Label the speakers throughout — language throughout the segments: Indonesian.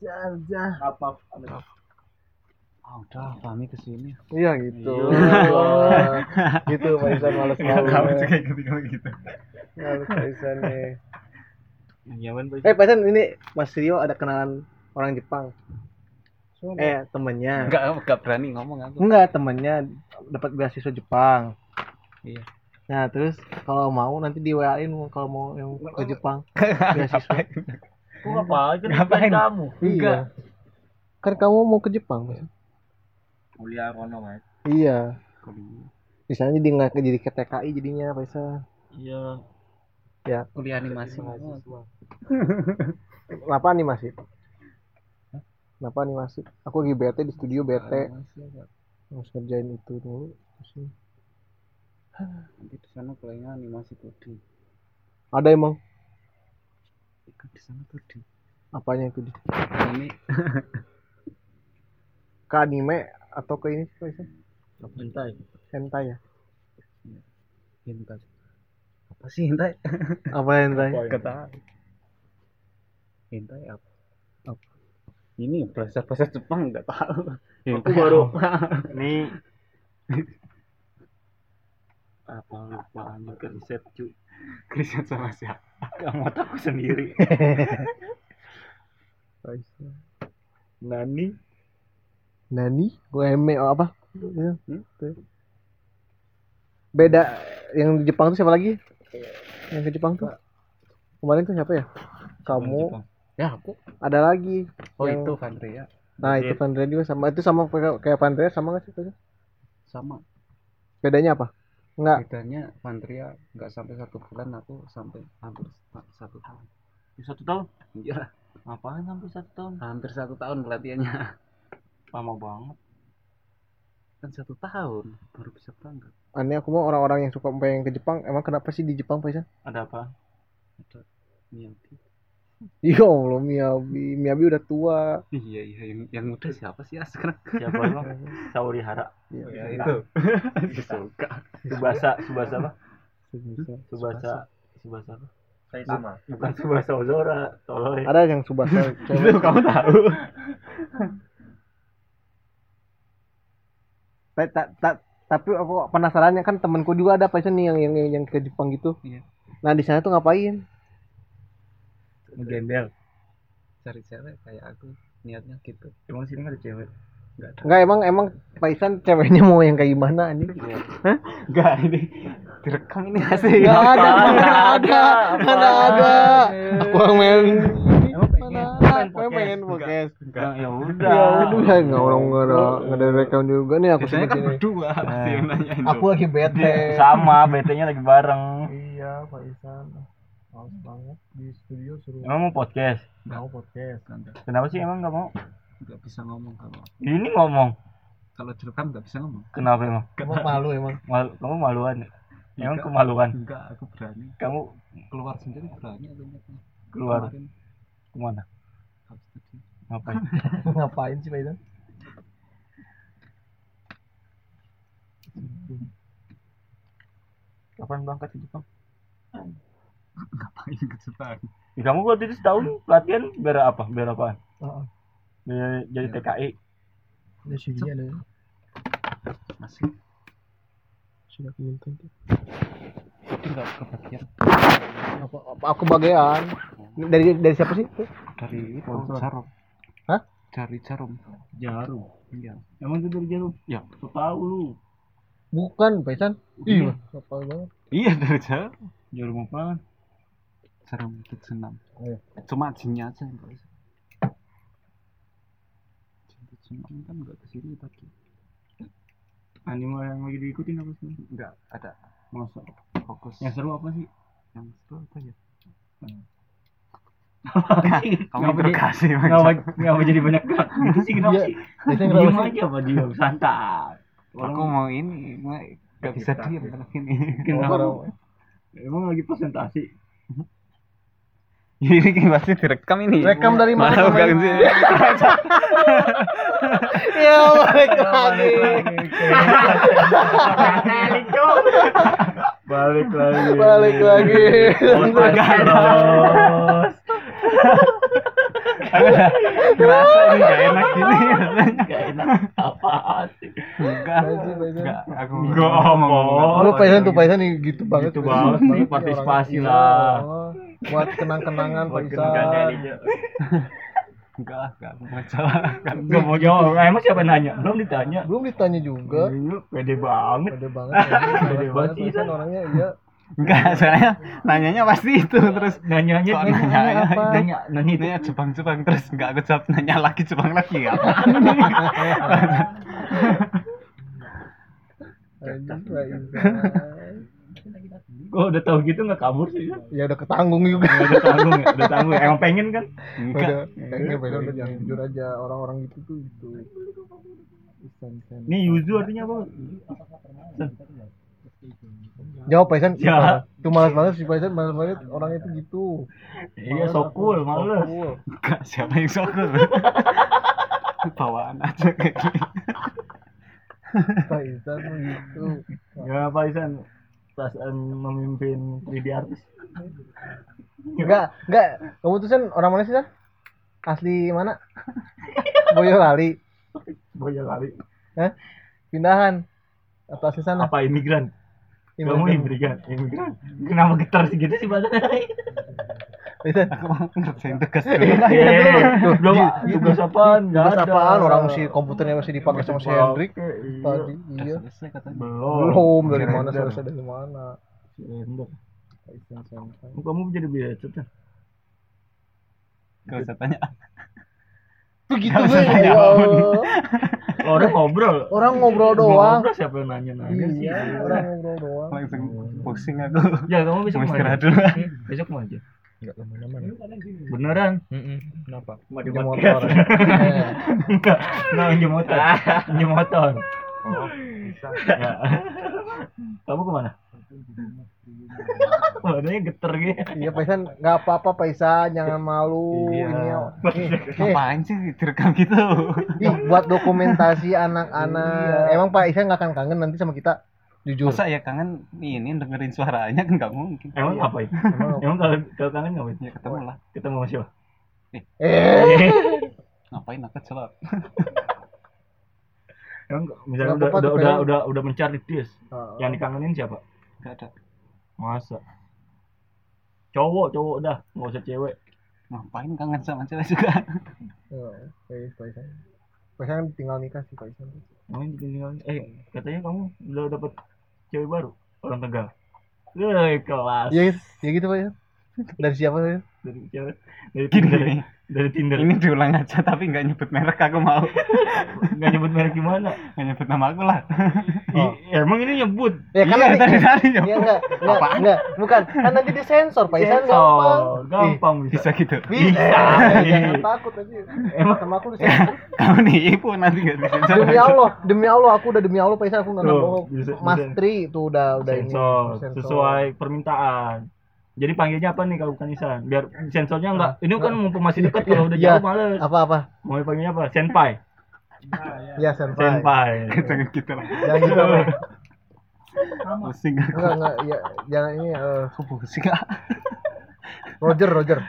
Speaker 1: Jar, jar.
Speaker 2: Apa? Amit.
Speaker 3: Ah udah Fahmi kesini.
Speaker 1: Iya gitu.
Speaker 3: Iya.
Speaker 1: Wah, gitu Maisan males
Speaker 2: Iya.
Speaker 3: Oh,
Speaker 2: Nggak
Speaker 1: banget.
Speaker 2: kamu juga ikut ikut gitu.
Speaker 1: Males Maisan nih.
Speaker 3: Yang nyaman
Speaker 1: Eh Maisan ini Mas Rio ada kenalan orang Jepang. Eh temennya.
Speaker 3: Enggak, enggak berani ngomong aku.
Speaker 1: Enggak temennya dapat beasiswa Jepang.
Speaker 3: Iya.
Speaker 1: Nah terus kalau mau nanti di WA in kalau mau yang ke Jepang beasiswa.
Speaker 2: Kok apa?
Speaker 3: Ngapain?
Speaker 2: Itu ngapain kamu?
Speaker 1: Iya. Kan kamu mau ke Jepang. Mas.
Speaker 2: Kuliah kono, Mas.
Speaker 1: Iya. Misalnya jadi nggak jadi ke TKI jadinya Maisan.
Speaker 2: Iya.
Speaker 1: Ya.
Speaker 3: Kuliah animasi.
Speaker 1: Kenapa nih masih? Kenapa nih masih? Aku lagi bete di studio bete. Harus kerjain itu dulu. Pusing.
Speaker 3: Nanti di sana kuliahnya animasi 2D.
Speaker 1: Ada emang
Speaker 3: Ikut di sana 2D.
Speaker 1: apanya itu di
Speaker 3: Ini
Speaker 1: ke anime atau ke ini sih Faisal?
Speaker 2: Bentar.
Speaker 1: hentai ya
Speaker 3: hentai. Apa sih hentai?
Speaker 1: apa hentai
Speaker 3: Kata hentai apa? apa? Ini bahasa bahasa Jepang nggak tahu. Hentai
Speaker 2: Aku baru
Speaker 3: ini apa lupa anjing ke riset cu riset sama siapa kamu aku sendiri
Speaker 1: Faisal.
Speaker 3: nani
Speaker 1: nani eme oh, apa Iya.
Speaker 3: Hmm?
Speaker 1: beda yang di Jepang tuh siapa lagi yang ke Jepang tuh kemarin tuh siapa ya kamu
Speaker 3: ya aku
Speaker 1: ada lagi
Speaker 3: oh
Speaker 1: yang-
Speaker 3: itu Vandria
Speaker 1: nah itu Vandria juga sama itu sama kayak kayak Vandria sama nggak sih Faisal?
Speaker 3: sama
Speaker 1: bedanya apa Enggak,
Speaker 3: bedanya Vandria nggak sampai satu bulan aku sampai hampir sa- satu tahun
Speaker 2: Satu tahun?
Speaker 3: iya
Speaker 2: Ngapain sampai satu tahun?
Speaker 3: hampir satu tahun pelatihannya
Speaker 2: Lama banget.
Speaker 3: kan satu tahun baru bisa berangkat
Speaker 1: aneh aku mau orang-orang yang suka pengen ke Jepang, emang kenapa sih di Jepang Faisal?
Speaker 2: Ada apa?
Speaker 3: ada Miyabi
Speaker 1: Ya Allah, Miyabi, Miyabi udah tua.
Speaker 3: iya iya yang yang udah siapa sih ya sekarang
Speaker 2: Siapa bang? Sauri Hara.
Speaker 3: Ya,
Speaker 1: Iya,
Speaker 3: Nah, suka
Speaker 2: Subasa, Subasa apa?
Speaker 1: bisa.
Speaker 2: Subasa, Subasa apa?
Speaker 4: Saya sama.
Speaker 2: Bukan Subasa Ozora, tolong.
Speaker 1: Ada yang Subasa cewek.
Speaker 2: Itu kamu tahu?
Speaker 1: Ta- ta- ta- tapi aku penasarannya kan temanku juga ada Faisal nih yang yang yang, yang ke Jepang gitu.
Speaker 3: Iya.
Speaker 1: Nah di sana tuh ngapain?
Speaker 2: Gembel.
Speaker 3: cari cewek kayak aku niatnya gitu
Speaker 2: Emang sini nggak ada cewek?
Speaker 3: nggak ada
Speaker 1: Enggak emang emang Faisal ceweknya mau yang kayak gimana anjing?
Speaker 3: nggak ini direkam ini asli
Speaker 1: Enggak ada, mana ada, mana ada. Aku yang main. Mana ada? Aku yang pengen podcast.
Speaker 2: Enggak, ya udah.
Speaker 1: Ya udah enggak orang enggak ada enggak ada rekam juga nih aku
Speaker 3: biasanya kan
Speaker 1: sebutin.
Speaker 3: berdua pasti yang nanya itu
Speaker 1: Aku lagi bete.
Speaker 2: Sama, BT-nya lagi bareng.
Speaker 1: Iya, Faisal. Males banget di studio suruh
Speaker 2: Emang mau podcast?
Speaker 1: mau podcast.
Speaker 3: nggak
Speaker 2: Kenapa sih emang nggak mau?
Speaker 3: nggak bisa ngomong kalau
Speaker 2: Ini ngomong.
Speaker 3: kalau direkam nggak bisa ngomong
Speaker 2: Kenapa emang?
Speaker 1: Emang malu emang.
Speaker 2: Malu, kamu maluan. ya?
Speaker 3: Enggak.
Speaker 2: Emang kemaluan.
Speaker 3: enggak aku berani
Speaker 2: Kamu
Speaker 3: keluar sendiri berani aku nyatanya.
Speaker 2: keluar
Speaker 3: kemarin
Speaker 2: kemana?
Speaker 3: habis tadi
Speaker 2: Ngapain?
Speaker 1: Ngapain sih Faisal?
Speaker 2: Kapan berangkat ke Jepang?
Speaker 3: ngapain ke Jepang
Speaker 2: Ya, kamu waktu itu setahun pelatihan biar apa? Biar apaan?
Speaker 1: Heeh.
Speaker 2: Biar jadi
Speaker 3: Ya.
Speaker 2: E. TKI.
Speaker 1: Ada CV-nya ada.
Speaker 3: masih
Speaker 1: Sudah aku minta itu.
Speaker 3: itu nggak kebagian
Speaker 1: Apa, apa- aku bagian. Ini Dari dari siapa sih?
Speaker 3: dari itu
Speaker 2: Sponsor.
Speaker 3: jarum
Speaker 1: Hah?
Speaker 3: dari jarum
Speaker 2: Jarum.
Speaker 3: iya
Speaker 2: Emang itu dari jarum?
Speaker 3: Ya.
Speaker 2: Kau tahu lu.
Speaker 1: Bukan Faisal. Iya. Apa banget?
Speaker 3: iya dari jarum
Speaker 2: Jarum apaan?
Speaker 3: jarum itu senam
Speaker 1: Oh, iya.
Speaker 3: cuma jinnya aja yang nggak bisa Jin itu senam kan nggak kesini tadi
Speaker 2: Anime yang lagi diikutin apa sih?
Speaker 3: nggak ada
Speaker 2: Masa?
Speaker 3: fokus
Speaker 2: Yang seru apa sih?
Speaker 3: yang itu apa ya
Speaker 2: Nggak
Speaker 3: kamu kasih
Speaker 2: Ngapa ngapa jadi banyak gerak gitu sih kenapa
Speaker 1: Iya.
Speaker 2: sih?
Speaker 1: Biasanya
Speaker 2: Diam
Speaker 1: kenapa sih?
Speaker 2: aja apa diam santai.
Speaker 3: aku
Speaker 2: Orang-
Speaker 3: mau ini mau- nggak bisa
Speaker 2: Kita-
Speaker 3: diem kan? kalau gini
Speaker 1: Kenapa?
Speaker 2: Kenapa? Emang lagi presentasi.
Speaker 3: Iya, ini kan pasti direkam ini
Speaker 1: Rekam dari mana?
Speaker 3: Malah bukan
Speaker 1: Main?
Speaker 3: sih
Speaker 1: Iya Ya balik lagi.
Speaker 5: Kali cok.
Speaker 2: Balik lagi.
Speaker 1: Balik lagi.
Speaker 2: Bos agak bos. Ngerasa ini gak enak gini. Gak enak. Apaan sih? Enggak.
Speaker 1: Baji, baji.
Speaker 2: Enggak. Aku
Speaker 5: Enggak, ngomong.
Speaker 1: Lu paisan tuh paisan nih gitu banget.
Speaker 2: Oh, iya. Gitu banget sih,
Speaker 1: Orangnya.
Speaker 2: partisipasi
Speaker 1: Iya,
Speaker 2: lah.
Speaker 1: oh. Buat kenang-kenangan
Speaker 2: Enggak,
Speaker 1: paisan.
Speaker 2: enggak, enggak masalah. Kan enggak mau jawab. Emang siapa yang nanya? Belum ditanya.
Speaker 1: Belum ditanya juga.
Speaker 2: Lu pede banget.
Speaker 1: Pede banget. orangnya.
Speaker 2: Pede
Speaker 1: Pede
Speaker 2: banget,
Speaker 1: banget Paisan
Speaker 2: iya.
Speaker 1: orangnya iya.
Speaker 3: Enggak, soalnya nanyanya pasti itu terus
Speaker 2: Nanyanya
Speaker 3: Kok
Speaker 2: nanya,
Speaker 3: nanya
Speaker 2: nanya,
Speaker 1: Iya, apa?
Speaker 2: nanya, nanya itu.
Speaker 3: nanya Jepang-Jepang terus enggak aku jawab nanya lagi Jepang lagi ya.
Speaker 1: Anjing, Paisan.
Speaker 2: Kok udah tahu gitu nggak kabur sih? Kan?
Speaker 1: Ya udah ketanggung juga.
Speaker 2: Udah tanggung ya, udah tanggung. Emang pengen kan?
Speaker 3: Enggak.
Speaker 1: Udah, kayaknya beda udah jangan jujur aja orang-orang gitu tuh gitu.
Speaker 2: Ini Yuzu artinya apa?
Speaker 1: Jawab Paisan.
Speaker 2: Ya.
Speaker 1: Tuh malas banget si Paisan malas banget orang itu gitu.
Speaker 2: Iya, so cool, males.
Speaker 1: Cool.
Speaker 3: Enggak, siapa yang sokul? Bawaan aja kayak gini.
Speaker 1: Paisan tuh gitu.
Speaker 2: Ya, Pak Isan. Perasaan memimpin 3D artis.
Speaker 1: Enggak, enggak. Kamu tuh San orang mana sih San? Asli mana? Boyolali.
Speaker 2: Boya kali.
Speaker 1: Hah? Pindahan. Atau asli sana?
Speaker 2: Apa imigran? Kamu
Speaker 1: Imigran.
Speaker 2: imigran, imigran. Kenapa getar sih gitu sih badannya?
Speaker 1: Paisan.
Speaker 3: Aku mau ngerjain tugas dulu.
Speaker 1: Iya, iya, iya.
Speaker 2: Belum, belum tugas apaan? Nggak
Speaker 1: Tugas
Speaker 2: ada.
Speaker 1: apaan orang masih komputernya masih dipakai sama si
Speaker 2: Pakai,
Speaker 1: Hendrik
Speaker 2: iya.
Speaker 1: tadi. Iya.
Speaker 3: Selesai katanya.
Speaker 2: Belum.
Speaker 1: Belum dari mana
Speaker 2: Hendrik.
Speaker 1: selesai dari mana?
Speaker 2: Sender.
Speaker 1: Paisan santai.
Speaker 2: Kamu jadi bacot ya?
Speaker 3: Enggak usah tanya.
Speaker 1: Begitu
Speaker 3: Nggak
Speaker 1: gue.
Speaker 3: usah
Speaker 1: Ya
Speaker 3: tanya,
Speaker 1: Allah.
Speaker 2: Lo udah ngobrol.
Speaker 1: Orang ngobrol doang.
Speaker 2: Ngobrol siapa yang nanya-nanya sih?
Speaker 1: Iya, orang ngobrol doang.
Speaker 3: Langsung pusing aku.
Speaker 2: Ya, kamu besok
Speaker 3: Mau
Speaker 2: mau
Speaker 3: istirahat
Speaker 2: aja. Iya,
Speaker 3: dulu.
Speaker 2: Besok mau aja.
Speaker 1: Enggak kemana-mana.
Speaker 2: Beneran?
Speaker 1: Kenapa?
Speaker 2: Mau
Speaker 1: Pinjam motor. Eh,
Speaker 2: Enggak, enggak pinjam motor. Pinjam motor.
Speaker 1: Oh,
Speaker 2: Ya. Kamu kemana? Badannya geter gitu.
Speaker 1: Iya Paisan, nggak apa-apa Paisan, jangan malu.
Speaker 2: Iya.
Speaker 1: Ini nih, nih,
Speaker 3: Apaan sih direkam gitu?
Speaker 1: ih, buat dokumentasi anak-anak. Emang Pak Isan nggak akan kangen nanti sama kita? Jujur.
Speaker 3: Masa ya kangen ini dengerin suaranya kan nggak mungkin.
Speaker 2: Emang ngapain?
Speaker 1: Iya. Emang-
Speaker 2: Emang kalau kalau kangen ngapain?
Speaker 3: Ya ketemu lah.
Speaker 2: Ketemu sama siapa?
Speaker 1: Eh,
Speaker 3: Ngapain aku celak?
Speaker 2: Emang misalnya
Speaker 1: Nggak apa-apa kan-
Speaker 2: udah udah
Speaker 1: tuh,
Speaker 2: udah
Speaker 1: padahal.
Speaker 2: udah udah mencari dia. Yang dikangenin siapa?
Speaker 3: Enggak ada.
Speaker 2: Masa? Cowok, cowok dah, nggak usah cewek.
Speaker 3: Ngapain kangen sama cewek juga?
Speaker 1: Iya, Pais- Paisan. Paisan tinggal nikah sih Paisan.
Speaker 2: Kamu ditinggal. Eh, katanya kamu udah dapat cewek baru, orang Tegal. Eh, kelas.
Speaker 1: Iya, ya gitu Paisan. Dari siapa Paisan?
Speaker 2: Dari cewek, dari
Speaker 3: Gini
Speaker 2: Tinder.
Speaker 3: nih.
Speaker 2: Dari Tinder.
Speaker 3: Ini diulang aja tapi nggak nyebut merek aku mau.
Speaker 2: Nggak nyebut merek gimana?
Speaker 3: Nggak nyebut nama aku lah.
Speaker 1: Oh.
Speaker 2: Ih, emang ini nyebut.
Speaker 1: Ya kan
Speaker 3: iya,
Speaker 1: nanti-
Speaker 3: tadi tadi
Speaker 1: Iya enggak, enggak, enggak, bukan. Kan nanti disensor Paisan gampang.
Speaker 2: Sensor, gampang Iya. bisa.
Speaker 3: Bisa gitu.
Speaker 1: Bisa.
Speaker 2: Bisa.
Speaker 1: Jangan takut aja. Emang sama aku disensor.
Speaker 3: Kamu nih ibu nanti nggak disensor.
Speaker 1: demi Allah, demi Allah aku udah demi Allah Faisal aku nggak
Speaker 2: Tuh,
Speaker 1: bohong.
Speaker 2: bisa- bisa.
Speaker 1: Mas Tri itu udah udah ini.
Speaker 2: Sensor,
Speaker 1: sensor.
Speaker 2: sesuai permintaan. Jadi panggilnya apa nih kalau bukan Isan? Biar sensornya enggak. Ini kan mumpung masih dekat kalau udah
Speaker 1: Ah. Iya.
Speaker 2: jauh males.
Speaker 1: Apa apa?
Speaker 2: Mau dipanggilnya apa? Senpai.
Speaker 1: Ya senpai.
Speaker 2: Senpai.
Speaker 3: Jangan gitu lah.
Speaker 1: Jangan gitu. Pak.
Speaker 3: Pusing aku.
Speaker 1: Enggak enggak ya jangan ini eh,
Speaker 3: Aku pusing ah.
Speaker 1: Roger Roger.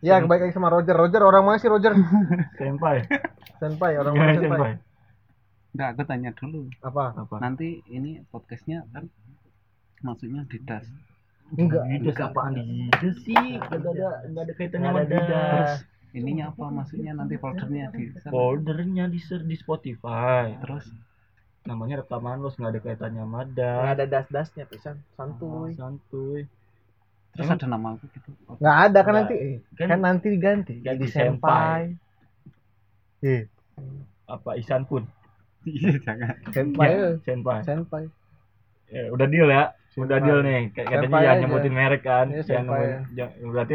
Speaker 1: Ya baik lagi sama Roger. Roger orang mana sih Roger?
Speaker 2: Senpai.
Speaker 1: Senpai orang mana
Speaker 2: Gimana
Speaker 1: senpai?
Speaker 2: Iya, senpai?
Speaker 3: Nggak aku tanya dulu.
Speaker 1: Apa?
Speaker 2: Apa?
Speaker 3: Nanti ini podcastnya kan maksudnya di das.
Speaker 1: Enggak.
Speaker 2: Didas apaan Didas sih? Enggak ada enggak ada kaitannya sama
Speaker 1: Nggak ada Didas.
Speaker 2: Didas.
Speaker 3: Ininya apa maksudnya nanti foldernya di sana.
Speaker 2: Foldernya di ser- di Spotify.
Speaker 3: Terus
Speaker 2: Namanya rekaman los enggak ada kaitannya sama
Speaker 1: Enggak
Speaker 2: Didas.
Speaker 1: ada das-dasnya Pisan.
Speaker 2: Oh,
Speaker 1: Santuy.
Speaker 2: Santuy.
Speaker 3: terus
Speaker 2: Emang-
Speaker 3: ada nama aku gitu.
Speaker 1: Enggak ada kan
Speaker 2: Nggak.
Speaker 1: nanti eh,
Speaker 2: Kan-
Speaker 1: kan nanti diganti
Speaker 2: Ganti
Speaker 1: jadi senpai. Eh,
Speaker 2: Apa Isan pun?
Speaker 3: Iya jangan.
Speaker 2: Iya.
Speaker 1: senpai.
Speaker 2: Senpai.
Speaker 1: Senpai.
Speaker 2: Ya, udah deal ya udah deal nih Kayak katanya
Speaker 1: Senpai
Speaker 2: jangan
Speaker 1: aja.
Speaker 2: nyebutin merek kan
Speaker 1: Iya,
Speaker 2: jangan
Speaker 1: senpai.
Speaker 2: nyebutin- jangan- berarti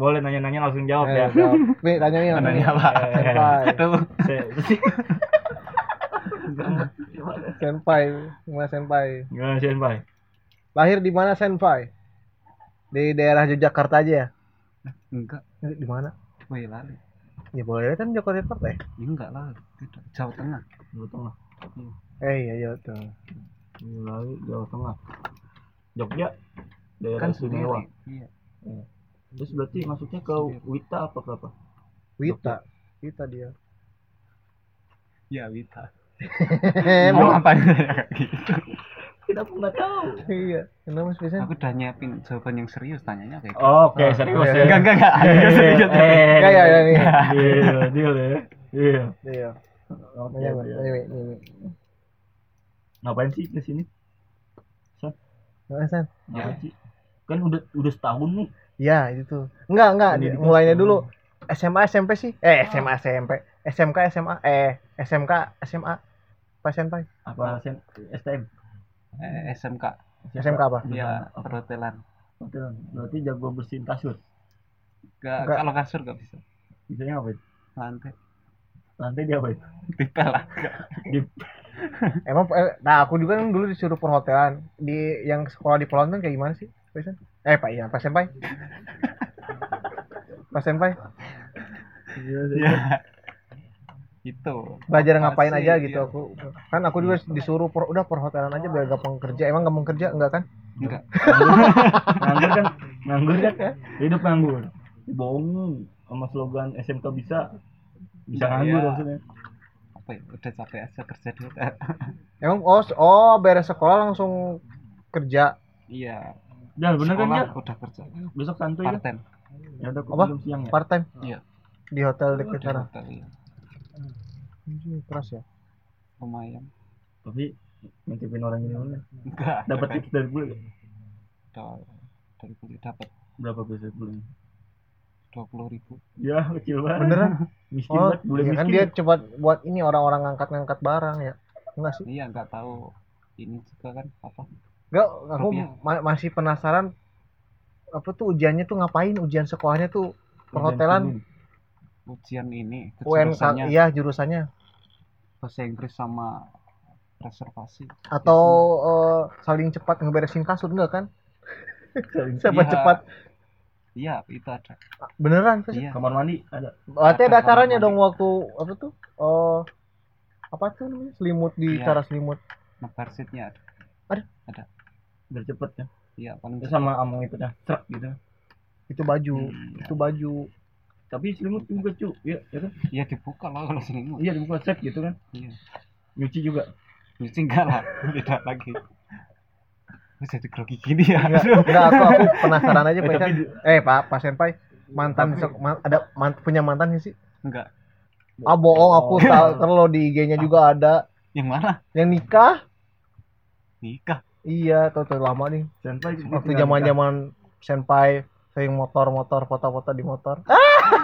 Speaker 2: boleh nanya-nanya langsung jawab
Speaker 1: Eh,
Speaker 2: ya Iya,
Speaker 1: jawab. Nih, tanyain
Speaker 3: Ada
Speaker 1: tanyain.
Speaker 3: apa?
Speaker 1: Senpai.
Speaker 3: Aduh.
Speaker 2: Se-
Speaker 1: Senpai, gimana senpai?
Speaker 2: gimana senpai
Speaker 1: Lahir di mana senpai? Di daerah Yogyakarta aja ya?
Speaker 3: Enggak.
Speaker 1: Eh, Di mana?
Speaker 3: Boyolali.
Speaker 1: Ya boleh kan Yogyakarta ya?
Speaker 3: Ya, enggak lah. Tidak. Jawa Tengah.
Speaker 2: Jawa Tengah
Speaker 1: Eh iya iya tuh.
Speaker 2: Boyolali Jawa Tengah Jogja daerah
Speaker 3: Kan
Speaker 2: istimewa
Speaker 3: sendiri. Iya.
Speaker 2: terus berarti masuknya ke Wita apa ke apa
Speaker 1: Wita, Wita dia.
Speaker 3: Iya, Wita.
Speaker 1: Hehehe.
Speaker 3: Mau ngapain? Gitu.
Speaker 2: kita pun nggak tahu
Speaker 1: iya. Kenapa sih Vincent?
Speaker 3: Aku udah nyiapin jawaban yang serius tanyanya kayak gitu.
Speaker 2: oke ya. Iya,
Speaker 1: Ah, iya, iya.
Speaker 3: Enggak, enggak, enggak. Serius, serius.
Speaker 1: Ya ya ya nih.
Speaker 2: Deal, deal ya. Iya.
Speaker 1: Iya.
Speaker 2: Oke.
Speaker 1: Nanya, Mbak.
Speaker 2: deal.
Speaker 1: Nanya, Mbak. Nanya, Mbak.
Speaker 2: Ngapain sih ke sini?
Speaker 1: Nggak, San.
Speaker 2: Ngapain sih? Kan udah udah setahun nih.
Speaker 1: Iya, itu tuh. Enggak, enggak, di-
Speaker 2: Pendidikan
Speaker 1: mulainya
Speaker 2: setahun.
Speaker 1: dulu. SMA SMP sih. Eh, SMA SMP. SMK SMA eh SMK SMA. Pak Senpai. Iya.
Speaker 2: Apa sen STM?
Speaker 3: Eh, SMK.
Speaker 1: SMK apa?
Speaker 3: Iya, perhotelan.
Speaker 2: Betul. Berarti jago bersihin kasur.
Speaker 3: Enggak,
Speaker 1: Enggak.
Speaker 3: kalau kasur enggak bisa.
Speaker 2: Bisanya apa?
Speaker 3: Lantai
Speaker 2: Lantai dia apa?
Speaker 3: tipel lah.
Speaker 1: Emang eh, nah aku juga kan dulu disuruh perhotelan di yang sekolah di Polontan kayak gimana sih? Pak Sen? Eh, Pak iya, Pak Senpai. Pak Senpai,
Speaker 3: Iya. Itu.
Speaker 1: belajar ngapain
Speaker 3: Pasti,
Speaker 1: aja gitu
Speaker 3: iya.
Speaker 1: aku. Kan aku juga disuruh per- udah perhotelan aja biar gampang kerja. Emang gampang kerja enggak kan?
Speaker 3: Enggak.
Speaker 2: Nganggur kan? Nganggur kan? Hidup nganggur. Bohongin sama slogan SMK bisa bisa
Speaker 3: Iya.
Speaker 2: nganggur maksudnya.
Speaker 3: Apa ya? Udah capek aja kerja dulu.
Speaker 1: Emang oh, s- oh beres sekolah langsung kerja.
Speaker 3: Iya.
Speaker 2: Jal, bener kan
Speaker 3: Sekolah
Speaker 2: Jal?
Speaker 3: udah kerja.
Speaker 2: Besok santuy
Speaker 3: Part
Speaker 2: kan?
Speaker 3: time.
Speaker 2: Ya udah aku
Speaker 1: Apa?
Speaker 2: belum siang ya.
Speaker 1: part time
Speaker 3: Iya.
Speaker 1: di hotel dekat
Speaker 3: Di
Speaker 1: sana.
Speaker 3: hotel, iya.
Speaker 1: Anjing, Keras ya.
Speaker 3: Lumayan.
Speaker 2: Tapi ngintipin orang ini mana?
Speaker 3: Enggak. kan?
Speaker 2: Dapat tips dari gue. ya?
Speaker 3: Udah- dari kulit dapat
Speaker 2: Berapa biasanya bulan?
Speaker 3: dua puluh ribu.
Speaker 2: Ya kecil banget.
Speaker 1: Beneran?
Speaker 2: Miskin
Speaker 1: Oh,
Speaker 2: banget, boleh
Speaker 1: iya
Speaker 2: miskin. ya.
Speaker 1: kan dia coba buat ini orang-orang ngangkat-ngangkat barang ya. Enggak sih.
Speaker 3: Iya, enggak tahu ini juga kan apa
Speaker 1: Enggak, aku
Speaker 3: Rupiah.
Speaker 1: ma- masih penasaran apa tuh ujiannya tuh ngapain? Ujian sekolahnya tuh perhotelan
Speaker 3: ujian ini
Speaker 1: UNK
Speaker 3: kejurusannya
Speaker 1: iya jurusannya
Speaker 3: bahasa Inggris sama reservasi
Speaker 1: atau
Speaker 3: Iya,
Speaker 1: eh, saling cepat ngeberesin kasur enggak kan? Siapa
Speaker 3: Iya.
Speaker 1: cepat
Speaker 3: iya itu ada
Speaker 1: beneran tuh.
Speaker 3: iya
Speaker 2: Kamar mandi ada.
Speaker 1: Berarti ada
Speaker 3: Ada
Speaker 1: caranya
Speaker 3: kamar
Speaker 1: dong waktu apa tuh? Oh apa tuh namanya? Selimut di
Speaker 3: Iya.
Speaker 1: cara selimut.
Speaker 3: nebar seatnya ada
Speaker 2: Biar cepet ya.
Speaker 3: iya paling
Speaker 2: Terus sama among itu dah, truk gitu.
Speaker 1: Itu baju,
Speaker 3: Hmm,
Speaker 1: itu baju.
Speaker 2: Tapi selimut juga cu, ya, ya kan?
Speaker 3: iya dibuka lah kalau selimut
Speaker 2: Iya dibuka set gitu kan.
Speaker 3: iya
Speaker 2: Nyuci juga.
Speaker 3: nyuci enggak lah tidak lagi bisa jadi grogi gini ya
Speaker 1: Enggak, enggak aku, aku penasaran aja
Speaker 2: Eh,
Speaker 1: Pak Isan.
Speaker 2: tapi
Speaker 1: Eh Pak, Pak Senpai mantan sek- ma- ada man- punya mantan nggak sih?
Speaker 3: enggak
Speaker 1: Ah bohong aku
Speaker 2: Oh. Ah.
Speaker 1: tahu terlo di IG-nya juga ada
Speaker 3: yang mana
Speaker 1: yang nikah.
Speaker 3: nikah
Speaker 1: Iya, tahu tuh lama nih.
Speaker 2: Senpai
Speaker 1: Waktu zaman-zaman Senpai sering motor-motor foto-foto di motor. Ah!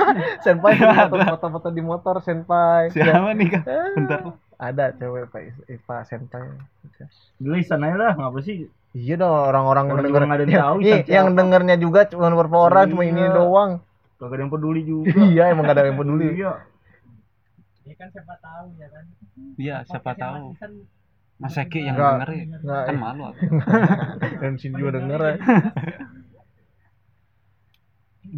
Speaker 1: senpai sering motor- foto-foto di motor Senpai.
Speaker 3: siapa nikah
Speaker 1: Ah,
Speaker 3: bentar
Speaker 1: Ada cewek Pak, Is- eh, Pak Senpai.
Speaker 2: Beli sana lah, ngapa sih?
Speaker 1: Iya dong orang-orang yang
Speaker 2: Orang
Speaker 1: denger
Speaker 2: juga nggak ada yang
Speaker 1: Iya,
Speaker 2: tahu,
Speaker 1: iya,
Speaker 2: Isan
Speaker 1: yang
Speaker 2: siapa.
Speaker 1: dengernya juga cuma beberapa orang cuma ini
Speaker 2: Iya.
Speaker 1: doang.
Speaker 2: Kagak ada yang peduli juga.
Speaker 1: Iya, emang gak ada yang peduli.
Speaker 2: Iya.
Speaker 3: iya siapa tahu Mas Eki yang
Speaker 1: Enggak.
Speaker 3: denger ya.
Speaker 1: Enggak,
Speaker 3: kan malu aku
Speaker 1: dan sini juga denger ya.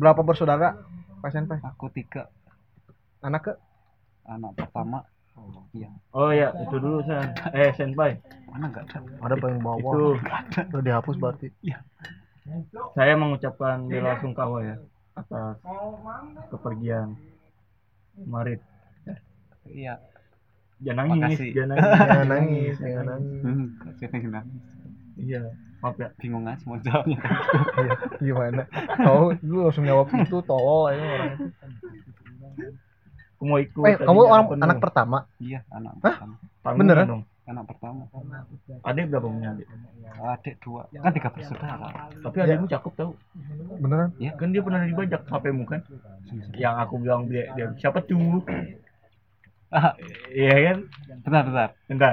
Speaker 1: berapa bersaudara Pak Senpai
Speaker 3: aku tiga
Speaker 1: anak ke
Speaker 3: anak pertama iya
Speaker 2: Oh ya, itu dulu San. Eh, Senpai.
Speaker 3: mana enggak ada
Speaker 1: ada paling bawah
Speaker 2: Itu
Speaker 1: udah dihapus berarti
Speaker 2: saya
Speaker 1: Iya.
Speaker 2: mengucapkan bela sungkawa ya atas kepergian Marit.
Speaker 3: iya
Speaker 2: Jangan nangis,
Speaker 3: Makasih.
Speaker 2: jangan nangis.
Speaker 1: jangan nangis jangan nangis
Speaker 3: Hmm, nggak sih, nggak.
Speaker 2: Iya, maaf ya.
Speaker 3: bingung aja mau jawabnya
Speaker 1: Iya, gimana tahu lu langsung jawab itu tolol aja orang itu.
Speaker 2: Aku mau ikut.
Speaker 1: eh kamu
Speaker 2: tadinya
Speaker 1: orang
Speaker 2: penuh.
Speaker 1: anak pertama
Speaker 3: iya anak pertama
Speaker 2: Tanggung
Speaker 1: beneran?
Speaker 2: dong.
Speaker 3: anak pertama
Speaker 2: Adik berapa punya adik?
Speaker 3: adik dua kan tiga bersaudara
Speaker 1: Ya.
Speaker 2: Tapi adikmu cakep tau.
Speaker 1: beneran
Speaker 2: Kan dia pernah dibajak HP-mu kan? Yang aku bilang dia, dia siapa tuh?
Speaker 3: Ah,
Speaker 2: Iya kan?
Speaker 3: bentar bentar
Speaker 2: Bentar.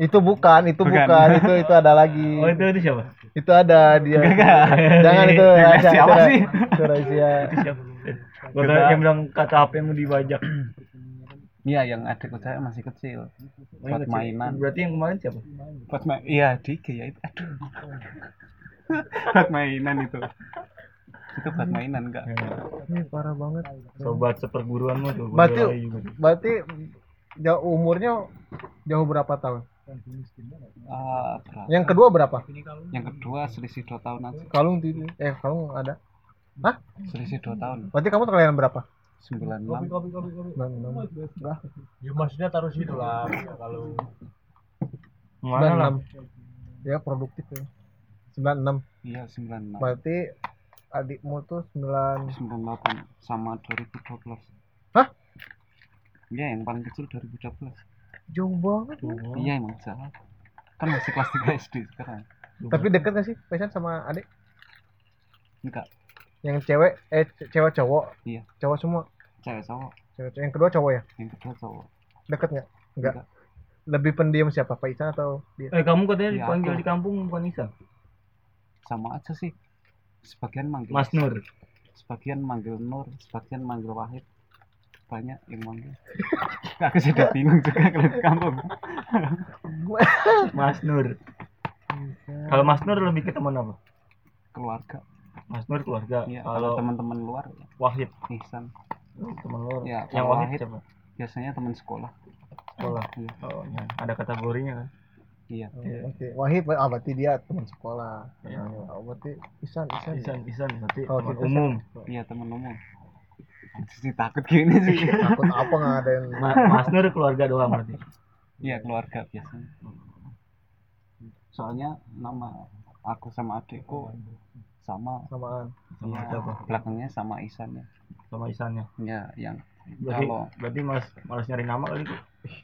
Speaker 1: itu bukan itu
Speaker 3: Bukan.
Speaker 1: bukan, itu itu ada lagi
Speaker 2: Oh itu itu siapa?
Speaker 1: itu ada dia
Speaker 3: Enggak, enggak.
Speaker 1: jangan itu
Speaker 3: Enggak,
Speaker 1: rahasia,
Speaker 3: siapa
Speaker 1: itu ra-
Speaker 3: sih?
Speaker 1: itu rahasia
Speaker 2: Siapa? Gua
Speaker 3: Bentar.
Speaker 2: tau yang bilang kata HP-mu dibajak.
Speaker 3: iya yang adik saya masih kecil
Speaker 2: Oh, yang
Speaker 3: buat
Speaker 2: kecil.
Speaker 3: mainan
Speaker 2: Berarti yang kemarin siapa?
Speaker 3: buat main iya adik ya itu aduh buat mainan itu itu buat mainan
Speaker 2: Ya.
Speaker 3: enggak
Speaker 1: Ini parah banget
Speaker 2: Sobat seperguruanmu tuh. gua
Speaker 1: Berarti-
Speaker 2: doain juga.
Speaker 1: berarti jauh umurnya jauh berapa tahun?
Speaker 3: Ah, berat.
Speaker 1: Yang kedua berapa?
Speaker 3: yang kedua selisih dua tahun aja
Speaker 1: Kalung tidak. Eh, kalung ada. Hah?
Speaker 3: selisih dua tahun
Speaker 1: Berarti kamu terlairan berapa?
Speaker 3: sembilan enam
Speaker 1: Enam, enam.
Speaker 6: Ya maksudnya taruh situ lah kalau
Speaker 2: Mana lah?
Speaker 1: 96. Ya, produktif ya. 96.
Speaker 3: iya sembilan enam
Speaker 1: Berarti adikmu tuh 9
Speaker 3: sembilan delapan sama dua ribu dua belas
Speaker 1: Hah?
Speaker 3: iya yang paling kecil dua ribu dua belas
Speaker 1: jauh banget.
Speaker 2: Oh.
Speaker 3: iya emang salah kan masih kelas tiga sd sekarang
Speaker 1: Tapi deket gak sih Pesan sama adik?
Speaker 3: enggak
Speaker 1: Yang cewek eh ce- cewek cowok.
Speaker 3: Iya.
Speaker 1: Cowok semua.
Speaker 3: cewek cowok
Speaker 1: Cewek, yang kedua cowok ya?
Speaker 3: yang kedua cowok
Speaker 1: Deket nggak? Enggak.
Speaker 3: Enggak.
Speaker 1: Lebih pendiam siapa? Paisan atau dia?
Speaker 2: Eh kamu katanya
Speaker 3: Iya,
Speaker 2: dipanggil
Speaker 3: aku.
Speaker 2: di kampung bukan Nisa?
Speaker 3: sama aja sih sebagian manggil
Speaker 2: Mas Nur.
Speaker 3: sebagian manggil Nur sebagian manggil Wahid banyak yang manggil aku sudah bingung juga kalau di kampung
Speaker 2: Mas Nur. Kalau Mas Nur lebih ke teman apa?
Speaker 3: keluarga
Speaker 2: Mas Nur keluarga.
Speaker 3: ya kalau
Speaker 2: Iya, Kalau
Speaker 3: teman-teman luar ya,
Speaker 2: Wahid
Speaker 3: Ihsan
Speaker 2: teman luar.
Speaker 3: Ya,
Speaker 2: Yang
Speaker 3: kalau
Speaker 2: Iya, Wahid
Speaker 3: Wahid-
Speaker 2: siapa?
Speaker 3: biasanya teman sekolah
Speaker 2: Sekolah.
Speaker 3: Iya.
Speaker 2: Oh, iya. ada kategorinya kan?
Speaker 3: iya
Speaker 2: Iya.
Speaker 1: Oh, Oke, Wahid, ah berarti dia teman sekolah.
Speaker 2: Iya. Ah,
Speaker 1: Oh, berarti Isan, Isan.
Speaker 2: Isan, Isan berarti
Speaker 1: Oh,
Speaker 2: teman
Speaker 1: kita
Speaker 2: umum.
Speaker 3: iya teman umum sih takut gini sih
Speaker 1: Takut apa nggak ada yang
Speaker 2: Ma- Mas Nur keluarga doang berarti.
Speaker 3: iya keluarga biasanya soalnya nama aku sama adikku sama
Speaker 1: samaan.
Speaker 2: Sama
Speaker 3: ya,
Speaker 2: siapa?
Speaker 3: belakangnya sama Ihsan ya
Speaker 2: Sama Isannya.
Speaker 3: ya yang
Speaker 2: Berarti,
Speaker 3: Kalau-
Speaker 2: berarti Mas malas nyari nama kali.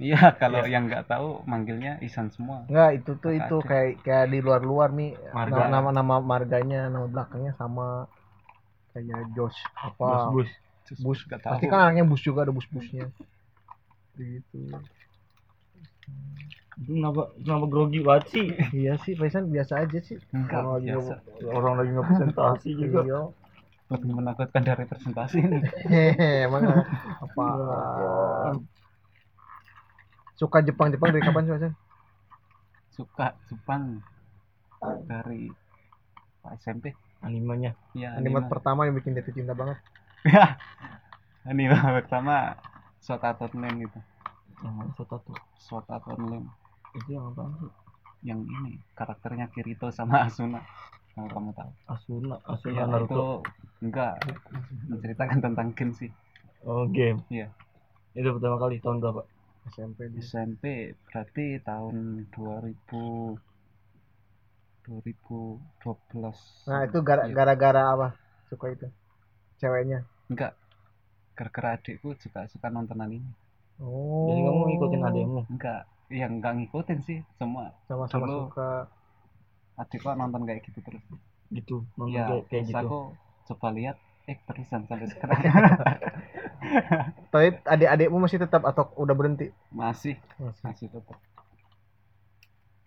Speaker 3: iya kalau yang nggak tahu manggilnya Ihsan semua
Speaker 1: Enggak, itu tuh
Speaker 3: Nggak
Speaker 1: itu
Speaker 3: ada.
Speaker 1: kayak kayak di luar-luar nih
Speaker 2: Nah, Marga.
Speaker 1: nama nama marganya, nama belakangnya sama kayak Josh
Speaker 2: Bus,
Speaker 1: apa.
Speaker 2: bus.
Speaker 3: Terus
Speaker 1: Bus.
Speaker 3: nggak tahu
Speaker 1: Pasti kan anaknya bus juga ada bus-busnya. Gitu.
Speaker 2: Itu Kenapa, kenapa grogi banget sih?
Speaker 1: iya sih, Faisan biasa aja sih.
Speaker 3: Enggak,
Speaker 2: Orang lagi
Speaker 3: biasa.
Speaker 2: nge- orang lagi ngepresentasi juga.
Speaker 1: Iya.
Speaker 3: lebih menakutkan dari presentasi ini
Speaker 1: Hehehe, emang apa?
Speaker 2: Iya.
Speaker 1: Suka Jepang-Jepang dari kapan sih, Faisan?
Speaker 3: suka Jepang dari Pak SMP
Speaker 2: Animenya.
Speaker 3: ya
Speaker 1: Animat pertama yang bikin jatuh cinta banget.
Speaker 3: Ya, anime pertama Sword Art Online itu
Speaker 2: Yang mana foto tuh?
Speaker 3: Sword Art Online
Speaker 2: Itu yang apa sih?
Speaker 3: yang ini karakternya Kirito sama Asuna kalau kamu tahu
Speaker 2: Asuna,
Speaker 1: Iya,
Speaker 3: ya, itu
Speaker 2: Asuna Iya, Naruto.
Speaker 3: enggak menceritakan tentang game sih
Speaker 2: Oh, game.
Speaker 3: Iya.
Speaker 2: Itu pertama kali tahun berapa?
Speaker 1: SMP di
Speaker 3: SMP berarti tahun 2000 2012
Speaker 1: Nah itu gara-
Speaker 3: Iya.
Speaker 1: gara-gara apa? Suka itu ceweknya.
Speaker 3: enggak gara-gara adikku juga suka nonton anime
Speaker 1: Oh.
Speaker 2: Jadi kamu ngikutin adekmu.
Speaker 3: enggak ya enggak ngikutin sih semua
Speaker 1: Sama-sama
Speaker 3: Dulu.
Speaker 1: suka.
Speaker 3: adikku nonton kayak gitu terus
Speaker 2: Gitu, nonton
Speaker 3: ya
Speaker 2: kayak, kayak
Speaker 3: terus
Speaker 2: gitu.
Speaker 3: aku coba lihat eh terusan sampai sekarang
Speaker 1: Tapi adik-adikmu masih tetap atau udah berhenti?
Speaker 3: masih
Speaker 1: Masih.
Speaker 3: masih tetap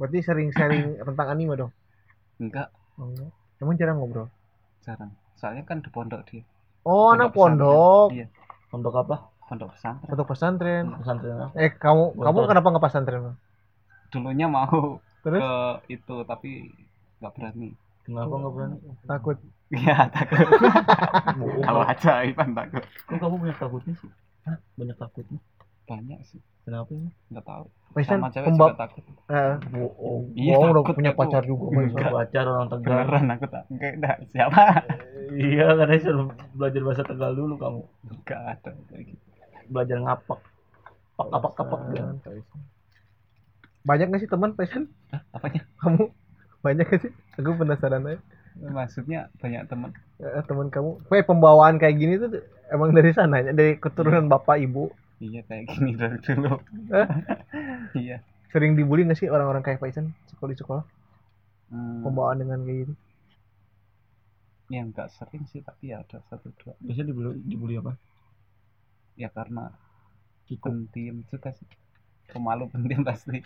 Speaker 1: Berarti sering sharing tentang anime dong?
Speaker 3: enggak
Speaker 1: Oh, iya. Emang jarang ngobrol.
Speaker 3: jarang soalnya kan di pondok dia
Speaker 1: Oh, anak
Speaker 3: pesantren.
Speaker 1: pondok.
Speaker 3: iya
Speaker 2: Pondok apa?
Speaker 3: pondok pesantren
Speaker 1: Pondok pesantren.
Speaker 2: Pesantren apa?
Speaker 1: Eh, kamu kamu
Speaker 2: Motor.
Speaker 1: kenapa nggak pesantren? Bang?
Speaker 3: dulunya mau
Speaker 1: Terus
Speaker 3: ke itu tapi nggak berani
Speaker 2: Kenapa nggak berani?
Speaker 1: takut.
Speaker 3: ya takut kalau aja Ivan takut
Speaker 2: Kok kamu banyak takutnya sih? Hah? Banyak takutnya?
Speaker 3: banyak sih
Speaker 2: Kenapa ini?
Speaker 3: nggak tahu
Speaker 1: Pesan
Speaker 3: sama cewek
Speaker 1: pembab.
Speaker 3: juga takut
Speaker 1: Eh,
Speaker 2: Bohong.
Speaker 3: Iya,
Speaker 1: oh, udah
Speaker 3: takut
Speaker 1: punya
Speaker 3: aku.
Speaker 1: pacar juga. Bang.
Speaker 3: Enggak.
Speaker 2: Pacar orang Tegal.
Speaker 3: beneran aku tak enggak enggak siapa
Speaker 2: Iya, katanya suruh belajar bahasa Tegal dulu kamu.
Speaker 3: enggak ada kayak gitu
Speaker 2: Belajar ngapak. Pak apak kapak ya.
Speaker 1: Pesan, Pesan. Banyak nggak sih teman Pesan?
Speaker 3: Hah, apanya
Speaker 1: Kamu banyak nggak sih? Aku penasaran aja.
Speaker 3: maksudnya banyak teman
Speaker 1: Eh, teman kamu, eh pembawaan kayak gini tuh emang dari sana, ya? dari keturunan bapak ibu.
Speaker 3: iya kayak gini dari dulu
Speaker 1: Eh,
Speaker 3: iya
Speaker 1: sering dibully nggak sih orang-orang kayak Faizan sekolah di sekolah?
Speaker 3: Hmm,
Speaker 1: Pembawaan dengan kayak gini.
Speaker 3: ya enggak sering sih tapi ya ada satu dua
Speaker 2: Biasanya dibully, dibully apa?
Speaker 3: ya karena pendiam juga sih pemalu pendiam pasti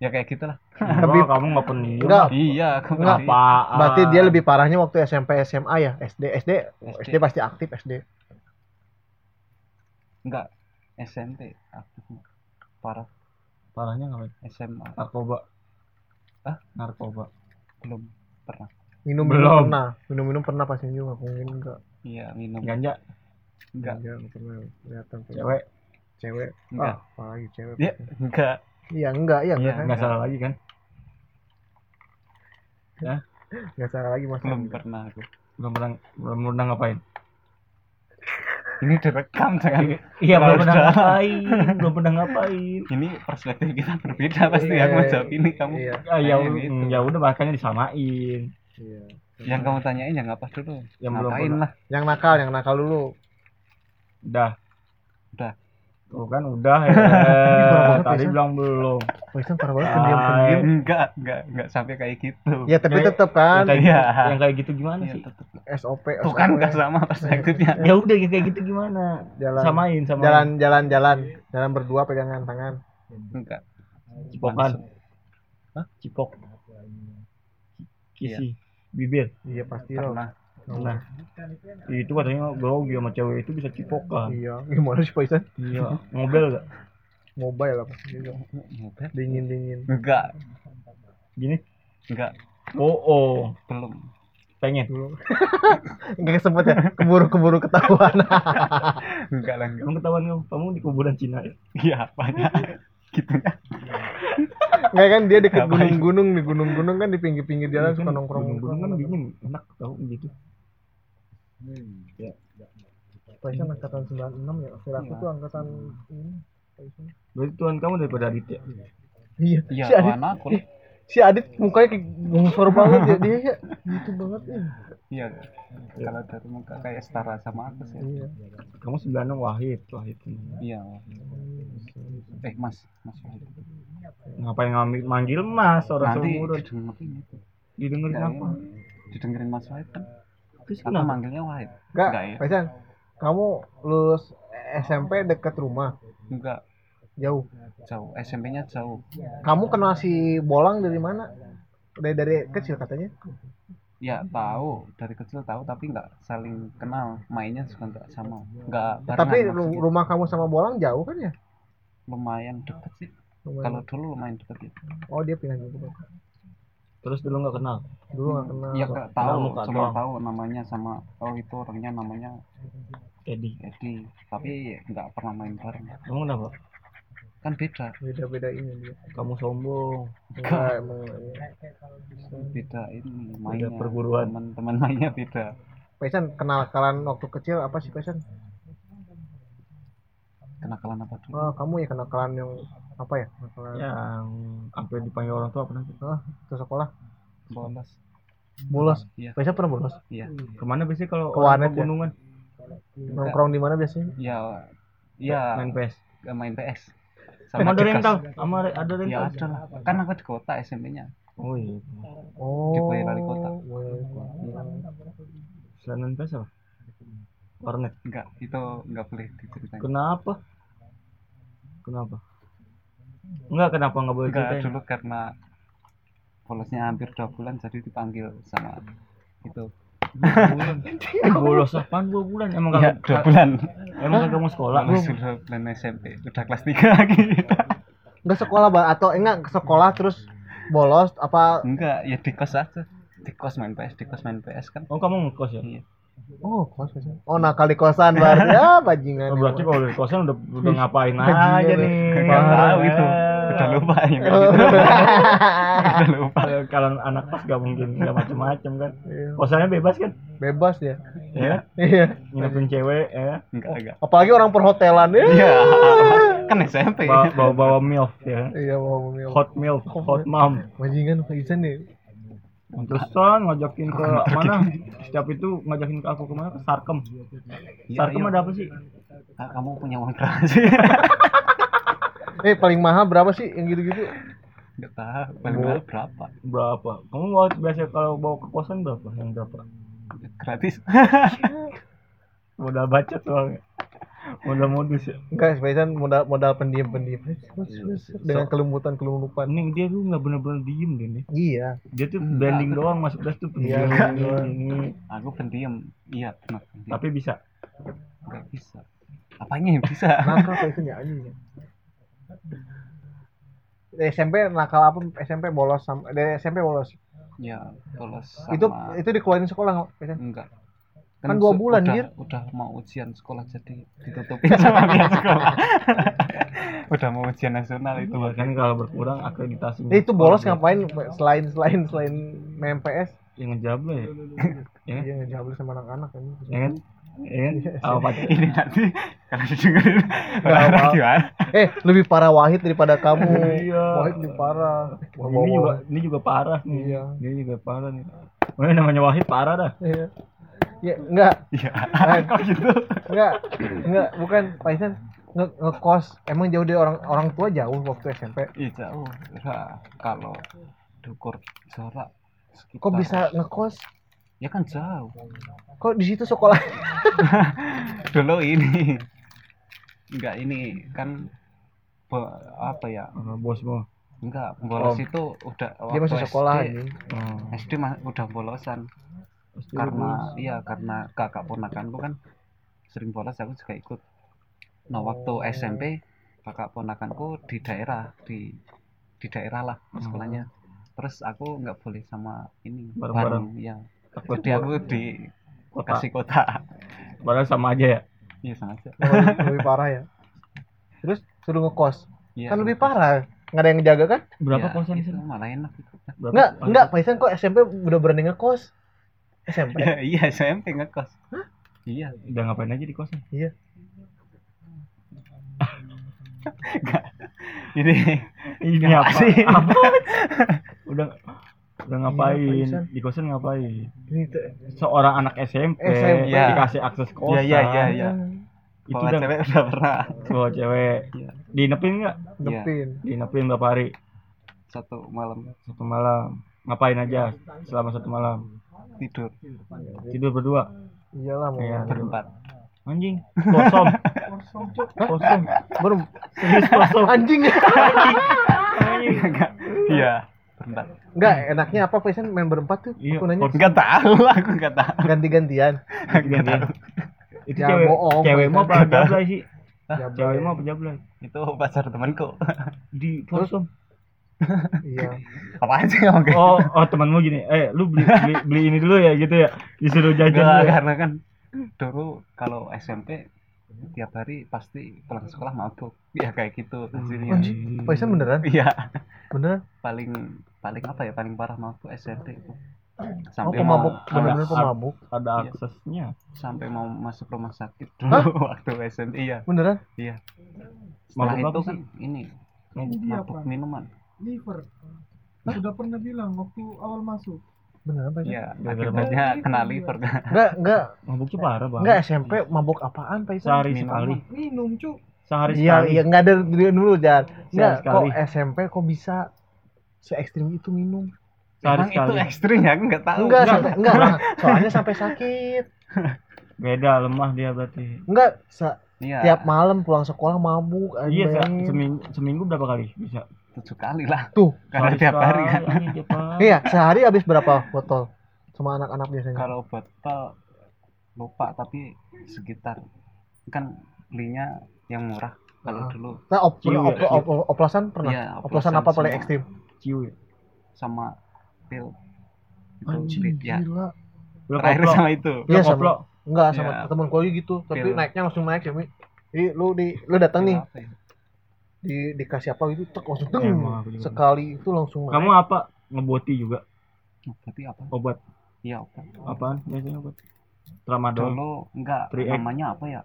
Speaker 3: ya kayak gitulah
Speaker 2: Tapi
Speaker 1: Tapi-
Speaker 2: kamu nggak pendiam.
Speaker 1: Enggak,
Speaker 3: iya aku
Speaker 1: Enggak,
Speaker 3: pendiam.
Speaker 2: Apaan?
Speaker 1: berarti
Speaker 3: ah.
Speaker 1: dia lebih parahnya waktu SMP SMA ya, SD SD oh,
Speaker 3: SD.
Speaker 1: SD, pasti aktif SD.
Speaker 3: enggak SMP aktifnya parah
Speaker 2: parahnya ngapain?
Speaker 3: SMA
Speaker 2: Narkoba.
Speaker 3: Hah?
Speaker 2: Narkoba.
Speaker 3: belum pernah
Speaker 1: Minum
Speaker 2: Belum.
Speaker 1: minum pernah, minum minum pernah pasti juga mungkin enggak.
Speaker 3: iya minum
Speaker 2: Ganja.
Speaker 3: enggak
Speaker 1: Enggak, enggak pernah kelihatan.
Speaker 2: Cewek.
Speaker 1: cewek
Speaker 3: Enggak.
Speaker 1: ah apalagi cewek
Speaker 3: Ya, enggak.
Speaker 1: iya enggak iya enggak
Speaker 2: Iya, nggak salah lagi kan? Ya,
Speaker 1: enggak salah lagi mas
Speaker 3: Belum pernah aku.
Speaker 2: Belum pernah belum pernah ngapain?
Speaker 3: Ini direkam jangan.
Speaker 2: Iya,
Speaker 3: Kalau
Speaker 2: belum pernah
Speaker 3: udah.
Speaker 2: ngapain, belum pernah ngapain.
Speaker 3: Ini perspektif kita berbeda pasti
Speaker 1: Iya,
Speaker 3: aku
Speaker 1: iya.
Speaker 3: jawab ini kamu.
Speaker 1: iya
Speaker 2: Ya, ya,
Speaker 3: Kayak gitu.
Speaker 2: ya udah makanya disamain.
Speaker 1: iya
Speaker 3: Yang kamu tanyain yang apa dulu?
Speaker 2: Yang belum
Speaker 3: Ngapain
Speaker 2: pernah.
Speaker 3: lah.
Speaker 1: yang nakal yang nakal dulu
Speaker 2: Udah.
Speaker 3: Udah.
Speaker 2: Tuh kan udah ya.
Speaker 1: banget,
Speaker 2: Tadi
Speaker 1: Aisyah.
Speaker 2: bilang belum.
Speaker 1: Wah, Isan parah banget
Speaker 2: Ah,
Speaker 1: pendiam
Speaker 2: iya.
Speaker 1: pendiam
Speaker 3: Enggak, enggak, enggak sampai kayak gitu.
Speaker 1: ya tapi
Speaker 2: Kayak-
Speaker 1: tetap kan
Speaker 2: Yang kayak,
Speaker 3: Iya.
Speaker 2: gitu, yang kayak gitu gimana
Speaker 3: Iya,
Speaker 2: sih?
Speaker 3: tetep.
Speaker 1: SOP
Speaker 3: Tuh kan
Speaker 1: ya.
Speaker 3: enggak sama perspektifnya.
Speaker 2: Ya udah yang kayak gitu gimana?
Speaker 1: Jalan.
Speaker 2: Samain sama
Speaker 1: jalan jalan jalan jalan berdua pegangan tangan
Speaker 3: Enggak.
Speaker 2: cipokan. Hah? Cipok. Kisi. Bibir.
Speaker 1: iya pasti loh
Speaker 3: Pernah.
Speaker 2: Nah. Itu katanya grogi sama cewek itu bisa cipokan.
Speaker 1: iya gimana sih Pak Isan
Speaker 2: Iya. Ngobel gak?
Speaker 1: mobile lah pasti juga
Speaker 3: Enggak.
Speaker 1: dingin dingin
Speaker 3: Enggak.
Speaker 2: Gini.
Speaker 3: Enggak.
Speaker 2: Oh, oh.
Speaker 3: Belum.
Speaker 2: Pengen.
Speaker 1: nggak sempet ya keburu keburu ketahuan
Speaker 3: Enggak lah, enggak.
Speaker 2: Kamu ketahuan kamu. Kamu di kuburan Cina ya?
Speaker 3: Iya, apanya? gitu ya.
Speaker 1: nggak kan dia deket
Speaker 3: Ngapain?
Speaker 1: gunung-gunung di gunung-gunung kan di pinggir-pinggir jalan suka nongkrong
Speaker 2: Gunung Iya kan dingin. Enak tau gitu. Ya.
Speaker 1: Paisan angkatan 96 ya akhir aku tuh angkatan ini Paisan.
Speaker 2: Berarti Tuhan kamu daripada Adit ya?
Speaker 1: iya
Speaker 3: Iya,
Speaker 1: si Adit
Speaker 3: warna aku. lah.
Speaker 1: si Adit mukanya kayak gungsor banget ya dia ya gitu banget ya
Speaker 3: Iya. Kalau dari muka kayak setara sama aku sih.
Speaker 1: iya
Speaker 2: Kamu sembilan Wahid. Wahid.
Speaker 3: Iya. Eh, Mas, Mas. Wahid.
Speaker 2: Ngapain ngambil manggil mas orang
Speaker 3: Nanti
Speaker 2: seumuran
Speaker 3: didengerin itu.
Speaker 2: didengerin
Speaker 3: Iya,
Speaker 2: apa?
Speaker 3: Didengerin Mas Wahid kan.
Speaker 2: Terus
Speaker 3: Aku
Speaker 2: kenapa?
Speaker 3: manggilnya Wahid.
Speaker 1: Kak,
Speaker 3: Enggak ya?
Speaker 1: Paisan kamu lulus SMP dekat rumah
Speaker 3: Enggak.
Speaker 1: jauh
Speaker 3: Jauh. SMP-nya jauh.
Speaker 1: kamu kenal si Bolang dari mana dari dari kecil katanya
Speaker 3: Ya tahu dari kecil tahu tapi nggak saling kenal mainnya juga nggak sama nggak barengan
Speaker 1: tapi
Speaker 3: maksudnya.
Speaker 1: ru- rumah kamu sama Bolang jauh kan ya
Speaker 3: lumayan deket sih
Speaker 1: Lumayan.
Speaker 3: kalau dulu lumayan deket gitu
Speaker 1: oh dia pindah gitu Bang.
Speaker 2: Terus dulu nggak kenal.
Speaker 1: dulu nggak kenal
Speaker 3: ya nggak tahu
Speaker 2: muka
Speaker 3: cuma
Speaker 2: doang.
Speaker 3: tahu namanya sama oh itu orangnya namanya
Speaker 2: Edi,
Speaker 3: Edi tapi nggak pernah main bareng
Speaker 2: kamu kenapa?
Speaker 3: kan beda
Speaker 1: beda-beda ini dia
Speaker 2: Kamu sombong.
Speaker 1: Enggak, emang iya.
Speaker 3: beda ini
Speaker 2: Beda
Speaker 3: mainnya
Speaker 2: perguruan.
Speaker 3: teman-teman mainnya beda
Speaker 1: Paisan kenal kalian waktu kecil apa sih Paisan?
Speaker 3: kenakalan apa dulu
Speaker 1: Oh, kamu ya kenakalan yang apa ya? Kenakalan
Speaker 2: Yang sampai dipanggil orang tua pernah?
Speaker 1: ke sekolah.
Speaker 3: bolos
Speaker 1: Bolos.
Speaker 3: Iya.
Speaker 1: Paisan pernah bolos.
Speaker 3: iya
Speaker 2: Kemana biasanya kalau
Speaker 1: Ke
Speaker 2: orang
Speaker 1: warnet ya? Iya.
Speaker 2: pegunungan?
Speaker 1: Nongkrong di mana biasanya?
Speaker 3: ya ya
Speaker 2: iya. Main PS.
Speaker 3: main PS
Speaker 2: Sama ada
Speaker 3: Dekas.
Speaker 2: rental, sama re- ada rental.
Speaker 3: ya ada lah kan aku di kota SMP-nya
Speaker 2: Oh iya.
Speaker 1: Oh.
Speaker 3: Dibayar wali kota.
Speaker 1: wali kota.
Speaker 2: Selain main PS apa? Warnet.
Speaker 3: Enggak, itu enggak boleh diceritain.
Speaker 2: Kenapa? Kenapa? Enggak kenapa nggak boleh
Speaker 3: Enggak
Speaker 2: ceritain?
Speaker 3: dulu karena polosnya hampir dua bulan jadi dipanggil sama itu.
Speaker 2: Bulan. Bolos apaan dua bulan? Emang
Speaker 3: Ya,
Speaker 2: kagak
Speaker 3: dua bulan. Iya,
Speaker 2: emang kagak mau Iya, sekolah?
Speaker 3: Polos dua bulan SMP, udah kelas tiga lagi.
Speaker 1: Enggak sekolah Bang. atau enggak ke sekolah terus bolos apa
Speaker 3: Enggak, ya di kos aja. Di kos main PS, di kos main PS kan.
Speaker 2: Oh kamu ngekos ya?
Speaker 3: Iya.
Speaker 1: oh kos Paisan. Oh nakal di kosan baru ya bajingan.
Speaker 2: Oh, berarti kalau dari kosan udah udah ngapain
Speaker 1: Bajingan
Speaker 2: aja
Speaker 1: ya.
Speaker 2: nih?
Speaker 3: Enggak tahu itu. Udah lupa ya.
Speaker 1: Oh.
Speaker 3: Udah lupa.
Speaker 2: Kalau- Kalau anak kos gak mungkin nggak macem-macem kan?
Speaker 1: Iya.
Speaker 2: Kosannya bebas kan?
Speaker 1: Bebas ya.
Speaker 2: Ya,
Speaker 1: Iya.
Speaker 2: nginepin cewek ya.
Speaker 3: Enggak, enggak.
Speaker 1: Apalagi orang perhotelan
Speaker 2: Iya.
Speaker 1: ya.
Speaker 3: Ya, kan SMP.
Speaker 2: Bawa bawa, bawa milf ya.
Speaker 1: Iya, mau ngomong.
Speaker 2: Hot milf, hot mom.
Speaker 1: Bajingan Paisan nih.
Speaker 2: Terusan ngajakin ke mana? Setiap itu ngajakin ke aku kemana? Ke Sarkem. Sarkem ada apa sih?
Speaker 3: Ah, kamu punya uang berapa sih?
Speaker 1: Eh paling mahal berapa sih yang gitu-gitu?
Speaker 3: Enggak tahu. Paling mahal berapa?
Speaker 2: Berapa? Kamu waktu biasa kalau bawa ke kosan berapa? Yang berapa?
Speaker 3: Gratis.
Speaker 2: Modal bacot soalnya. Modal modus ya.
Speaker 1: Enggak, Spaisan modal modal pendiam-pendiam dengan kelumutan-kelumutan.
Speaker 2: Nih dia tuh nggak bener-bener diem deh nih.
Speaker 1: Iya.
Speaker 2: Dia tuh branding doang masuk kelas tuh
Speaker 1: Iya,
Speaker 2: pendiam
Speaker 1: enggak.
Speaker 2: ini, ini.
Speaker 3: Aku pendiam. Iya, benar. pendiam.
Speaker 2: Tapi bisa.
Speaker 3: Nggak bisa. Apanya yang bisa?
Speaker 1: Nakal Spaisan ya anjing. Dari SMP nakal apa SMP bolos sama dari SMP bolos.
Speaker 3: ya, bolos sama. Hmm.
Speaker 1: Itu itu dikeluarin sekolah nggak, Spaisan?
Speaker 3: enggak.
Speaker 1: Kan dua
Speaker 3: su-
Speaker 1: bulan,
Speaker 3: udah,
Speaker 1: Gir.
Speaker 3: udah mau ujian sekolah jadi ditutupin sama pihak sekolah udah mau ujian nasional itu
Speaker 2: Iya kan kalau berkurang akreditasi.
Speaker 1: Eh, itu
Speaker 3: Iya.
Speaker 1: bolos ngapain selain selain selain MPS?
Speaker 2: Yang ngejable ya. Iya.
Speaker 1: Iya, ngejabel sama anak-anak ini.
Speaker 2: Ya kan? Ya kan? Apa
Speaker 3: ini nanti kalau didengerin orang-orang
Speaker 1: apa-apa.
Speaker 3: gimana
Speaker 1: Eh, lebih parah Wahid daripada kamu.
Speaker 2: Iya.
Speaker 1: Wahid lebih parah.
Speaker 2: ini juga ini juga parah nih.
Speaker 1: Iya.
Speaker 2: Ini juga parah nih. Oh, ini namanya Wahid parah dah.
Speaker 1: Iya. Ya, enggak,
Speaker 3: iya
Speaker 1: Nah.
Speaker 3: kok gitu
Speaker 1: enggak, enggak, bukan Paisan nge ngekos. Emang jauh dari orang orang tua jauh waktu SMP.
Speaker 3: iya jauh Nah, kalau dukur jarak sekitar
Speaker 1: Kok bisa ngekos?
Speaker 3: ya kan jauh
Speaker 1: Kok di situ sekolah?
Speaker 3: dulu ini enggak ini kan be- apa ya
Speaker 2: Ah, bos mau.
Speaker 3: enggak bolos
Speaker 2: Om.
Speaker 3: itu udah
Speaker 1: Oh. Dia masih
Speaker 3: waktu
Speaker 1: sekolah
Speaker 3: SD,
Speaker 1: ini.
Speaker 2: Oh,
Speaker 3: SD mah udah bolosan
Speaker 2: pasti
Speaker 3: karena iya karena kakak ponakanku kan sering bolos aku juga ikut nah waktu
Speaker 2: Oh.
Speaker 3: SMP kakak ponakanku di daerah di di daerah lah
Speaker 2: Hmm.
Speaker 3: sekolahnya terus aku nggak boleh sama ini
Speaker 2: Bareng-bareng.
Speaker 3: bareng ya
Speaker 2: takut
Speaker 3: jadi aku di
Speaker 2: kota.
Speaker 3: kasih kota
Speaker 2: Padahal sama aja ya.
Speaker 3: iya sama aja
Speaker 1: Lebih, lebih parah ya. Terus suruh ngekos.
Speaker 3: Iya,
Speaker 1: Kan
Speaker 3: sama
Speaker 1: lebih
Speaker 3: aja.
Speaker 1: parah. Enggak ada yang jaga kan?
Speaker 2: Berapa
Speaker 3: Ya,
Speaker 2: kosan di
Speaker 3: itu
Speaker 2: sana?
Speaker 3: malah enak
Speaker 2: Berapa
Speaker 1: Enggak,
Speaker 2: kosan?
Speaker 1: enggak Paisan kok SMP udah berani ngekos? SMP.
Speaker 3: Ya, iya SMP ngekos iya
Speaker 2: Udah ngapain aja di kosan?
Speaker 1: Iya.
Speaker 3: ini
Speaker 2: Ini apa? apa? udah udah
Speaker 1: Iya,
Speaker 2: ngapain?
Speaker 1: Paisan.
Speaker 2: Di kosan ngapain?
Speaker 1: Ini tuh.
Speaker 2: Seorang anak SMP,
Speaker 1: SMP.
Speaker 2: dikasih akses kosan.
Speaker 3: Iya, iya, iya, iya.
Speaker 2: Itu
Speaker 3: Kalau
Speaker 2: udah
Speaker 3: cewek udah pernah
Speaker 2: bawa cewek.
Speaker 3: Iya.
Speaker 2: Diinepin enggak?
Speaker 3: Iya.
Speaker 1: Depin.
Speaker 2: Diinepin berapa hari?
Speaker 3: satu malam
Speaker 2: Satu malam. Ngapain aja selama satu malam?
Speaker 3: tidur
Speaker 2: Tidur berdua.
Speaker 1: Iyalah mau.
Speaker 2: Iya.
Speaker 3: berempat
Speaker 2: Anjing, kosong. kosong.
Speaker 1: Baru
Speaker 2: Serius kosong.
Speaker 1: anjing.
Speaker 3: enggak iya berempat
Speaker 1: Enggak, enaknya apa Paisan main berempat tuh?
Speaker 2: Iya,
Speaker 1: Aku nanya
Speaker 3: enggak tahu aku enggak tahu
Speaker 1: ganti-gantian.
Speaker 3: enggak tahu
Speaker 2: Itu
Speaker 1: Ya,
Speaker 2: cewek,
Speaker 1: bohong.
Speaker 2: cewek mau apa jablay sih?
Speaker 1: Jablay.
Speaker 2: Cewek mau apa jablay?
Speaker 3: itu pacar temanku
Speaker 2: Di kosong.
Speaker 1: Iya.
Speaker 3: apa aja ngomong kayak gitu.
Speaker 2: Oh, oh temanmu gini, eh lu beli, beli beli ini dulu ya gitu ya, disuruh jajan.
Speaker 3: gitu.
Speaker 2: dulu
Speaker 3: Enggak,
Speaker 2: ya.
Speaker 3: karena kan dulu kalau SMP tiap hari pasti pulang sekolah mabuk ya kayak gitu hasilnya
Speaker 1: Anjing, Paisan beneran?
Speaker 3: iya
Speaker 1: Beneran?
Speaker 3: paling paling apa ya paling parah mabuk SMP itu
Speaker 1: Oh,
Speaker 3: sampai
Speaker 1: pemabuk.
Speaker 3: mau
Speaker 1: Beneran
Speaker 2: Ada-
Speaker 1: pemabuk.
Speaker 2: Ada
Speaker 3: Iya.
Speaker 2: aksesnya.
Speaker 3: sampai mau masuk rumah sakit dulu waktu SMP iya
Speaker 1: Beneran?
Speaker 3: iya setelah
Speaker 2: Mabuk
Speaker 3: itu
Speaker 2: apa
Speaker 3: kan ini mabuk minuman
Speaker 7: liver sudah pernah bilang waktu awal masuk
Speaker 1: Beneran Paisan?
Speaker 3: iya
Speaker 2: Gara-gara
Speaker 1: gitu,
Speaker 3: akibatnya kena
Speaker 1: iya.
Speaker 3: liver kan
Speaker 1: Enggak, enggak,
Speaker 2: Mabuknya parah banget.
Speaker 1: enggak SMP mabuk apaan Paisan?
Speaker 2: Sehari
Speaker 3: Minuman.
Speaker 2: sekali.
Speaker 7: minum cuk
Speaker 2: Sehari
Speaker 1: Iya,
Speaker 2: sekali.
Speaker 1: iya enggak ada dulu, Jan. Enggak,
Speaker 2: sekali.
Speaker 1: kok SMP kok bisa se ekstrim itu minum?
Speaker 2: Sehari
Speaker 3: Emang itu
Speaker 2: sekali.
Speaker 3: ekstrim ya aku nggak tahu
Speaker 1: Iya, Enggak,
Speaker 2: enggak.
Speaker 1: sampai, enggak, enggak. Soalnya sampai sakit.
Speaker 2: Beda lemah dia berarti.
Speaker 1: Enggak, se-
Speaker 3: Iya,
Speaker 1: tiap malam pulang sekolah mabuk, ayo
Speaker 2: Iya, se-
Speaker 1: bayangin.
Speaker 2: seminggu, seminggu berapa kali bisa?
Speaker 3: tujuh kali lah
Speaker 1: Tuh.
Speaker 3: karena
Speaker 2: Sehari
Speaker 3: tiap hari kan
Speaker 2: sekali, anjing, tiap hari.
Speaker 1: Iya, sehari habis berapa botol? Sama anak-anak biasanya.
Speaker 3: kalau botol lupa tapi sekitar kan belinya yang murah kalau
Speaker 1: Ah.
Speaker 3: dulu
Speaker 1: Nah, op,
Speaker 2: Ciu ya,
Speaker 1: op- op- op- oplosan pernah.
Speaker 3: Iya,
Speaker 1: oplosan,
Speaker 3: oplosan
Speaker 1: apa paling
Speaker 3: semua.
Speaker 1: ekstrim?
Speaker 2: Ciu ya.
Speaker 3: sama pil itu
Speaker 1: Anjing,
Speaker 3: beli- ya
Speaker 1: gila.
Speaker 2: Lu
Speaker 3: terakhir
Speaker 2: koplo.
Speaker 3: sama itu
Speaker 2: Lu
Speaker 1: Iya, sama.
Speaker 2: koplo.
Speaker 1: Enggak sama
Speaker 3: Iya.
Speaker 1: temen gue gitu, tapi
Speaker 3: Pil.
Speaker 1: naiknya langsung naik ya, Mi. Di, lu di lu datang nih
Speaker 3: Pil apa ya?
Speaker 1: di dikasih apa gitu tek langsung teng.
Speaker 2: Iya, Emang aku juga.
Speaker 1: sekali itu langsung naik.
Speaker 2: Kamu apa? Ngeboti juga
Speaker 3: berarti apa
Speaker 2: obat.
Speaker 3: iya obat
Speaker 2: Apaan biasanya obat? Tramadol.
Speaker 3: dulu enggak
Speaker 2: 3X.
Speaker 3: namanya apa ya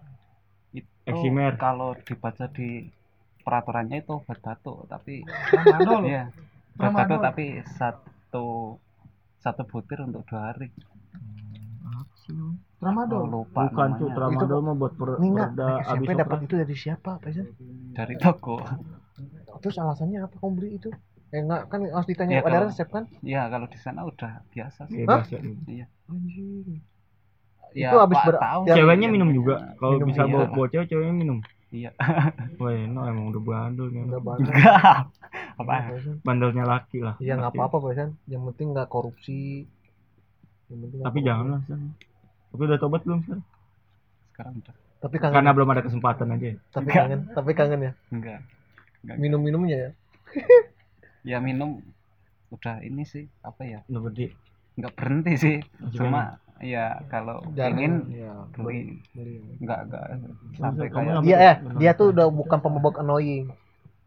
Speaker 3: itu
Speaker 2: Eximer.
Speaker 3: kalau dibaca di peraturannya itu obat batuk tapi
Speaker 7: Ramadol
Speaker 3: iya obat batuk
Speaker 7: Tramadol.
Speaker 3: tapi satu satu butir untuk dua hari Oh,
Speaker 7: Tramadol
Speaker 3: lupa namanya.
Speaker 2: Bukan tuh tramadol mah buat per
Speaker 1: Ini enggak,
Speaker 2: perda
Speaker 1: naik SMP
Speaker 2: abis
Speaker 1: "Eh, dapat
Speaker 2: operasi.
Speaker 1: itu dari siapa, Faisal?
Speaker 3: dari toko
Speaker 1: Terus alasannya apa kamu beli itu? Eh enggak, kan harus ditanya
Speaker 3: Iya,
Speaker 1: ada
Speaker 3: kalau-
Speaker 1: resep kan?
Speaker 3: ya kalau di sana udah biasa sih
Speaker 2: Bebas ya.
Speaker 1: Anjing.
Speaker 3: ya,
Speaker 1: itu habis
Speaker 3: Pak
Speaker 1: ber-
Speaker 3: tahu
Speaker 1: tiap-
Speaker 3: sih.
Speaker 2: Ceweknya minum juga. Kalau
Speaker 1: Minum,
Speaker 2: bisa
Speaker 3: iya.
Speaker 2: bawa bawa cewek, ceweknya minum.
Speaker 3: iya
Speaker 2: Wah, no, emang udah bandel nih.
Speaker 1: Enggak banget.
Speaker 3: enggak apa
Speaker 2: Iya.
Speaker 1: Faisal.
Speaker 2: Bandelnya laki lah.
Speaker 1: Iya nggak
Speaker 2: Laki.
Speaker 1: apa-apa Faisal. Yang penting nggak korupsi. Yang penting nggak
Speaker 2: Tapi
Speaker 1: korupsi.
Speaker 2: janganlah. San. Tapi udah tobat belum? San?
Speaker 3: sekarang udah
Speaker 1: Tapi kangen.
Speaker 2: Karena belum ada kesempatan aja. ya?
Speaker 1: Tapi
Speaker 3: Enggak.
Speaker 1: kangen. Tapi kangen ya.
Speaker 3: enggak enggak
Speaker 1: Minum-minumnya ya.
Speaker 3: ya minum udah ini sih apa ya
Speaker 2: Udah berarti
Speaker 3: nggak berhenti sih cuma ya kalau
Speaker 2: iya.
Speaker 3: pengen
Speaker 1: Iya.
Speaker 8: ya
Speaker 3: beli
Speaker 8: beli
Speaker 3: nggak nggak sampai
Speaker 2: kamu
Speaker 3: kayak
Speaker 2: nggak-
Speaker 1: dia eh dia tuh udah bukan pemabuk annoying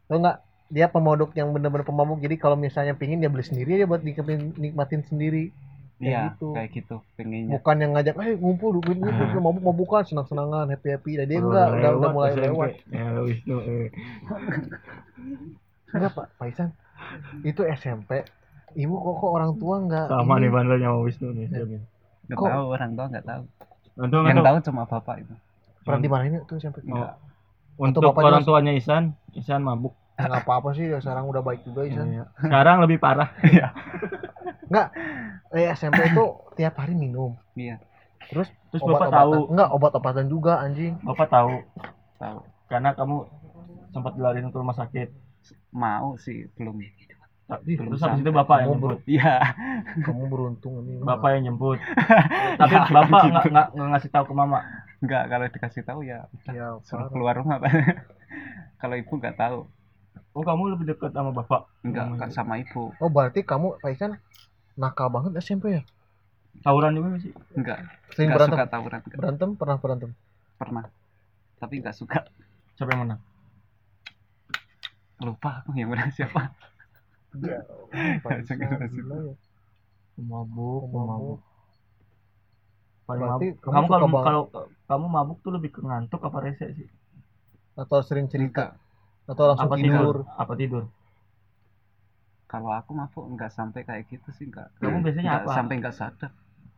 Speaker 1: tau nggak dia pemabuk yang bener-bener pemabuk jadi kalau misalnya pingin dia beli sendiri dia buat nikmatin, nikmatin sendiri kayak
Speaker 3: iya
Speaker 1: gitu.
Speaker 3: kayak gitu
Speaker 2: Iya.
Speaker 3: pengennya
Speaker 1: bukan yang ngajak eh ngumpul duit duit duit lu mabuk mabukan senang senangan happy happy nah, dia
Speaker 2: Ah. Udah
Speaker 1: enggak udah,
Speaker 2: lewat
Speaker 1: udah mulai
Speaker 2: SMP.
Speaker 1: lewat
Speaker 2: Ya, Wisnu, eh.
Speaker 1: enggak pak Paisan itu SMP ibu kok kok orang tua enggak
Speaker 2: Sama nih bandelnya sama Wisnu anu, nih.
Speaker 1: Ya.
Speaker 2: jamin.
Speaker 3: nggak
Speaker 1: kok- Oh.
Speaker 3: tahu orang tua nggak tahu
Speaker 2: Untuk
Speaker 3: yang
Speaker 2: untuk,
Speaker 3: tahu cuma bapak itu
Speaker 1: pernah di mana ini tuh SMP
Speaker 2: Oh.
Speaker 1: enggak
Speaker 2: untuk
Speaker 1: atau bapaknya
Speaker 2: orang
Speaker 1: Mas-
Speaker 2: tuanya Isan, Isan mabuk.
Speaker 1: apa apa sih ya, sekarang udah baik juga Isan Iya.
Speaker 2: Iya. Sekarang lebih parah.
Speaker 1: eh SMP itu tiap hari minum
Speaker 3: iya
Speaker 2: Terus bapak
Speaker 1: obat-obatan
Speaker 2: tahu,
Speaker 1: enggak obat-obatan juga anjing
Speaker 2: bapak tahu
Speaker 3: tahu
Speaker 2: karena kamu sempat dilariin ke rumah sakit.
Speaker 3: mau sih belum
Speaker 2: Terus habis itu bapak yang
Speaker 1: Oh.
Speaker 2: jemput.
Speaker 3: iya
Speaker 1: kamu beruntung ini
Speaker 2: Bapak yang jemput. Tapi bapak
Speaker 1: Gitu.
Speaker 2: nggak nggak- nggak ngasih tahu ke mama.
Speaker 3: nggak kalau dikasih tahu ya
Speaker 1: ya parah.
Speaker 3: suruh keluar rumah Pak. kalau ibu nggak tahu
Speaker 2: Oh kamu lebih dekat sama bapak.
Speaker 3: nggak
Speaker 1: Iya,
Speaker 2: Sama
Speaker 3: nggak sama ibu
Speaker 1: oh berarti kamu Paisan nakal banget SMP ya
Speaker 2: Tawuran juga nggak sih.
Speaker 3: nggak
Speaker 1: sering
Speaker 3: nggak
Speaker 1: berantem
Speaker 3: suka tawuran nggak
Speaker 1: berantem pernah berantem
Speaker 3: pernah tapi nggak suka
Speaker 2: Siapa yang menang?
Speaker 3: lupa aku yang menang siapa
Speaker 1: Oh,
Speaker 3: Paisan gimana sih?
Speaker 1: ya.
Speaker 2: Mabuk,
Speaker 1: Mabuk.
Speaker 2: Paling
Speaker 1: Berarti
Speaker 2: mabuk.
Speaker 1: kamu
Speaker 2: Kamu
Speaker 1: suka
Speaker 2: kalau
Speaker 1: banget.
Speaker 2: kalau kamu mabuk tuh lebih ke ngantuk apa rese sih?
Speaker 1: atau sering cerita
Speaker 3: Nggak.
Speaker 1: atau langsung
Speaker 2: apa
Speaker 1: tidur.
Speaker 2: Apa tidur?
Speaker 3: kalau aku mabuk nggak sampai kayak gitu sih nggak
Speaker 2: Kamu
Speaker 3: Nggak
Speaker 2: biasanya apa?
Speaker 3: sampai nggak sadar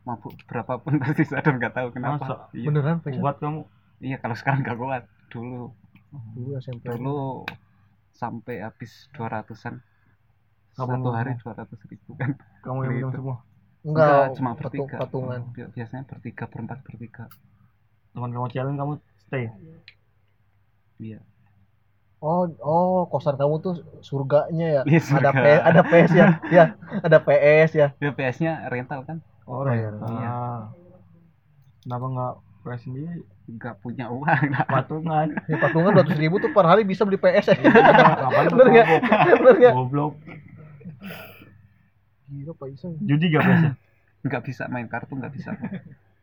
Speaker 3: mabuk berapapun pasti sadar nggak tahu
Speaker 2: Masa?
Speaker 3: kenapa iya,
Speaker 1: beneran pengen
Speaker 2: Kuat kamu.
Speaker 3: iya kalau sekarang nggak kuat dulu
Speaker 1: dulu SMP
Speaker 2: Iya.
Speaker 3: dulu sampai habis 200-an
Speaker 2: Kamu
Speaker 3: satu hari
Speaker 2: minum?
Speaker 3: 200 ribu kan
Speaker 2: Kamu yang minum
Speaker 3: Gitu.
Speaker 2: semua.
Speaker 1: enggak
Speaker 3: cuma
Speaker 1: patung,
Speaker 3: bertiga
Speaker 1: patungan
Speaker 3: Bi- biasanya bertiga berempat bertiga
Speaker 2: Teman kamu challenge kamu stay.
Speaker 3: iya
Speaker 1: oh oh kosan kamu tuh surganya ya
Speaker 3: Iya,
Speaker 1: ada
Speaker 3: surga.
Speaker 1: PS ada PS ya ya ada PS ya
Speaker 3: ya PS-nya rental kan
Speaker 2: Oh,
Speaker 1: iya.
Speaker 2: Ah. Kenapa nggak press sendiri?
Speaker 3: nggak punya uang lah
Speaker 2: Patungan.
Speaker 1: Ya, patungan 200 ribu tuh per hari bisa beli PS
Speaker 3: Iya,
Speaker 1: ya
Speaker 2: Kapan
Speaker 1: bener nggak bener nggak
Speaker 2: Goblok.
Speaker 1: gila Pak Isan
Speaker 2: Judi ya? gak biasa?
Speaker 3: nggak bisa main kartu nggak bisa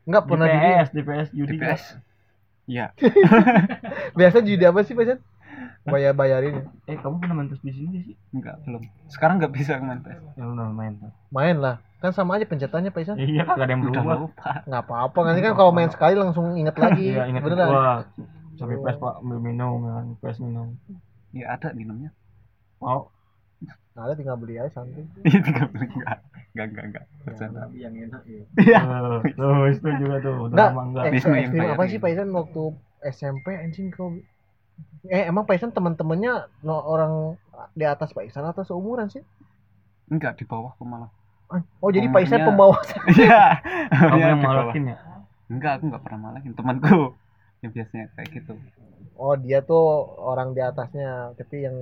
Speaker 1: enggak
Speaker 2: Di
Speaker 1: pernah judi
Speaker 2: PS, di PS judi nggak?
Speaker 3: DPS iya
Speaker 1: biasa judi apa sih Pak Isan bayar bayarin ya.
Speaker 2: Eh, kamu pernah main PS di sini nggak sih?
Speaker 3: nggak belum sekarang nggak bisa main PS
Speaker 2: Ya udah main. tuh.
Speaker 1: main lah kan sama aja pencetannya Pak Isan
Speaker 2: Ya, Iya, kagak ada yang
Speaker 3: udah
Speaker 2: berubah.
Speaker 3: lupa
Speaker 1: nggak apa-apa nanti kan kalau main sekali langsung inget lagi
Speaker 2: Iya, ingat
Speaker 1: beneran
Speaker 2: gua. Sampai PS Pak ambil minum ya kan, PS minum.
Speaker 3: ya ada minumnya
Speaker 2: Mau
Speaker 1: Nah, ada tinggal beli aja santai. Iya,
Speaker 3: iya tiga puluh nggak nggak nggak nggak bercanda
Speaker 7: iya.
Speaker 2: ya. Tuh, itu juga tuh. Udah
Speaker 1: Nggak,
Speaker 2: lama enggak. Iya,
Speaker 1: eh,
Speaker 3: Wisnu yang
Speaker 1: ekstrim apa
Speaker 2: gitu.
Speaker 3: bayarin.
Speaker 1: sih Paisan waktu SMP anjing kau eh emang Paisan teman-temannya no, orang di atas Paisan atau seumuran sih
Speaker 3: nggak di bawah aku malah
Speaker 1: Ah, oh jadi Paisan
Speaker 3: Umurnya-
Speaker 1: pembawa
Speaker 3: iya
Speaker 2: Kamu yang
Speaker 3: di bawah.
Speaker 2: malakin ya?
Speaker 3: nggak aku nggak pernah malakin temanku yang biasanya kayak gitu
Speaker 1: oh dia tuh orang di atasnya tapi yang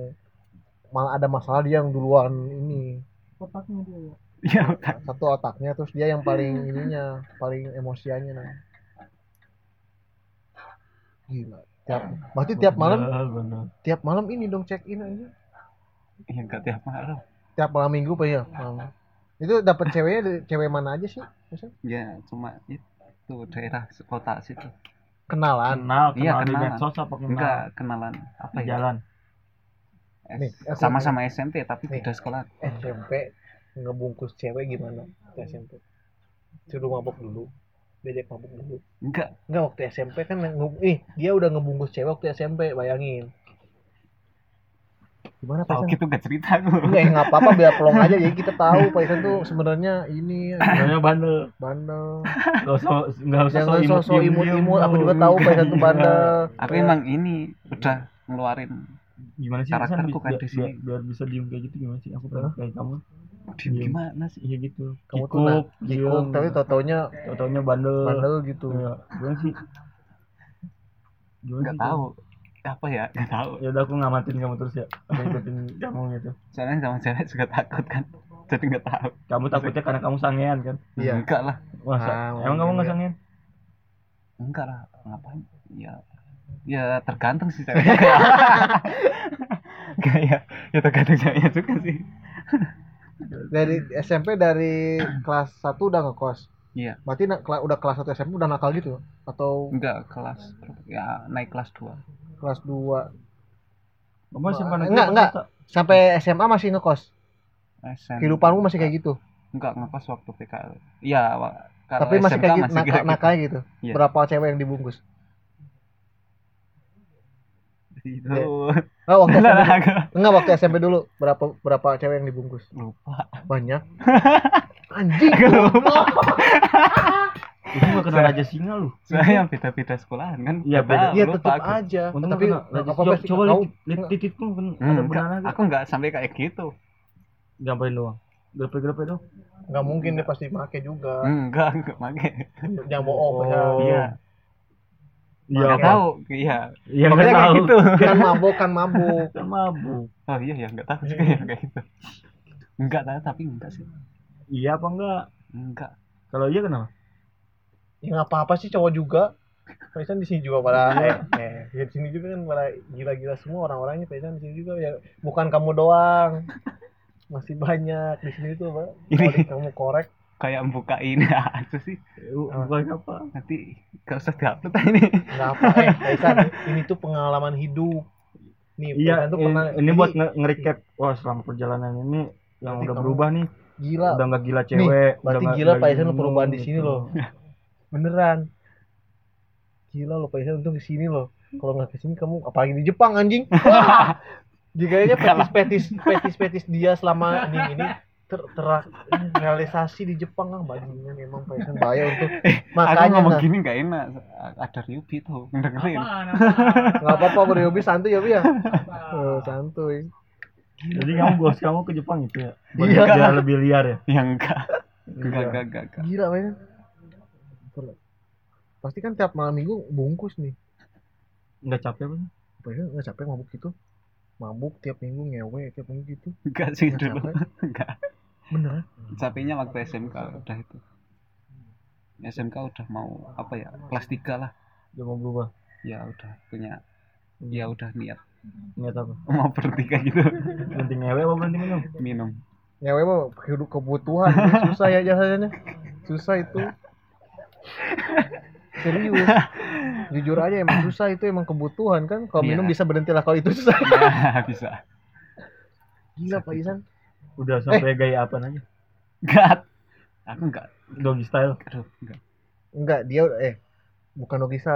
Speaker 1: malah ada masalah dia yang duluan ini
Speaker 7: kotaknya dia ya
Speaker 3: iya
Speaker 1: satu otaknya terus dia yang paling ininya paling emosiannya nah. gila tiap berarti tiap malam
Speaker 2: Bener, bener.
Speaker 1: tiap malam ini dong check in aja
Speaker 3: iya nggak tiap malam
Speaker 1: tiap malam minggu pak ya malam. itu dapat ceweknya dari cewek mana aja sih Biasanya?
Speaker 3: ya cuma itu daerah kota situ
Speaker 1: kenalan
Speaker 2: Kenal,
Speaker 3: Iya,
Speaker 2: kenal di
Speaker 3: kenalan.
Speaker 2: medsos apa kenal?
Speaker 3: enggak kenalan apa
Speaker 2: Di
Speaker 3: ya
Speaker 2: Nah. jalan.
Speaker 3: Eh,
Speaker 1: Nih, aku-
Speaker 3: sama-sama SMP tapi
Speaker 1: Nih.
Speaker 3: beda sekolah
Speaker 1: Eh, SMP ngebungkus cewek gimana waktu SMP suruh mabok dulu diajak mabok dulu
Speaker 3: enggak
Speaker 1: enggak waktu SMP kan yang nge- ih dia udah ngebungkus cewek waktu SMP bayangin gimana Pak
Speaker 3: tahu
Speaker 1: Isan?
Speaker 3: gitu nggak cerita aku
Speaker 1: Enggak, ya, nggak apa-apa biar pelong aja jadi kita tahu Pak Isan tuh sebenarnya ini
Speaker 2: Sebenarnya bandel.
Speaker 1: bandel
Speaker 2: Enggak usah enggak usah
Speaker 1: jangan sosok imut-imut aku juga
Speaker 2: Iya.
Speaker 1: tahu Pak Isan tuh bandel
Speaker 3: aku emang ini udah ngeluarin
Speaker 2: Gimana sih
Speaker 3: Karakter
Speaker 2: San,
Speaker 3: tuh kan
Speaker 2: biar-
Speaker 3: di sini.
Speaker 2: biar- biar bisa diem kayak gitu gimana sih? Aku pernah kayak kamu.
Speaker 3: "Diem
Speaker 2: Diem.
Speaker 3: gimana sih
Speaker 2: Iya gitu.
Speaker 1: kamu tuh nah,
Speaker 2: diem.
Speaker 1: kikuk tapi tau-taunya
Speaker 2: Tau-taunya bandel.
Speaker 1: bandel gitu
Speaker 2: Iya, gimana sih? Gimana
Speaker 3: nggak
Speaker 2: sih, San?
Speaker 3: tahu apa ya nggak tahu
Speaker 2: Ya udah aku ngamatin kamu terus ya. Aku ikutin kamu gitu.
Speaker 3: soalnya sama cewek juga takut kan jadi nggak tahu
Speaker 2: Kamu takutnya karena kamu sangean kan?
Speaker 1: Iya.
Speaker 3: enggak lah
Speaker 2: Masa?
Speaker 1: Ah,
Speaker 2: Emang kamu
Speaker 1: mungkin
Speaker 2: nggak
Speaker 1: ya.
Speaker 2: sangean?
Speaker 3: enggak lah ngapain ya ya tergantung sih ceweknya kayak kayak ya tergantung ceweknya juga sih
Speaker 1: dari SMP dari kelas 1 udah ngekos.
Speaker 3: Iya.
Speaker 1: Berarti na- kela- udah kelas 1 SMP udah nakal gitu atau
Speaker 3: Enggak kelas ya naik kelas 2.
Speaker 1: kelas 2
Speaker 2: Kamu
Speaker 1: Enggak,
Speaker 2: simpan aja,
Speaker 1: enggak,
Speaker 2: Mas,
Speaker 1: enggak.
Speaker 2: Kak.
Speaker 1: sampai SMA masih ngekos.
Speaker 3: SM.
Speaker 1: Kehidupanmu masih kayak gitu.
Speaker 3: Enggak ngekos waktu PKL. Iya, wa- kalau
Speaker 1: Tapi masih
Speaker 3: SMK
Speaker 1: kayak gitu
Speaker 3: masih
Speaker 1: nakal, nakalnya gitu.
Speaker 3: Iya.
Speaker 1: Berapa cewek yang dibungkus?
Speaker 3: gitu.
Speaker 1: Iya. Enggak waktu SMP.
Speaker 3: Lah, gua
Speaker 1: Enggak waktu SMP dulu berapa berapa cewek yang dibungkus?
Speaker 3: lupa.
Speaker 1: Banyak. Anjing.
Speaker 2: Itu gak kenal raja singa lu.
Speaker 3: Saya yang beda-beda sekolahan kan.
Speaker 2: Iya,
Speaker 3: Gak
Speaker 2: beda.
Speaker 3: tahu,
Speaker 1: Iya
Speaker 3: lupa
Speaker 1: tetap
Speaker 3: aku.
Speaker 1: aja.
Speaker 2: Untung
Speaker 1: Tapi
Speaker 2: gak kenal
Speaker 1: nggak
Speaker 2: raja
Speaker 1: apa-apa
Speaker 2: singa.
Speaker 1: sih.
Speaker 2: Coba
Speaker 1: Kau-
Speaker 2: lihat lihat titik lu ben-
Speaker 3: Hmm,
Speaker 2: ada
Speaker 3: enggak,
Speaker 2: benarnya
Speaker 3: aku enggak sampai kayak gitu.
Speaker 2: Gampain doang. Grepe-grepe doang.
Speaker 1: nggak mungkin dia pasti pakai juga.
Speaker 3: Enggak, enggak pakai.
Speaker 1: Jangan bohong.
Speaker 2: Oh,
Speaker 1: ya.
Speaker 3: Iya. Enggak
Speaker 2: apa?
Speaker 3: tahu. Iya.
Speaker 2: Iya, enggak
Speaker 3: Pokoknya kayak
Speaker 2: tahu.
Speaker 3: gitu.
Speaker 1: Kan mabok kan mabok.
Speaker 2: Kan mabuk.
Speaker 3: Oh iya, ya enggak tahu juga ya
Speaker 1: Hmm.
Speaker 3: kayak gitu. Enggak tahu tapi enggak sih.
Speaker 2: Iya apa enggak?
Speaker 3: Enggak.
Speaker 2: Kalau iya kenapa?
Speaker 1: Ya nggak apa-apa sih cowok juga. Paisan di sini juga pada
Speaker 2: Iya.
Speaker 1: eh, eh ya di sini juga kan pada gila-gila semua orang-orangnya Paisan di sini juga ya bukan kamu doang. Masih banyak di sini tuh, Pak. Kalau di- kamu korek
Speaker 3: Kayak membuka ini apa sih?
Speaker 2: Eh, bu- Bukan apa?
Speaker 3: Nanti enggak usah diupload ah ini.
Speaker 1: nggak apa eh Paisan ini tuh pengalaman hidup. Nih, Paisan
Speaker 2: Iya,
Speaker 1: tuh
Speaker 2: ini,
Speaker 1: pernah
Speaker 2: ini
Speaker 1: jadi
Speaker 2: buat nge- nge-recap wah selama perjalanan ini yang
Speaker 1: Berarti
Speaker 2: udah
Speaker 1: kamu-
Speaker 2: berubah nih,
Speaker 1: gila.
Speaker 2: udah nggak gila cewek, udah
Speaker 1: Berarti
Speaker 2: nggak-
Speaker 1: gila
Speaker 2: nggak
Speaker 1: Paisan
Speaker 2: minum,
Speaker 1: perubahan di sini
Speaker 2: gitu.
Speaker 1: loh. Beneran. Gila lo Paisan untung ke sini loh. Kalau nggak ke sini kamu apalagi di Jepang anjing. Wah! Jikanya petis-petis petis-petis dia selama ini ini ter terrealisasi di Jepang ah bajingan emang Paisan bahaya untuk
Speaker 2: Eh,
Speaker 3: Aku
Speaker 1: makanya
Speaker 3: ngomong
Speaker 1: nah,
Speaker 2: gitu.
Speaker 3: gini enggak enak. Ada Ryubi tuh, dengerin.
Speaker 7: Apaan, apaan?
Speaker 1: nggak apa-apa bro Yobi santuy Yobi ya Eh, santuy
Speaker 2: Jadi kamu bos kamu ke Jepang itu ya? Buat
Speaker 1: Iya.
Speaker 2: biar lebih liar ya.
Speaker 3: Ya enggak. Enggak, enggak, enggak, enggak.
Speaker 1: gila Paisan pasti kan tiap malam minggu bungkus nih
Speaker 2: Enggak capek apa?
Speaker 1: Paisan nggak capek mabuk gitu mabuk tiap minggu ngewe tiap minggu gitu
Speaker 3: Enggak sih
Speaker 1: Nggak
Speaker 3: dulu.
Speaker 1: capek.
Speaker 3: Enggak.
Speaker 1: beneran
Speaker 3: Capeknya waktu SMK udah itu. SMK udah mau apa ya? Kelas 3 lah.
Speaker 2: Dia mau berubah.
Speaker 3: Ya udah punya ya
Speaker 1: Hmm.
Speaker 3: udah niat
Speaker 2: Niat apa?
Speaker 3: mau berhenti kayak gitu
Speaker 2: Berhenti ngewe apa berhenti minum?
Speaker 3: minum
Speaker 1: nyewe mah hidup kebutuhan susah ya jasanya susah itu serius jujur aja emang susah itu emang kebutuhan kan kalau
Speaker 3: Iya.
Speaker 1: minum bisa berhenti lah kalau itu susah
Speaker 3: ya bisa
Speaker 1: gila Pak Isan
Speaker 2: Udah
Speaker 1: Eh.
Speaker 2: sampai gaya apa aja?
Speaker 3: Enggak. Aku enggak.
Speaker 2: Doggy style.
Speaker 3: Aduh, enggak.
Speaker 1: enggak dia udah- eh bukan Nogisa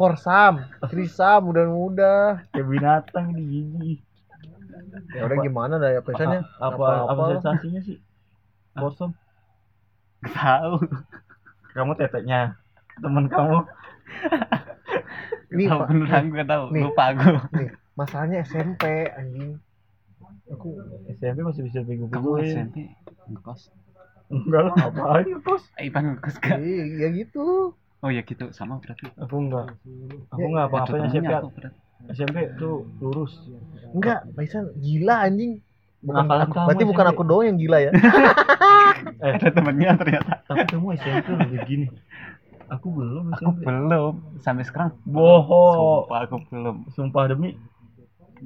Speaker 1: Forsam, Trisam, mudah-mudah.
Speaker 2: Kayak binatang di gigi.
Speaker 1: Ya udah gimana dah ya pesannya?
Speaker 2: Apa apa, apa sensasinya sih?
Speaker 1: Ah.
Speaker 2: Bosom.
Speaker 3: Nggak Tahu.
Speaker 2: Kamu teteknya. Temen kamu.
Speaker 1: Ini
Speaker 3: Tahu
Speaker 1: Pak,
Speaker 3: beneran gue tahu.
Speaker 1: Nih.
Speaker 3: Lupa aku.
Speaker 1: nih, masalahnya SMP anjing. Aku
Speaker 2: SMP masih bisa
Speaker 3: Kamu ya.
Speaker 2: bego-begoin.
Speaker 3: SMP ngekos.
Speaker 2: Enggak lah, ngapain kos?
Speaker 3: Eh, Ipan ngekos enggak?
Speaker 1: iya ya gitu.
Speaker 3: Oh ya gitu sama berarti.
Speaker 2: Aku enggak. Aku
Speaker 1: Ya,
Speaker 2: enggak
Speaker 3: Ada
Speaker 2: apa-apain SMP.
Speaker 3: temennya aku berarti.
Speaker 2: SMP tuh lurus.
Speaker 1: Enggak, Paisan gila anjing. Bukan
Speaker 2: Nakalan
Speaker 1: aku,
Speaker 2: kamu
Speaker 1: berarti bukan
Speaker 2: SMP.
Speaker 1: aku doang yang gila ya.
Speaker 2: Eh,
Speaker 3: Ada temennya ternyata.
Speaker 2: tapi kamu SMP udah begini. Aku belum
Speaker 3: Aku
Speaker 2: SMP.
Speaker 3: belum. Sampai sekarang.
Speaker 1: Oh.
Speaker 2: Bohong.
Speaker 3: Sumpah aku belum.
Speaker 2: Sumpah demi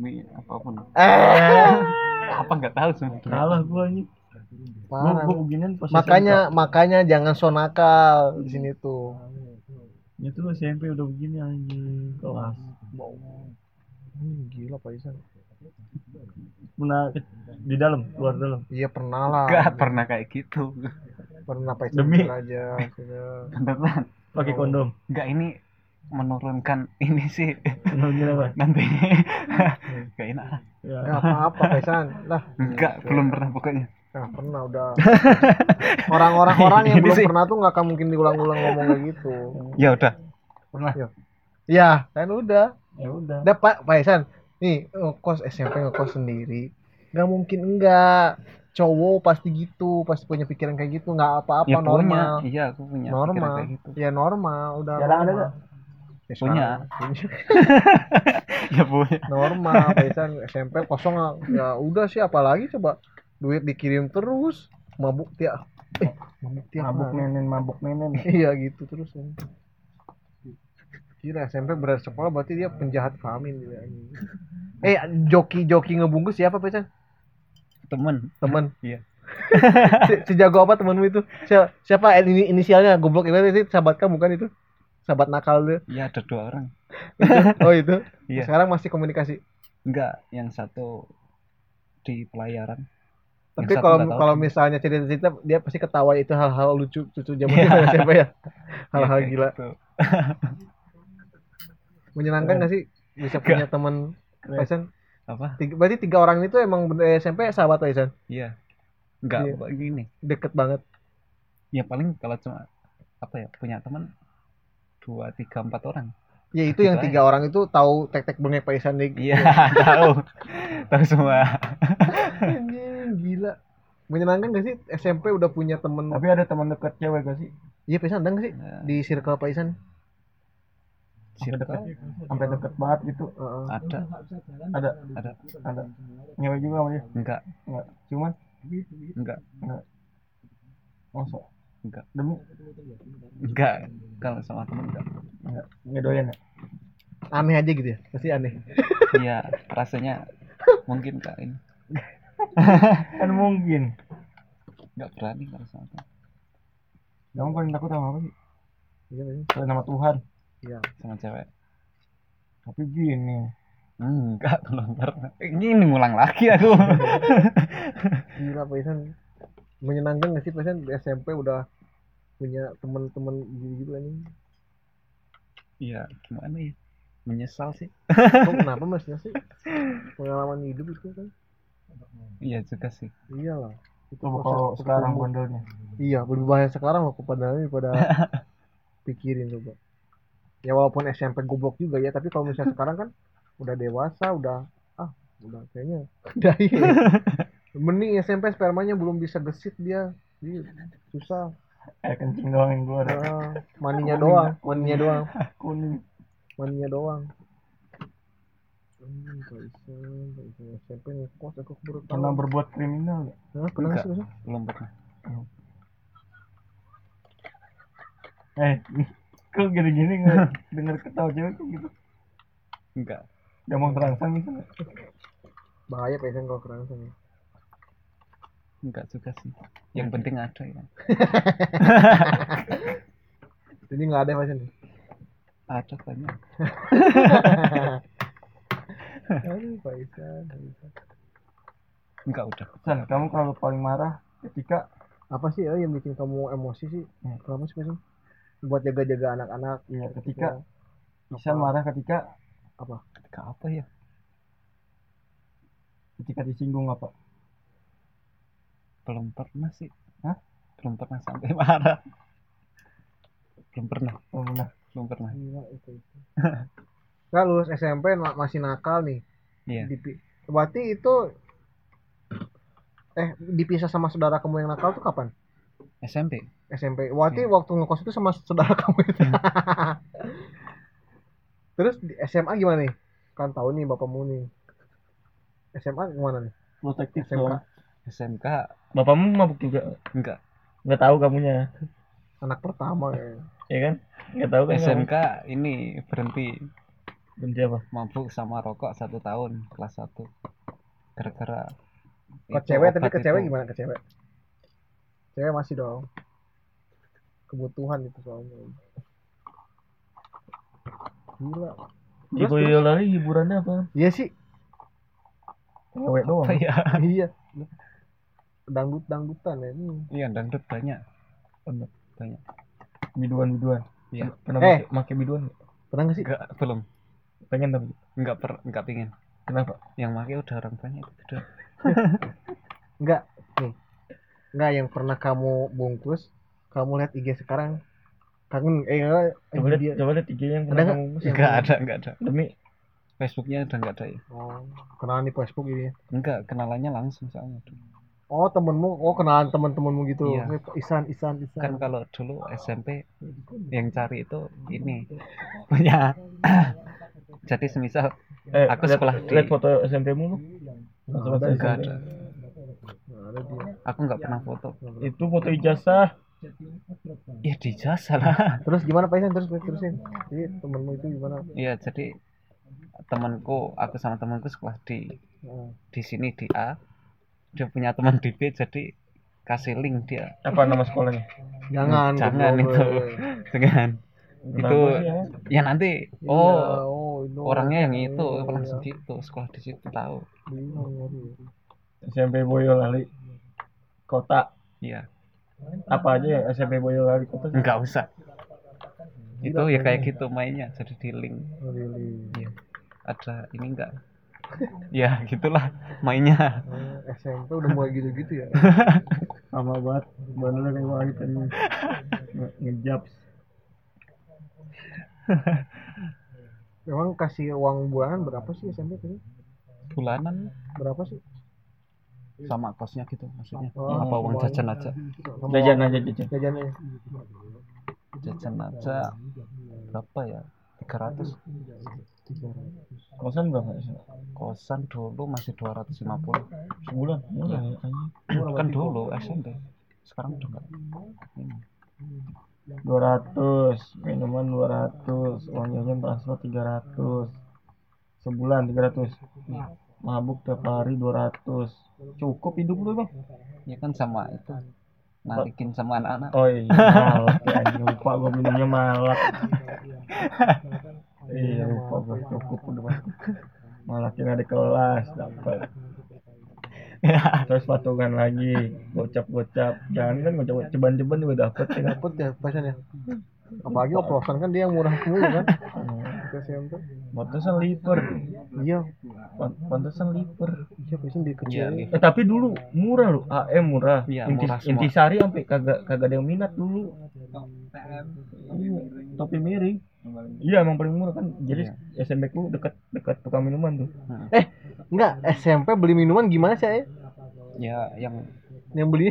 Speaker 3: Ini apapun.
Speaker 1: Eh,
Speaker 3: Apa enggak tahu sebenarnya.
Speaker 2: kalah gua ini. Gua
Speaker 1: parah.
Speaker 2: gua Hmm. beginian pas
Speaker 1: makanya makanya jangan so nakal di sini tuh.
Speaker 2: SMP. itu SMP udah begini anjing kelas.
Speaker 1: Hmm, gila Pak Isan.
Speaker 2: Pernah ke- di dalam, luar dalam.
Speaker 1: Iya pernah lah.
Speaker 3: Enggak pernah kayak gitu.
Speaker 1: Pernah Pak Isan
Speaker 2: Demi.
Speaker 1: jujur aja. maksudnya.
Speaker 3: Beneran.
Speaker 2: Pakai kondom.
Speaker 3: Enggak ini menurunkan ini sih
Speaker 2: Nonton apa?
Speaker 3: nanti
Speaker 1: Hmm.
Speaker 3: gak enak lah.
Speaker 2: Ya.
Speaker 1: Enggak apa-apa Pak Isan. Lah, Iya,
Speaker 3: enggak belum pernah pokoknya
Speaker 1: nah, pernah udah. Orang-orang orang yang
Speaker 3: Ini
Speaker 1: belum
Speaker 3: sih.
Speaker 1: pernah tuh nggak akan mungkin diulang-ulang ngomong kayak gitu.
Speaker 3: ya udah
Speaker 1: Ya, kan udah.
Speaker 2: Ya udah.
Speaker 1: Udah Pak Pak Isan, nih ngekos SMP ngekos sendiri, nggak mungkin enggak. Cowok pasti gitu, pasti punya pikiran kayak gitu, nggak apa-apa
Speaker 3: ya punya
Speaker 1: normal.
Speaker 3: iya aku punya pikiran
Speaker 1: normal
Speaker 3: kayak gitu
Speaker 1: ya normal udah
Speaker 2: Jarang ada
Speaker 1: normal.
Speaker 2: nggak?
Speaker 1: Ya,
Speaker 3: Punya.
Speaker 1: sekarang.
Speaker 3: ya punya
Speaker 1: normal Paisan SMP kosong ah. ya udah sih apalagi coba duit dikirim terus mabuk tiap eh mabuk tiap
Speaker 2: Mabuk
Speaker 1: hari.
Speaker 2: menen, mabuk menen.
Speaker 1: iya gitu terus ya. kira SMP berat sekolah berarti dia penjahat famin dia. eh joki joki ngebungkus siapa Paisan
Speaker 3: temen
Speaker 1: temen
Speaker 3: Iya.
Speaker 1: Se- Sejago apa temanmu itu? Si- Siapa Eh, ini inisialnya goblok itu itu sahabat kamu kan itu? Sahabat nakal dia.
Speaker 3: Iya ada dua orang.
Speaker 1: Oh itu.
Speaker 3: Iya.
Speaker 1: Sekarang masih komunikasi.
Speaker 3: Enggak, yang satu di pelayaran. Yang
Speaker 1: Tapi
Speaker 3: satu
Speaker 1: kalau
Speaker 3: nggak tahu
Speaker 1: kalau
Speaker 3: di-
Speaker 1: misalnya cerita-cerita dia pasti ketawa itu hal-hal lucu lucu zaman
Speaker 3: Iya.
Speaker 1: dulu siapa ya?
Speaker 3: Iya,
Speaker 1: Hal-hal
Speaker 3: kayak
Speaker 1: gila.
Speaker 3: gitu. Iya.
Speaker 1: Menyenangkan nggak sih bisa punya teman Aisan?
Speaker 3: Apa?
Speaker 1: Tiga- berarti tiga orang itu emang bener- SMP sahabat Aisan.
Speaker 3: Iya. Enggak,
Speaker 1: Iya.
Speaker 3: pokoknya gini.
Speaker 1: Deket banget.
Speaker 3: Ya paling kalau cuma apa ya punya teman dua tiga empat orang.
Speaker 1: Ya itu yang
Speaker 3: Gitu
Speaker 1: tiga orang itu tahu tek-tek bengek Pak Isan nih.
Speaker 3: Iya, tahu. tahu semua.
Speaker 1: Anjing, gila. Menyenangkan gak sih SMP udah punya temen
Speaker 2: Tapi ada teman dekat cewek gak sih?
Speaker 1: Iya Pak Isan ada gak sih?
Speaker 3: Nah,
Speaker 1: Di circle Pak Isan
Speaker 2: Sampai
Speaker 3: circle
Speaker 2: dekat, sampai
Speaker 1: Iya.
Speaker 2: dekat banget gitu.
Speaker 3: ada
Speaker 2: Ada,
Speaker 3: ada
Speaker 2: ada. Nyewe juga sama dia.
Speaker 3: enggak
Speaker 2: Cuman
Speaker 3: enggak
Speaker 2: masa
Speaker 3: Enggak.
Speaker 2: Demi
Speaker 3: enggak kalau sama temen enggak
Speaker 2: enggak doyan ya.
Speaker 1: Aneh aja gitu ya Pasti aneh
Speaker 3: iya rasanya mungkin kak ini
Speaker 2: Kan mungkin.
Speaker 3: enggak berani kalau sama temen
Speaker 2: Kamu paling Ya takut sama apa sih?
Speaker 1: Iya, Ya, Pak.
Speaker 2: Paling sama Tuhan.
Speaker 3: sama cewek
Speaker 2: Tapi gini,
Speaker 3: enggak belum pernah ini ngulang lagi aku
Speaker 1: Gila Pak Isan Menyenangkan gak sih Pak Isan di SMP udah punya temen-temen gitu-gitu kan. anjing
Speaker 3: iya gimana ya menyesal sih
Speaker 1: Kok kenapa maksudnya sih pengalaman hidup itu kan
Speaker 3: iya juga sih
Speaker 1: iya lah itu proses
Speaker 2: coba kalau
Speaker 1: untuk
Speaker 2: sekarang
Speaker 1: tumbuh.
Speaker 2: bondelnya.
Speaker 1: iya lebih bahaya sekarang aku pada daripada pikirin coba ya walaupun SMP goblok juga ya tapi kalau misalnya sekarang kan udah dewasa udah ah udah kayaknya udah iya mending SMP spermanya belum bisa gesit dia Jadi susah
Speaker 2: Eh kencing doang yang gue ada.
Speaker 1: Ah, maninya doang maninya doang
Speaker 2: Kuning.
Speaker 1: maninya doang Hmm, Pak Isan, Pak Isan SMP ngekos aku baru tahu.
Speaker 2: Pernah berbuat kriminal gak?
Speaker 1: Hah, pernah
Speaker 3: Enggak.
Speaker 1: sih, Pak Isan?
Speaker 3: belum pernah
Speaker 2: Eh, kok gini-gini nggak denger ketawa cewek kok gitu.
Speaker 3: enggak
Speaker 2: Udah mau terangsang gitu nggak?
Speaker 1: bahaya Pak Isan kalau kerangsang ya.
Speaker 3: enggak juga sih yang penting ada ya
Speaker 1: Jadi nggak ada pasien.
Speaker 3: ada banyak
Speaker 1: Aduh, Pak Isan, Pak Isan.
Speaker 3: enggak udah
Speaker 2: San, kamu kalau paling marah ketika
Speaker 1: Apa sih ya yang bikin kamu emosi sih?
Speaker 2: Hmm.
Speaker 1: Kenapa sih, Pak Isan? Buat jaga-jaga anak-anak.
Speaker 2: Iya, ketika Isan marah ketika
Speaker 3: ketika apa ya
Speaker 2: ketika disinggung apa?
Speaker 3: belum pernah sih
Speaker 2: Hah?
Speaker 3: belum pernah sampai marah belum pernah
Speaker 2: Oh, nah,
Speaker 3: belum pernah
Speaker 1: Gila, itu. itu. Nah, lulus SMP na- masih nakal nih.
Speaker 3: iya
Speaker 1: Dipi- Berarti itu eh dipisah sama saudara kamu yang nakal tuh kapan?
Speaker 3: SMP
Speaker 1: SMP. Berarti waktu ngekos itu sama saudara kamu itu. Terus di SMA gimana nih? Kan tahu nih bapakmu nih. SMA gimana nih?
Speaker 2: protektif
Speaker 1: SMK.
Speaker 2: dong.
Speaker 3: SMK
Speaker 2: Bapakmu mabuk juga?
Speaker 3: enggak
Speaker 2: Nggak tahu kamunya,
Speaker 1: Anak pertama kayaknya.
Speaker 2: ya kan? Nggak tahu
Speaker 1: Iya,
Speaker 2: kan? kamu.
Speaker 3: SMK ini berhenti
Speaker 2: Benci apa?
Speaker 3: mabuk sama rokok satu tahun kelas satu gara-gara
Speaker 1: Ke
Speaker 3: itu
Speaker 1: cewek tapi
Speaker 3: obat
Speaker 1: ke cewek
Speaker 3: itu.
Speaker 1: gimana ke cewek? Cewek masih dong. Kebutuhan itu soalnya. Gila. Terus,
Speaker 2: Ibu lari hiburannya apa?
Speaker 1: Iya sih.
Speaker 2: Cewek doang.
Speaker 3: apa ya
Speaker 1: iya. Dangdut-dangdutan ya. Hmm.
Speaker 3: iya dangdut banyak Bener, banyak
Speaker 2: Biduan-biduan.
Speaker 3: Iya.
Speaker 2: Pernah
Speaker 1: Eh.
Speaker 2: make- make biduan? nggak?
Speaker 1: Pernah gak sih?
Speaker 3: enggak belum
Speaker 2: Pengen tapi.
Speaker 3: enggak per enggak pingin
Speaker 2: Kenapa?
Speaker 3: yang pakai udah orang banyak itu udah
Speaker 1: Enggak. Nih. Enggak yang pernah kamu bungkus, kamu lihat IG sekarang kangen eh enggak,
Speaker 2: Coba
Speaker 1: eh,
Speaker 2: lihat, coba lihat IG yang
Speaker 1: ada
Speaker 2: pernah
Speaker 1: enggak?
Speaker 2: kamu
Speaker 1: Yang-
Speaker 3: enggak ada enggak ada
Speaker 2: demi
Speaker 3: Facebooknya udah enggak ada ya
Speaker 1: Oh, kenalan di Facebook ini.
Speaker 3: enggak kenalannya langsung soalnya dulu.
Speaker 1: Oh, temenmu, oh kenalan temen-temenmu gitu.
Speaker 3: Iya.
Speaker 1: Eh, Isan, Isan, Isan.
Speaker 3: kan kalau dulu SMP yang cari itu ini punya jadi semisal
Speaker 2: eh,
Speaker 3: Aku
Speaker 2: lihat-
Speaker 3: sekolah di-
Speaker 2: lihat foto SMP mu lu. Foto
Speaker 1: ada,
Speaker 2: SMP.
Speaker 3: enggak ada
Speaker 1: Nah, ada dia.
Speaker 3: aku nggak pernah foto
Speaker 2: Itu foto ijazah.
Speaker 3: ya di jasa lah
Speaker 1: Terus gimana Pak Isan? Terus terusin. Jadi temenmu itu gimana?
Speaker 3: ya jadi temanku aku
Speaker 1: Nah,
Speaker 3: sama temanku sekolah di
Speaker 1: Heeh.
Speaker 3: di sini di A dia punya teman di B jadi kasih link dia
Speaker 2: apa nama sekolahnya
Speaker 1: Jangan.
Speaker 3: Jangan
Speaker 1: gitu,
Speaker 3: itu.
Speaker 1: boleh.
Speaker 3: dengan Itu
Speaker 2: Kenapa sih, ya?
Speaker 3: ya nanti
Speaker 1: Iya,
Speaker 3: oh
Speaker 1: oh, itu.
Speaker 3: orangnya yang itu
Speaker 1: Iya.
Speaker 3: langsung gitu sekolah di situ tahu
Speaker 1: Iya, waduh.
Speaker 2: SMP Boyolali kota
Speaker 3: iya
Speaker 2: apa aja ya SMP Boyolali kota sih?
Speaker 3: nggak usah itu ya kayak gitu mainnya jadi di link
Speaker 1: Oh, really.
Speaker 3: Iya. ada ini enggak ya gitulah mainnya
Speaker 1: Eh, SMP udah mulai gitu-gitu ya.
Speaker 2: sama banget bener kayak Wahid ini Nge- ngejaps
Speaker 1: Memang kasih uang bulanan berapa sih SMP tadi?
Speaker 3: bulanan
Speaker 1: Berapa sih?
Speaker 3: sama kosnya gitu maksudnya
Speaker 1: Oh,
Speaker 3: apa uang
Speaker 1: semuanya.
Speaker 3: jajan aja
Speaker 1: Sama
Speaker 2: jajan aja jajan
Speaker 1: Jajannya.
Speaker 3: jajan aja berapa ya 300
Speaker 2: kosan berapa sih
Speaker 3: ya, kosan dulu masih 250
Speaker 2: sebulan murah ya
Speaker 3: kan dulu SMP sekarang udah enggak Ini.
Speaker 2: dua ratus minuman dua ratus uang jajan transfer tiga ratus sebulan tiga ratus mabuk tiap hari dua ratus cukup hidup lu bang
Speaker 3: ya kan sama itu narikin sama anak-anak
Speaker 2: oh iya malak ya anjing. lupa gua minumnya malak iya lupa gua cukup udah Bang. malakin ada kelas dapat terus patungan lagi gocap-gocap jangan kan gocap ceban-ceban juga dapat ya kan?
Speaker 1: Dapat ya pasan ya. Apalagi oplosan kan dia yang murah mulu kan. Ke SMP.
Speaker 2: pantesan liver
Speaker 1: Iya,
Speaker 2: Pan- pantesan liver
Speaker 1: iya pasan di
Speaker 3: Iya,
Speaker 1: kecil.
Speaker 2: eh tapi dulu murah loh AM murah
Speaker 3: Iya,
Speaker 2: Inti-
Speaker 3: murah semua.
Speaker 2: intisari sampai kagak kagak ada yang minat dulu Iya, topi miring iya emang paling murah kan jadi SMP ku dekat dekat tukang minuman tuh
Speaker 1: Eh, Enggak, SMP beli minuman gimana sih? Ya?
Speaker 3: ya yang
Speaker 1: Yang beli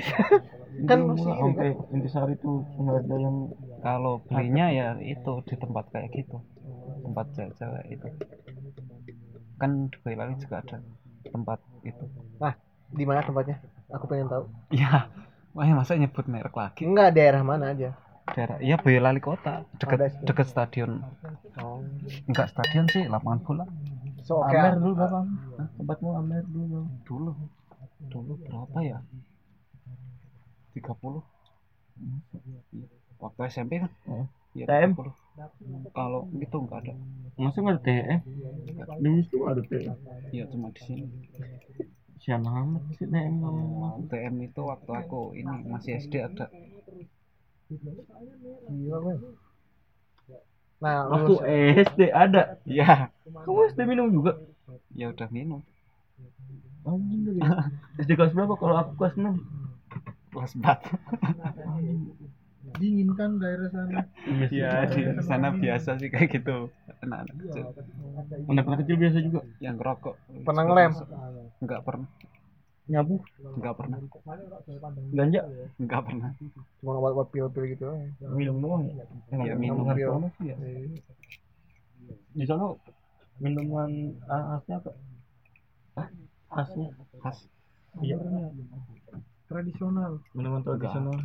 Speaker 1: kan
Speaker 2: Itu
Speaker 1: masih ini
Speaker 2: murah
Speaker 1: kan.
Speaker 2: sampai intisari tuh nggak ada yang
Speaker 3: kalau belinya ya itu di tempat kayak gitu tempat jalan itu kan di Boyolali juga ada tempat itu
Speaker 1: Nah, Di mana tempatnya? Aku pengen tahu.
Speaker 3: ya wah masa nyebut merek lagi
Speaker 1: Enggak daerah mana aja.
Speaker 3: daerah iya Boyolali kota
Speaker 1: Ada
Speaker 3: deket
Speaker 1: sih.
Speaker 3: deket stadion enggak stadion sih lapangan bola
Speaker 1: So, oke. ah.
Speaker 2: Amer dulu berapa? Hah, Tempatmu Amer dulu berapa?
Speaker 3: dulu dulu berapa ya 30 waktu SMP kan
Speaker 2: Heeh.
Speaker 3: Iya,
Speaker 2: TM?
Speaker 3: 30. kalau gitu enggak ada
Speaker 2: Masa nggak ada TF? Dulu itu ada TF.
Speaker 3: ya cuma di sini
Speaker 2: Sian amat sih TM
Speaker 3: Nah,
Speaker 2: ngomong.
Speaker 3: TM itu waktu aku ini masih SD ada
Speaker 1: Iya, Nah,
Speaker 2: Waktu eh.
Speaker 1: lu
Speaker 2: SD ada.
Speaker 3: Iya,
Speaker 2: Kamu SD minum juga?
Speaker 3: ya udah minum.
Speaker 2: Anjing lu ya. SD kelas berapa? Kalau aku kelas 6
Speaker 3: Kelas 4.
Speaker 9: Dingin kan daerah sana.
Speaker 3: Iya, di sana biasa sih kayak gitu. Anak-anak kecil
Speaker 2: Anak-anak kecil biasa juga
Speaker 3: yang ngerokok.
Speaker 1: pernah ngelem.
Speaker 3: Enggak pernah.
Speaker 2: Nyabu
Speaker 3: Enggak pernah.
Speaker 2: Ganja
Speaker 3: Enggak pernah.
Speaker 1: Cuma obat-obat pil-pil gitu. aja.
Speaker 2: Minum doang ya? Emang
Speaker 3: Ya,
Speaker 2: minum
Speaker 3: minum.
Speaker 2: harus ya? Di sana minuman ah, khasnya apa? Khasnya
Speaker 3: Khas.
Speaker 2: Iya
Speaker 9: Tradisional.
Speaker 2: Minuman tradisional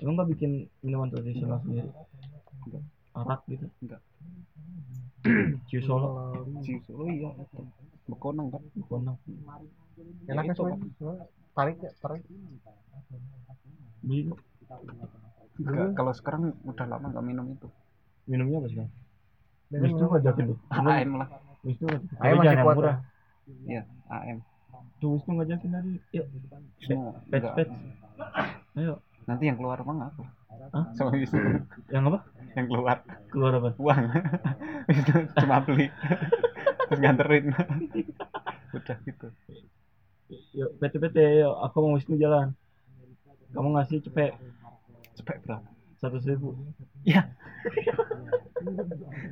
Speaker 2: Cuma nggak bikin minuman tradisional sendiri Arak gitu
Speaker 3: Enggak.
Speaker 2: Ciu Solo
Speaker 3: Jus. Oh iya, itu. Bekonang kan.
Speaker 2: Gondang
Speaker 1: Enak kan
Speaker 3: itu,
Speaker 1: semuanya? Cuma Tarik ya, tarik.
Speaker 2: Beli lu.
Speaker 3: Enggak, kalau sekarang udah lama enggak minum itu.
Speaker 2: Minumnya apa sih? Kang?
Speaker 1: Dan
Speaker 2: Bis itu
Speaker 1: minum.
Speaker 2: ngajakin tuh
Speaker 3: AM lah.
Speaker 2: Bis itu ngajakin
Speaker 1: Ayo
Speaker 2: Tapi
Speaker 1: masih
Speaker 2: jangan yang
Speaker 1: kuat
Speaker 2: murah
Speaker 3: Iya, AM.
Speaker 2: Tuh Bis itu ngajakin tadi Yuk
Speaker 3: Semua
Speaker 2: Pets
Speaker 3: enggak.
Speaker 2: pets Ayo
Speaker 3: Nanti yang keluar uang apa?
Speaker 2: Hah?
Speaker 3: Sama Wisnu.
Speaker 2: Yang apa?
Speaker 3: yang keluar
Speaker 2: Keluar apa?
Speaker 3: uang. Wisnu cuma beli. Terus nganterin. udah gitu.
Speaker 2: Yuk PT PT Yuk aku mau Wisnu jalan Kamu ngasih cepet
Speaker 3: Cepet berapa?
Speaker 2: Seratus ribu
Speaker 3: Ya.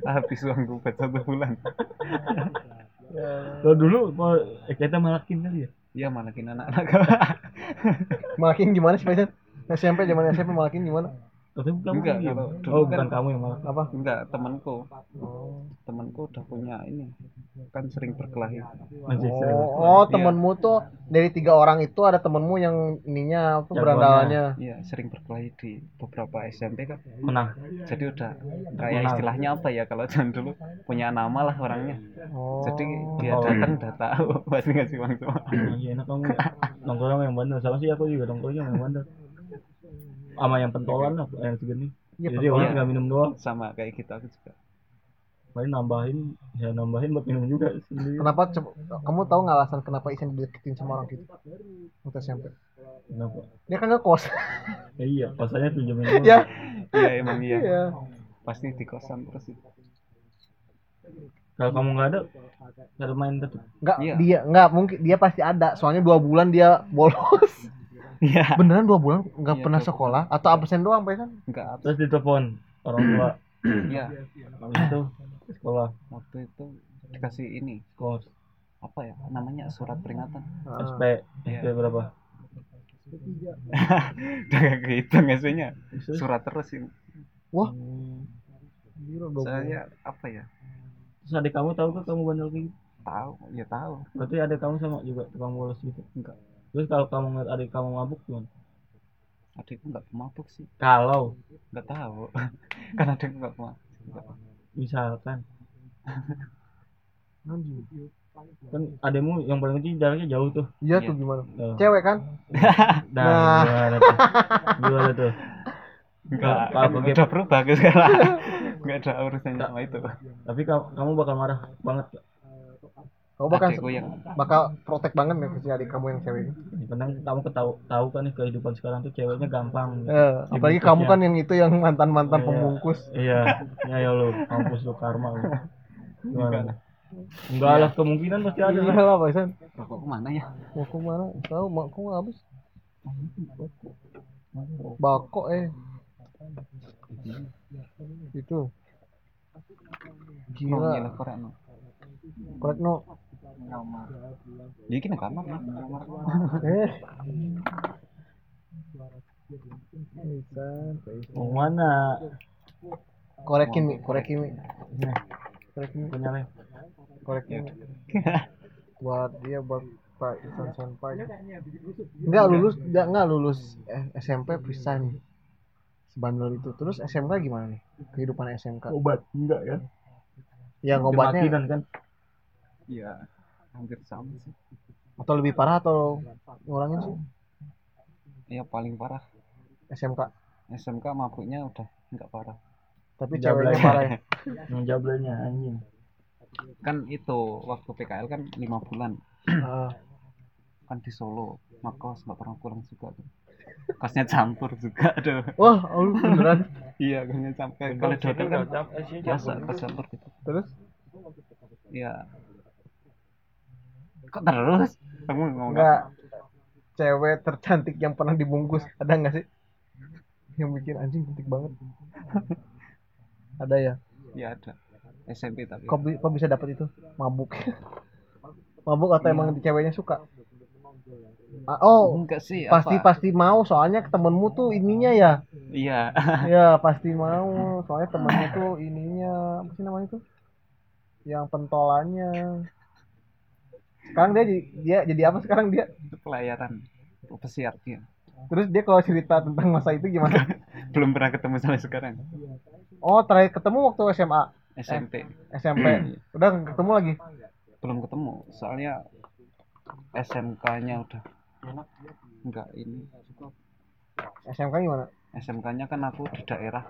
Speaker 3: Habis uang gue satu bulan.
Speaker 2: Kalau dulu kalau eh, kita malakin kali ya
Speaker 3: Iya malakin anak-anak.
Speaker 1: Malakin gimana sih, Pak Isan? SMP zaman SMP malakin gimana?
Speaker 2: tapi bukan
Speaker 3: Enggak,
Speaker 2: kamu, Gim.
Speaker 3: kalau dulu
Speaker 2: oh
Speaker 3: kan-
Speaker 2: bukan kamu yang malah
Speaker 1: apa
Speaker 3: enggak temanku temanku udah punya ini kan sering berkelahi
Speaker 2: masih sering
Speaker 1: oh, oh
Speaker 2: berkelahi.
Speaker 3: Iya.
Speaker 1: temenmu tuh dari tiga orang itu ada temenmu yang ininya apa
Speaker 2: Jagoannya.
Speaker 1: berandalannya
Speaker 3: iya sering berkelahi di beberapa SMP kan
Speaker 2: menang
Speaker 3: jadi udah kayak
Speaker 2: Kenal.
Speaker 3: istilahnya apa ya kalau zaman dulu punya nama lah orangnya
Speaker 1: oh.
Speaker 3: jadi iya. dia
Speaker 2: Oh.
Speaker 3: datang udah tahu pasti ngasih uang semua
Speaker 2: iya enak kamu ya. nongkrong sama yang bandel sama sih aku juga nongkrongnya sama yang bandel sama yang pentolan lah yang segini
Speaker 1: Iya,
Speaker 2: jadi
Speaker 3: pentolan.
Speaker 2: orang nggak minum doang
Speaker 3: sama kayak gitu aku juga
Speaker 2: paling nambahin ya nambahin buat minum juga sendiri
Speaker 1: kenapa coba- kamu tahu nggak alasan kenapa Isan dideketin sama orang gitu waktu SMP
Speaker 2: kenapa
Speaker 1: dia kan ngekos
Speaker 2: ya, iya pasalnya
Speaker 1: ya
Speaker 2: pinjamin doang
Speaker 3: iya emang iya
Speaker 1: iya
Speaker 3: pasti di kosan terus itu
Speaker 2: kalau kamu nggak ada nggak ada main tetep
Speaker 1: nggak
Speaker 3: Iya.
Speaker 1: dia nggak mungkin dia pasti ada soalnya dua bulan dia bolos
Speaker 3: iya
Speaker 1: beneran dua bulan nggak
Speaker 3: Iya,
Speaker 1: pernah
Speaker 3: dua
Speaker 1: sekolah atau absen doang pak Isan
Speaker 3: enggak apa
Speaker 2: terus ditelepon orang tua
Speaker 3: iya
Speaker 2: habis itu ke sekolah
Speaker 3: waktu itu dikasih ini
Speaker 2: kos
Speaker 3: apa ya namanya surat peringatan
Speaker 1: Ah,
Speaker 2: SP
Speaker 3: Ah,
Speaker 2: SP
Speaker 3: Iya.
Speaker 2: berapa
Speaker 3: udah gak kehitung SP-nya surat terus ini
Speaker 1: Gila, dua bulan.
Speaker 3: saya apa ya
Speaker 2: terus adik kamu tahu kan kamu bandel kayak gitu
Speaker 3: tahu ya tahu
Speaker 2: berarti adik kamu sama juga tukang bolos gitu
Speaker 3: Enggak.
Speaker 2: terus kalau kamu ngeliat adik kamu mabuk gimana
Speaker 3: adikku nggak pemabuk sih
Speaker 2: kalau
Speaker 3: nggak tahu kan adikku nggak pemabuk
Speaker 2: misalkan kan ademu yang paling kecil jaraknya jauh tuh
Speaker 1: iya
Speaker 3: Iya.
Speaker 1: tuh gimana
Speaker 2: Tuh.
Speaker 1: cewek kan
Speaker 2: Nah,
Speaker 1: Nah.
Speaker 2: gimana tuh? Gimana tuh?
Speaker 3: enggak
Speaker 2: Kalau
Speaker 3: kan
Speaker 2: bagi-
Speaker 3: udah berubah aku sekarang nggak ada urusannya sama itu
Speaker 2: Tapi kamu, kamu bakal marah banget.
Speaker 1: kamu bakal
Speaker 3: adikku yang
Speaker 1: Oh, bakal protek banget nih si adik kamu yang cewek ini.
Speaker 2: Kadang kamu ketahu tahu kan nih kehidupan sekarang tuh ceweknya gampang. gitu.
Speaker 3: Iya,
Speaker 1: Eh, apalagi kamu kan yang itu yang mantan mantan
Speaker 2: Iya.
Speaker 1: pembungkus
Speaker 2: Iya, ya ya lu, kampus lu karma lu.
Speaker 3: Enggak
Speaker 2: Gimana? Enggak lah, kemungkinan pasti ada lah.
Speaker 1: iya lah pak Isan
Speaker 3: rokokku mana ya
Speaker 1: mau ke mana tahu mau aku nggak habis bakok eh itu
Speaker 3: Mau
Speaker 1: gila
Speaker 3: nyelah korek, no.
Speaker 1: Korekno
Speaker 3: ya gini kamar no.
Speaker 1: eh
Speaker 2: Mau mana?
Speaker 1: korekin mi korekin mi korekin Mi,
Speaker 2: Punya
Speaker 3: Ya
Speaker 2: Lev.
Speaker 1: korekin Mi. buat dia buat Pak Isan Senpai nggak lulus nggak nggak lulus eh, SMP pisah nih sebandel itu terus SMK gimana nih kehidupan SMK
Speaker 2: Obat enggak
Speaker 6: kan?
Speaker 2: ya?
Speaker 1: yang obatnya
Speaker 2: Kematian kan.
Speaker 3: ya hampir sama sih
Speaker 1: atau lebih parah atau ngurangin sih
Speaker 3: ya paling parah
Speaker 1: SMK
Speaker 3: SMK mabuknya udah nggak parah
Speaker 1: tapi
Speaker 2: Nggak
Speaker 1: ceweknya
Speaker 2: belajar.
Speaker 1: parah ya
Speaker 2: Ngejablenya anjing.
Speaker 3: kan itu waktu PKL kan lima bulan
Speaker 1: Ah,
Speaker 3: kan di Solo makos nggak pernah pulang juga tuh kosnya campur juga aduh
Speaker 1: wah lu beneran
Speaker 3: iya kosnya campur kalau di hotel kan biasa kos campur gitu
Speaker 1: terus
Speaker 3: ya kok terus kamu ngomong apa?
Speaker 1: nggak cewek tercantik yang pernah dibungkus ada nggak sih yang bikin anjing cantik banget ada ya
Speaker 3: ya ada SMP tapi
Speaker 1: kok, bi- kok bisa dapat itu mabuk mabuk atau emang ceweknya suka Ah, oh
Speaker 3: enggak sih
Speaker 1: pasti
Speaker 3: apa?
Speaker 1: pasti mau soalnya temenmu tuh ininya ya
Speaker 3: iya
Speaker 1: ya pasti mau soalnya temenmu tuh ininya apa sih namanya tuh yang pentolannya sekarang dia jadi dia jadi apa sekarang dia
Speaker 3: itu pelayaran pesiar iya. dia
Speaker 1: terus dia kalau cerita tentang masa itu gimana
Speaker 3: belum pernah ketemu sampai sekarang
Speaker 1: Oh, terakhir ketemu waktu SMA,
Speaker 3: SMP
Speaker 1: SMP. Udah nggak ketemu lagi.
Speaker 3: belum ketemu soalnya SMK-nya udah enggak ini
Speaker 1: SMK gimana?
Speaker 3: SMK-nya kan aku di daerah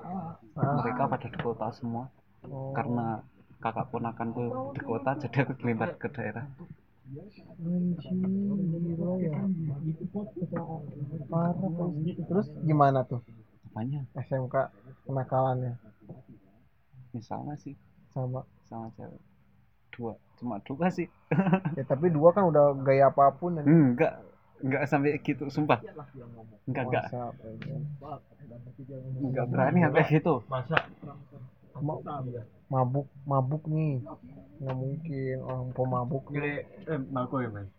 Speaker 1: Ah.
Speaker 3: mereka pada di kota semua
Speaker 1: Oh.
Speaker 3: karena kakak ponakanku di kota jadi aku kelimbat ke daerah
Speaker 1: Parah, Pak. Terus gimana tuh
Speaker 3: apanya
Speaker 1: SMK kenakalannya
Speaker 3: ya sama sih
Speaker 1: sama?
Speaker 3: sama cewek dua cuma dua sih
Speaker 1: Ya tapi dua kan udah gaya apapun dan
Speaker 3: enggak enggak sampai gitu sumpah enggak enggak
Speaker 1: Masa, Pak, ya. Oh,
Speaker 3: enggak berani sampai gitu
Speaker 2: Masa
Speaker 1: Ma-
Speaker 6: ya?
Speaker 1: mabuk mabuk nih nggak mungkin orang pemabuk
Speaker 7: Gede, eh, Marco ya, Mas?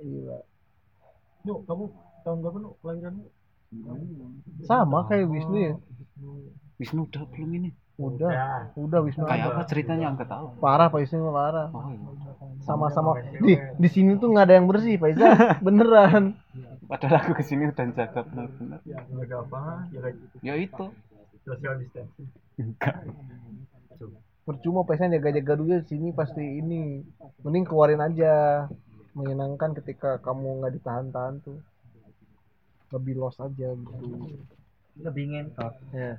Speaker 1: gila
Speaker 2: Yuk, kamu tahun berapa nu kelahiranmu?
Speaker 1: Sama kayak Wisnu ya.
Speaker 3: Wisnu udah belum ini
Speaker 1: Udah,
Speaker 6: Ya.
Speaker 1: udah Wisnu
Speaker 3: kayak
Speaker 1: ada.
Speaker 3: apa ceritanya nggak tahu
Speaker 1: Parah Pak Wisnu mah parah.
Speaker 3: oh iya.
Speaker 1: Sama-sama di di sini tuh nggak ada yang bersih Pak Iza. Beneran.
Speaker 3: padahal aku kesini udah jaga benar-benar
Speaker 6: Jaga apa? Jaga
Speaker 3: ya itu
Speaker 6: social distancing.
Speaker 3: enggak
Speaker 1: Percuma Pak Iza jaga-jaga dulu di sini pasti ini. Mending keluarin aja. Menyenangkan ketika kamu nggak ditahan-tahan tuh. Lebih los aja gitu.
Speaker 10: Lebih ngentot.
Speaker 1: Ya.
Speaker 3: Iya.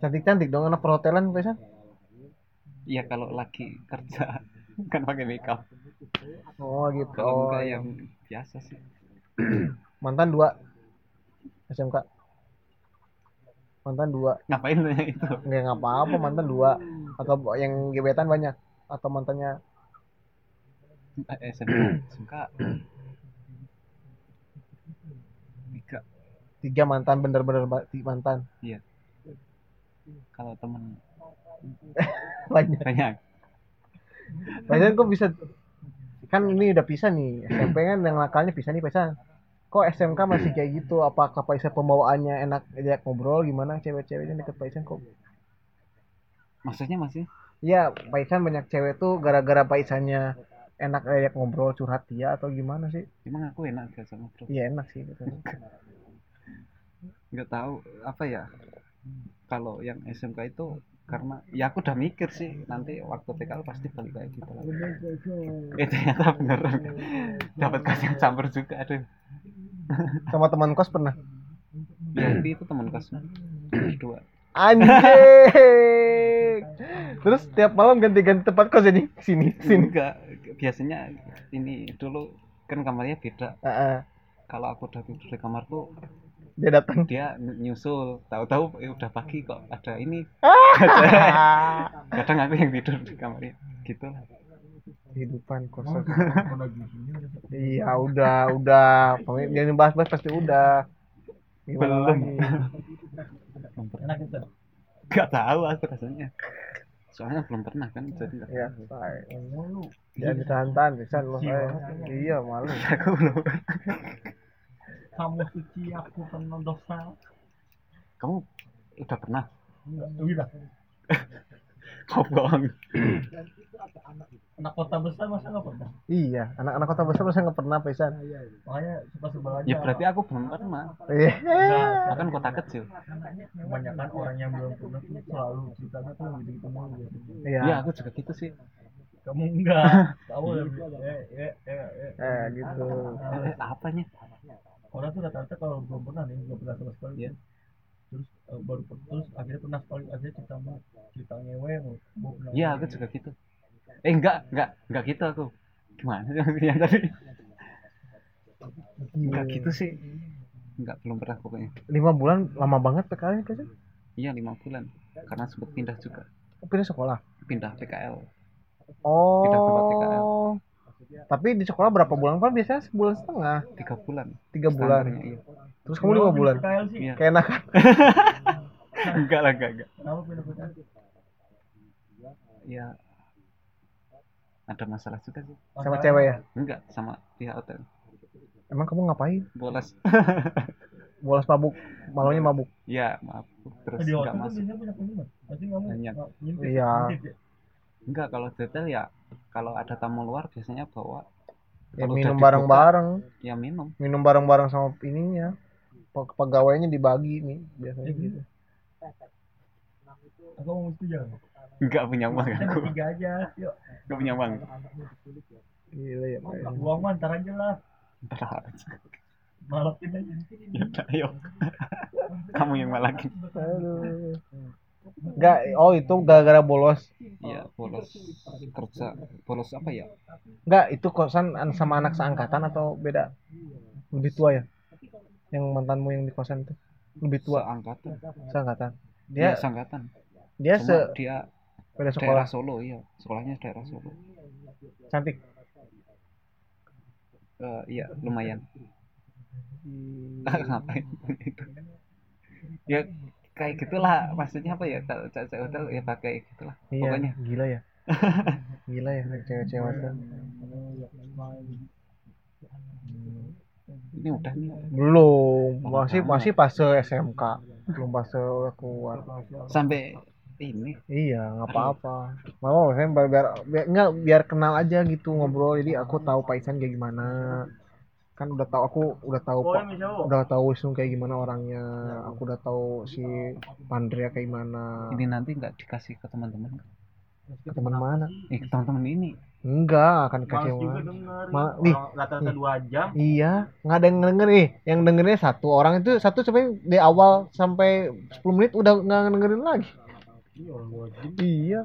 Speaker 1: Cantik-cantik dong anak perhotelan Pak Iza.
Speaker 3: ya kalau lagi kerja kan pakai makeup
Speaker 1: Oh gitu. Oh,
Speaker 3: kalau enggak ya,
Speaker 1: iya.
Speaker 3: yang biasa sih
Speaker 1: Mantan dua. SMK. Mantan dua.
Speaker 3: ngapain nanya itu
Speaker 1: nggak nggak apa-apa mantan dua atau yang gebetan banyak atau mantannya
Speaker 3: Eh, SMK SMK tiga
Speaker 1: tiga mantan bener-bener ba- ti- mantan
Speaker 3: kalau temen
Speaker 1: banyak
Speaker 3: banyak
Speaker 1: banyak kok bisa kan ini udah pisah nih SMP kan yang nakalnya pisah nih pisah kok SMK masih kayak gitu apakah Paisa pembawaannya enak diajak ngobrol gimana cewek-ceweknya deket Paisa kok
Speaker 3: maksudnya masih
Speaker 1: Iya, Paisan banyak cewek tuh gara-gara Paisannya enak diajak ngobrol curhat dia atau gimana sih?
Speaker 3: emang aku enak gak sama bro
Speaker 1: Iya enak sih gitu.
Speaker 3: nggak tahu apa ya kalau yang SMK itu karena ya aku udah mikir sih nanti waktu PKL pasti balik kayak gitu lagi eh ternyata beneran dapat kas yang campur juga aduh
Speaker 1: Sama teman kos pernah.
Speaker 3: VIP itu teman kelas dua
Speaker 1: Anjing. Terus tiap malam ganti-ganti tempat kos jadi sini sini.
Speaker 3: enggak biasanya ini dulu kan kamarnya beda
Speaker 1: Heeh.
Speaker 3: kalau aku udah tidur di kamarku
Speaker 1: dia datang.
Speaker 3: dia ny- nyusul tahu-tahu eh, udah pagi kok ada ini
Speaker 1: Ah,
Speaker 3: kadang aku yang tidur di kamarnya gitu lah
Speaker 1: Kehidupan kos. Iya udah udah. Pokoknya Jangan bahas-bahas pasti udah. Gimana
Speaker 3: Belum.
Speaker 1: lagi?
Speaker 3: belum pernah gitu nggak tahu aku rasanya soalnya belum pernah kan jadi nggak-
Speaker 1: Ya, say. Jangan
Speaker 6: Iya.
Speaker 1: ditahan-tahan, bisa loh. eh. Iya, malu.
Speaker 3: aku belum
Speaker 6: Kamu suci, aku penuh dosa.
Speaker 3: kamu udah pernah Iya.
Speaker 6: Enggak, udah.
Speaker 3: kau bohong
Speaker 6: Anak kota besar masa nggak pernah?
Speaker 1: Iya, anak-anak kota besar masa nggak pernah pesan.
Speaker 6: Makanya suka sebel aja.
Speaker 3: ya berarti aku belum pernah
Speaker 1: Iya.
Speaker 3: bahkan kota kecil
Speaker 6: kebanyakan orang yang belum pernah tuh selalu ceritanya tuh gitu gitu mulu biasanya.
Speaker 1: Iya.
Speaker 3: ya aku juga gitu sih
Speaker 6: Kamu enggak. Tahu ya. Eh, eh, eh, eh.
Speaker 1: Eh, gitu.
Speaker 3: eh, apanya
Speaker 6: orang tuh rata-rata kalau belum pernah nih belum pernah sama sekali
Speaker 3: Iya.
Speaker 6: terus eh, baru per- terus akhirnya pernah sekali akhirnya cerita mau cerita ngewe mau mau pernah
Speaker 3: ya aku juga gitu eh enggak enggak enggak gitu aku gimana sih maksudnya tadi enggak gitu sih enggak belum pernah pokoknya
Speaker 1: Lima bulan lama banget PKL ini pesan.
Speaker 3: iya lima bulan karena sempet pindah juga
Speaker 1: Pindah sekolah.
Speaker 3: pindah PKL Pindah tempat PKL.
Speaker 1: Oh. Tapi di sekolah berapa bulan? Pak biasanya sebulan setengah,
Speaker 3: tiga bulan
Speaker 1: tiga bulan.
Speaker 3: Standarnya, iya.
Speaker 1: Terus kamu lima bulan.
Speaker 6: PKL sih
Speaker 3: Iya.
Speaker 1: Kayak enak. kan
Speaker 3: enggak lah enggak enggak
Speaker 6: kenapa pindah PKL
Speaker 3: ya ada masalah juga sih
Speaker 1: sama cewek ya.
Speaker 3: enggak sama pihak hotel
Speaker 1: Emang kamu ngapain?
Speaker 3: bolas
Speaker 1: Bolos mabuk, malamnya mabuk.
Speaker 3: ya maaf terus
Speaker 6: di hotel tuh
Speaker 3: enggak masuk
Speaker 6: biasanya punya penyimpan pasti kamu
Speaker 3: Banyak.
Speaker 6: nggak ngintip
Speaker 1: Iya.
Speaker 6: ngintip ya.
Speaker 3: enggak kalau di hotel ya kalau ada tamu luar biasanya bawa
Speaker 1: Ya,
Speaker 3: Kalau udah
Speaker 1: minum
Speaker 3: dibuka.
Speaker 1: bareng-bareng,
Speaker 3: ya minum
Speaker 1: minum bareng-bareng sama ininya. Pe- Pegawainya dibagi nih biasanya
Speaker 3: Mhm.
Speaker 1: gitu.
Speaker 6: Mm-hmm. aku mau mesti jalan
Speaker 3: enggak punya uang
Speaker 6: kita
Speaker 3: aku
Speaker 6: bertiga aja yuk
Speaker 3: enggak punya uang
Speaker 1: Gila ya, Pak. ya.
Speaker 6: uang mah ntar aja lah
Speaker 3: Entar aja.
Speaker 6: malakin aja
Speaker 3: ya udah ayo kamu yang malakin
Speaker 1: Aduh. Enggak, oh itu gara-gara bolos.
Speaker 3: ya bolos kerja bolos apa ya
Speaker 1: Enggak, itu kosan an- sama anak seangkatan atau beda? Lebih tua ya? Yang mantanmu yang di kosan itu lebih tua
Speaker 3: angkatan
Speaker 1: seangkatan. Dia
Speaker 3: ya, sangkatan
Speaker 1: dia se
Speaker 3: Cuma dia
Speaker 1: beda sekolah
Speaker 3: daerah Solo iya sekolahnya daerah Solo
Speaker 1: cantik.
Speaker 3: Eh, iya lumayan ngapain itu ya kayak gitulah maksudnya apa ya kalau cewek hotel ya pakai gitulah
Speaker 1: Iya,
Speaker 3: pokoknya
Speaker 1: gila ya. gila ya cewek-cewek itu.
Speaker 3: ini udah nih
Speaker 1: belum masih
Speaker 3: Belum.
Speaker 1: masih fase SMK belum fase udah keluar
Speaker 3: sampai ini
Speaker 1: iya nggak apa-apa mama maksudnya biar biar, biar nggak biar kenal aja gitu ngobrol jadi aku tahu Paisan kayak gimana kan udah tahu aku udah tahu Pak- udah tahu Wisnu kayak gimana orangnya aku udah tahu si Pandrea kayak gimana
Speaker 3: ini nanti nggak dikasih ke teman-teman
Speaker 1: ke teman mana
Speaker 3: eh ke teman-teman ini
Speaker 1: enggak akan
Speaker 10: Males
Speaker 1: kasih
Speaker 10: juga
Speaker 1: orang
Speaker 10: denger.
Speaker 1: Ma-
Speaker 10: Orang
Speaker 1: Ih.
Speaker 10: Rata-rata dua jam.
Speaker 1: Iya, nggak ada yang denger nih. Yang dengerinnya satu orang itu satu sampai di awal sampai 10 menit udah nggak dengerin lagi.
Speaker 10: Iya, orang dua jam.
Speaker 1: Iya.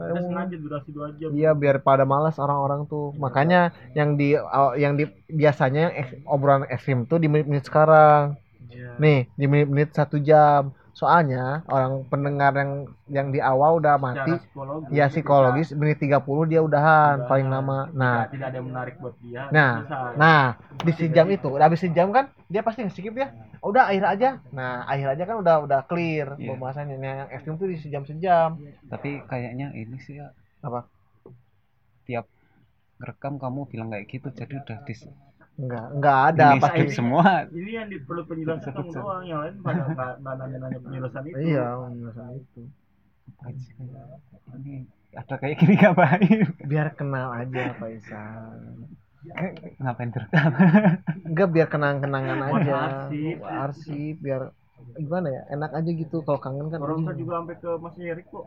Speaker 10: Kita sengaja durasi dua jam.
Speaker 1: Iya, biar pada malas orang-orang tuh. Makanya yang di uh, yang di biasanya yang ek- obrolan ekstrim tuh di menit-menit sekarang.
Speaker 10: Iya.
Speaker 1: Nih, di menit-menit satu jam. Soalnya orang pendengar yang yang di awal udah
Speaker 10: Secara
Speaker 1: mati.
Speaker 10: psikologis.
Speaker 1: Ya
Speaker 10: kita-
Speaker 1: psikologis menit 30 dia udahan paling lama. Nah,
Speaker 10: tidak- tidak ada yang menarik buat dia.
Speaker 1: Nah,
Speaker 10: selesai.
Speaker 1: Nah, di sejam itu, udah habis sejam kan, dia pasti nge-skip ya. Udah akhir aja. Nah, akhir aja kan udah udah clear
Speaker 3: Iya.
Speaker 1: pembahasannya. Nah, yang ekstrim tuh di sejam-sejam.
Speaker 3: tapi kayaknya ini sih ya
Speaker 1: Apa?
Speaker 3: tiap rekam kamu bilang kayak gitu jadi udah dis
Speaker 1: Enggak, enggak ada
Speaker 3: ini
Speaker 1: pasti.
Speaker 3: skip semua
Speaker 10: ini yang di- perlu penjelasan kamu doang yang lain pada nggak nggak nanya-nanya penjelasan itu
Speaker 1: Iya, pembahasan itu.
Speaker 3: ini ada kayak gini ngapain
Speaker 1: Biar kenal aja, Faisal.
Speaker 3: ngapain direkam
Speaker 1: Enggak biar kenang-kenangan
Speaker 10: Buat
Speaker 1: aja.
Speaker 10: arsip.
Speaker 1: Buat Arsip biar gimana ya? Enak aja gitu kalau kangen kan.
Speaker 10: orang
Speaker 1: iya.
Speaker 10: kan juga sampai ke Mas Erik kok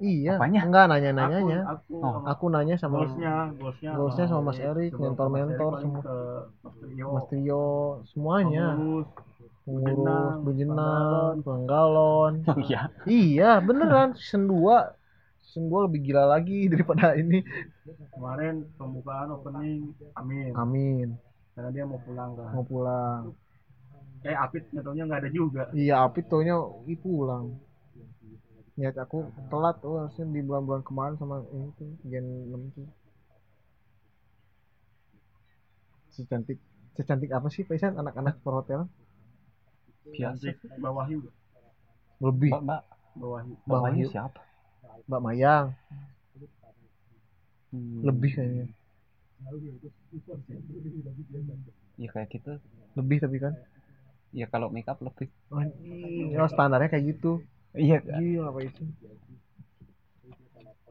Speaker 1: Iya.
Speaker 3: Apanya?
Speaker 1: Enggak nanya-nanyanya.
Speaker 10: aku,
Speaker 3: Oh.
Speaker 10: aku,
Speaker 1: Aku nanya sama
Speaker 10: goalsnya goalsnya
Speaker 1: Goalsnya sama Mas Erik, mentor-mentor semua.
Speaker 10: ke Mas Trio
Speaker 1: Mas Trio semuanya.
Speaker 10: pengurus.
Speaker 1: Pengurus,
Speaker 10: Bujenang,
Speaker 1: Bujenang, Panggalon.
Speaker 3: oh iya
Speaker 1: Iya, beneran season 2 season 2 lebih gila lagi daripada ini.
Speaker 10: kemarin pembukaan opening amin
Speaker 1: Amin.
Speaker 10: karena dia mau pulang kan
Speaker 1: Mau pulang.
Speaker 10: eh Apit nyatanya nggak ada juga
Speaker 1: Iya, Api taunya i pulang. Niat aku telat tuh harusnya di bulan-bulan kemarin sama ini tuh Gen 6 tuh. Secantik secantik apa sih Paisan anak-anak perhotelan? Iya.
Speaker 3: biasa
Speaker 10: bawahi
Speaker 1: Lebih
Speaker 3: Iya. Mbak, mbak
Speaker 10: bawahi
Speaker 3: bapaknya
Speaker 1: Bayu.
Speaker 3: siapa
Speaker 1: Mbak Mayang,
Speaker 3: Hmm,
Speaker 1: lebih kayaknya.
Speaker 3: ya kayak gitu
Speaker 1: Lebih tapi kan.
Speaker 3: ya kalau makeup lebih
Speaker 1: Anjing, oh, standarnya kayak gitu.
Speaker 3: iya
Speaker 1: Gila apa itu?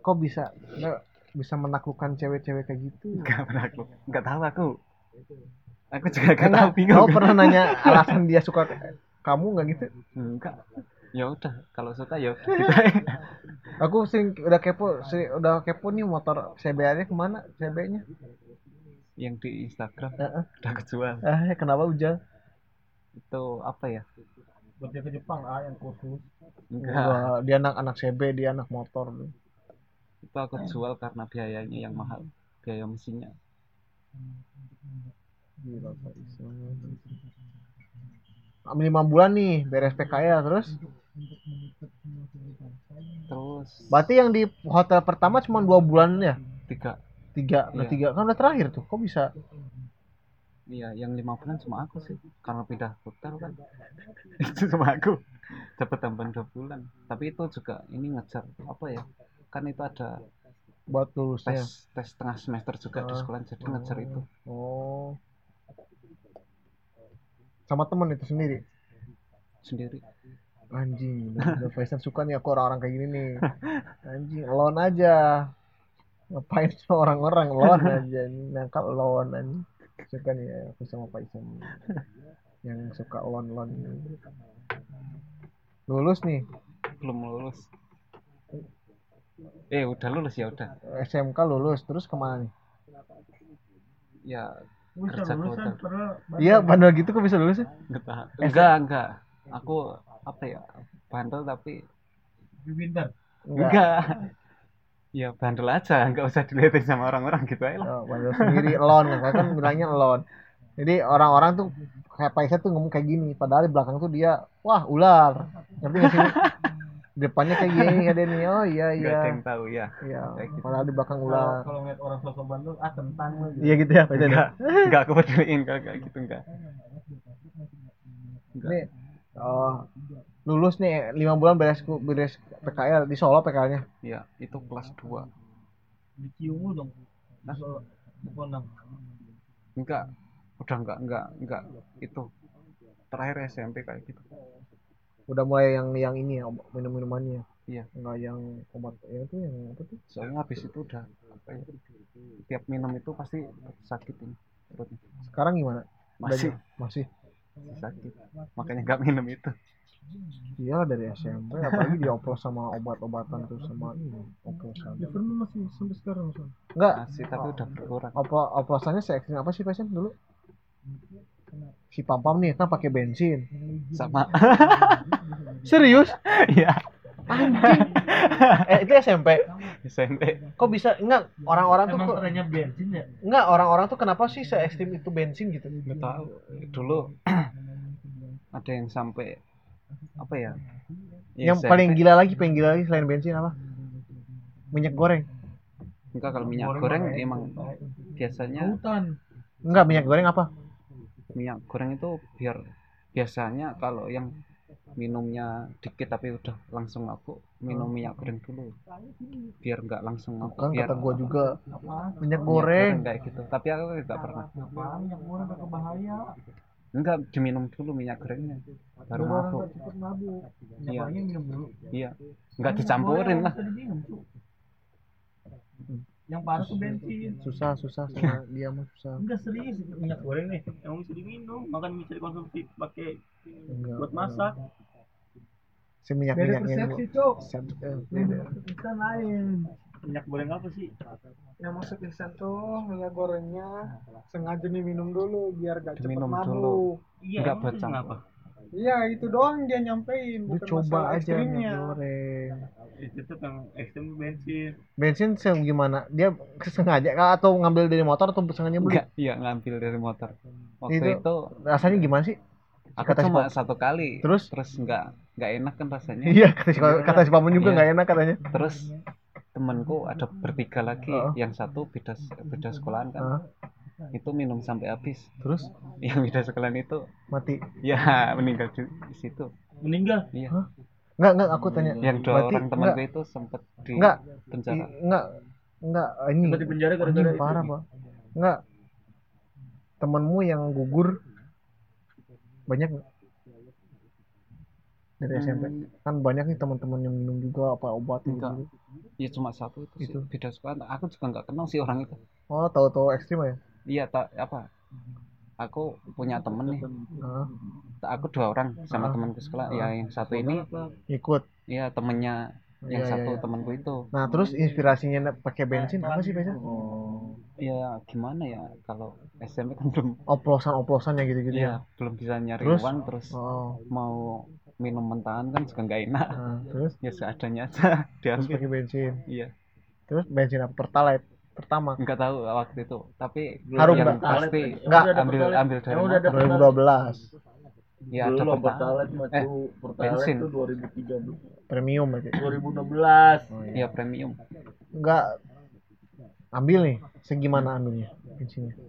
Speaker 1: Kok bisa nggak bisa menaklukkan cewek-cewek kayak gitu?
Speaker 3: nggak pernah aku nggak tahu aku aku juga nggak
Speaker 1: Enggak,
Speaker 3: tahu bingung
Speaker 1: Kau pernah nanya alasan dia suka ke- kamu nggak gitu?
Speaker 3: enggak ya udah kalau suka ya udah gitu.
Speaker 1: Aku sering udah kepo, sering, udah kepo nih motor CBR-nya kemana? CB-nya?
Speaker 3: yang di Instagram
Speaker 1: Heeh.
Speaker 3: udah kejual
Speaker 1: Eh, kenapa ujang?
Speaker 3: itu apa ya
Speaker 6: buat dia ke Jepang ah yang kursus
Speaker 3: enggak
Speaker 1: Wah, dia anak anak CB, dia anak motor.
Speaker 3: itu aku jual karena biayanya yang mahal biaya mesinnya
Speaker 1: Gila, Pak Isan. Ambil lima bulan nih beres PKL terus.
Speaker 3: terus
Speaker 1: Berarti yang di hotel pertama cuma dua bulan ya?
Speaker 3: tiga
Speaker 1: Tiga, udah
Speaker 3: Iya.
Speaker 1: tiga kan udah terakhir tuh. Kok bisa?
Speaker 3: iya yang lima bulan cuma aku sih karena pindah hotel kan itu cuma aku dapat tambahan dua bulan tapi itu juga ini ngejar apa ya kan itu ada
Speaker 1: buat lulusnya.
Speaker 3: tes tes tengah semester juga di
Speaker 1: Iya. Ah.
Speaker 3: sekolah jadi ngejar itu
Speaker 1: Oh. Sama teman itu sendiri.
Speaker 3: sendiri
Speaker 1: Anjing, udah Faisal suka nih aku orang-orang kayak gini nih. Anjing, lon aja. Ngapain sama orang-orang lon aja nih. Nangkap lon anjing. Suka nih ya, aku sama Faisal. Yang suka lon-lon. Lulus nih,
Speaker 3: belum lulus eh udah lulus ya udah
Speaker 1: SMK lulus, terus kemana nih?
Speaker 3: ya
Speaker 7: Bisa
Speaker 3: Kerja kota.
Speaker 7: lulusan padahal
Speaker 1: Iya, bandel gitu kok bisa lulus ya?
Speaker 3: Nggak tahan. Enggak, enggak. Aku apa ya? Bandel tapi
Speaker 6: lebih pintar
Speaker 3: enggak. Ya bandel aja, enggak usah dilihatin sama orang-orang gitu aja lah.
Speaker 1: Oh, bandel sendiri lon kakak kan bilangnya lon jadi orang-orang tuh kayak Paisa tuh ngomong kayak gini padahal di belakang tuh dia wah ular ngerti gak sih depannya kayak gini kayak dia nih oh iya
Speaker 3: Enggak
Speaker 1: iya
Speaker 3: ada yang tahu ya.
Speaker 1: iya
Speaker 3: Kayak gitu.
Speaker 1: padahal di belakang
Speaker 6: kalau
Speaker 1: ular
Speaker 6: kalau ngeliat orang sosok bandel ah tentang lu gitu
Speaker 1: Oh, iya gitu ya Paisa
Speaker 3: Enggak, enggak aku peduliin enggak enggak gitu enggak.
Speaker 1: ini oh, lulus nih lima bulan beres beres PKL di Solo PKL-nya
Speaker 3: Ya, itu kelas 2.
Speaker 6: dicium lu dong
Speaker 3: Hah?
Speaker 6: bukan dong
Speaker 3: Enggak. udah nggak nggak nggak itu terakhir SMP kayak gitu
Speaker 1: udah mulai yang yang ini ya obat- minum-minumannya
Speaker 3: Iya.
Speaker 1: nggak yang obat ya itu yang apa tuh
Speaker 3: soalnya habis itu udah apa ya, tiap minum itu pasti sakit ini perutnya
Speaker 1: sekarang gimana Udah
Speaker 3: masih
Speaker 1: j- masih
Speaker 3: sakit makanya nggak minum itu
Speaker 1: iya dari SMP apalagi dioplos sama obat-obatan tuh sama ini oplosan
Speaker 7: Liverpool masih sampai sekarang Son.
Speaker 1: enggak
Speaker 3: masih tapi udah berkurang
Speaker 1: oplo oplosannya se ekstrim apa sih pasien dulu si pampam nih kan pakai bensin
Speaker 3: sama
Speaker 11: Serius?
Speaker 3: Iya.
Speaker 11: Eh, itu SMP.
Speaker 3: SMP
Speaker 11: Kok bisa enggak orang-orang tuh
Speaker 2: Emang
Speaker 11: kok
Speaker 2: trennya bensin ya?
Speaker 11: enggak orang-orang tuh kenapa sih se ekstrim itu bensin gitu?
Speaker 3: nggak tahu dulu ada yang sampai apa ya, Ya,
Speaker 1: yang
Speaker 3: SMP.
Speaker 1: paling gila lagi paling gila lagi selain bensin apa minyak goreng
Speaker 3: enggak kalau minyak goreng emang
Speaker 1: Iya.
Speaker 3: biasanya
Speaker 7: Hutan.
Speaker 1: enggak minyak goreng apa
Speaker 3: minyak goreng itu biar biasanya kalau yang minumnya dikit tapi udah langsung mabuk minum minyak goreng dulu biar nggak langsung mabuk
Speaker 1: kan
Speaker 3: biar
Speaker 1: Hmm. kata gua juga minyak
Speaker 3: minyak
Speaker 1: goreng
Speaker 3: kayak gitu tapi aku nggak pernah
Speaker 2: Ngapain yang murah gak kebahaya?
Speaker 3: enggak diminum dulu minyak gorengnya baru
Speaker 2: Biar orang
Speaker 3: mabuk
Speaker 2: gak cepet mabuk.
Speaker 3: Iya.
Speaker 2: Ngapain minum dulu?
Speaker 3: iya nggak dicampurin lah
Speaker 2: Bisa diminum, Cuk. Yang parah tuh bensin.
Speaker 1: susah susah sama dia mah susah
Speaker 2: Enggak serius minyak goreng nih.
Speaker 12: Emang bisa diminum, makan bisa dikonsumsi pakai
Speaker 3: Iya.
Speaker 1: Enggak,
Speaker 12: buat
Speaker 1: enggak.
Speaker 12: masak.
Speaker 1: si minyak
Speaker 7: Beda
Speaker 1: minyaknya
Speaker 7: persepsi cok.
Speaker 1: Iya. eh,
Speaker 2: Hmm.
Speaker 7: Kita lain.
Speaker 12: Minyak goreng apa sih?
Speaker 7: Yang masuk instan tuh minyak gorengnya sengaja diminum dulu biar gak cepet
Speaker 3: Diminum
Speaker 7: mabuk.
Speaker 3: dulu.
Speaker 12: Iya,
Speaker 3: Nggak
Speaker 12: emang
Speaker 3: buat
Speaker 12: itu
Speaker 3: campur.
Speaker 12: kenapa?
Speaker 7: Iya itu doang dia nyampein.
Speaker 1: lu
Speaker 7: bukan masalah
Speaker 1: coba aja
Speaker 7: ekstrimnya.
Speaker 1: minyak goreng
Speaker 12: Eh, Tetep yang ekstrem bensin.
Speaker 1: bensin se- gimana dia sengaja kah atau ngambil dari motor atau sengaja beli
Speaker 3: enggak iya ngambil dari motor waktu
Speaker 1: Itu-
Speaker 3: itu,
Speaker 1: rasanya gimana sih
Speaker 3: aku
Speaker 1: kata si
Speaker 3: cuma
Speaker 1: Pam-
Speaker 3: satu kali
Speaker 1: terus
Speaker 3: terus nggak nggak enak kan rasanya
Speaker 1: iya kata si kata si paman juga
Speaker 3: Iya.
Speaker 1: nggak enak katanya
Speaker 3: terus temanku ada bertiga lagi
Speaker 1: Heeh.
Speaker 3: yang satu beda beda sekolahan kan
Speaker 1: Heeh.
Speaker 3: itu minum sampai habis
Speaker 1: terus
Speaker 3: yang beda sekalian itu
Speaker 1: mati
Speaker 3: ya meninggal di situ
Speaker 2: Meninggal.
Speaker 3: iya
Speaker 1: Hah? nggak nggak aku tanya
Speaker 3: yang
Speaker 1: Berarti
Speaker 3: dua orang
Speaker 1: nggak-
Speaker 3: temanku itu sempat di
Speaker 1: nggak
Speaker 3: penjara
Speaker 1: i- nggak nggak ini
Speaker 2: Sempat di penjara gara-gara
Speaker 1: anjing,
Speaker 2: itu.
Speaker 1: parah pak nggak temanmu yang gugur banyak nggak? dari SMP
Speaker 3: Hmm,
Speaker 1: kan banyak nih teman-teman yang minum juga apa obat gitu
Speaker 3: Enggak. ya cuma satu itu, sih,
Speaker 1: Itu.
Speaker 3: beda sekolahan aku juga nggak kenal sih orang itu
Speaker 1: oh tahu-tahu ekstrim ya
Speaker 3: iya tak apa aku punya temen nih
Speaker 1: Heeh.
Speaker 3: aku dua orang
Speaker 1: Hmm. Ah.
Speaker 3: sama temanku sekolah ya yang satu ini
Speaker 1: ikut
Speaker 3: ya temennya yang
Speaker 1: Iya, iya,
Speaker 3: satu
Speaker 1: iya.
Speaker 3: temanku itu
Speaker 1: nah terus inspirasinya na- pakai bensin apa sih biasanya
Speaker 3: ya gimana ya kalau SMP kan belum
Speaker 1: oplosan oplosan yang gitu-gitu ya
Speaker 3: Iya, belum bisa nyari
Speaker 1: Terus?
Speaker 3: uang terus
Speaker 1: oh
Speaker 3: mau minum mentahan kan juga nggak enak.
Speaker 1: nah, terus
Speaker 3: Ya seadanya aja
Speaker 1: terus
Speaker 3: diambil.
Speaker 1: pakai bensin
Speaker 3: Iya,
Speaker 1: terus bensin apa pertalite pertama
Speaker 3: nggak tahu waktu itu. Tapi
Speaker 1: Harum
Speaker 3: yang
Speaker 1: nggak?
Speaker 3: pasti
Speaker 1: Nggak.
Speaker 3: ambil ambil dari
Speaker 2: Emang
Speaker 3: mana?
Speaker 2: udah ada
Speaker 1: 2012
Speaker 3: Ya ada
Speaker 2: Dulu
Speaker 3: pertama.
Speaker 2: Pertalite mah
Speaker 3: Eh,
Speaker 2: tuh Pertalite
Speaker 3: bensin.
Speaker 2: tuh 2013
Speaker 1: premium berarti
Speaker 2: 2016
Speaker 3: Ya premium.
Speaker 1: nggak ambil nih segimana ambilnya bensinnya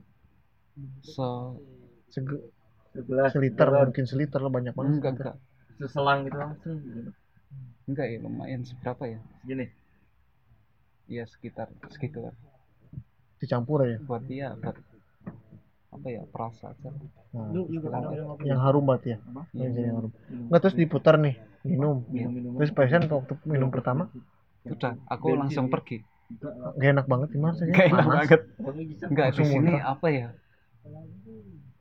Speaker 3: So
Speaker 1: Sege-
Speaker 2: sebelas
Speaker 1: seliter
Speaker 2: sebelas.
Speaker 1: mungkin seliter lo banyak banget
Speaker 3: enggak
Speaker 1: seliter.
Speaker 3: enggak
Speaker 2: seselang gitu langsung gitu.
Speaker 3: enggak ya lumayan seberapa ya?
Speaker 2: gini
Speaker 3: Ya sekitar segitu lah.
Speaker 1: dicampur ya
Speaker 3: buat dia buat apa ya perasa aja.
Speaker 1: Nah,
Speaker 2: lu juga
Speaker 3: Selang.
Speaker 1: yang harum berarti ya
Speaker 3: Iya.
Speaker 1: bensin yang harum nggak terus diputar nih minum
Speaker 2: minum minum
Speaker 1: terus pasien waktu minum pertama
Speaker 3: Udah, aku langsung pergi.
Speaker 1: gak enak banget gimana sih ya.
Speaker 3: Enggak enak
Speaker 1: Panas.
Speaker 3: banget.
Speaker 2: pokoknya bisa
Speaker 3: Enggak di
Speaker 1: Langsung
Speaker 3: sini
Speaker 1: muntah.
Speaker 3: apa ya?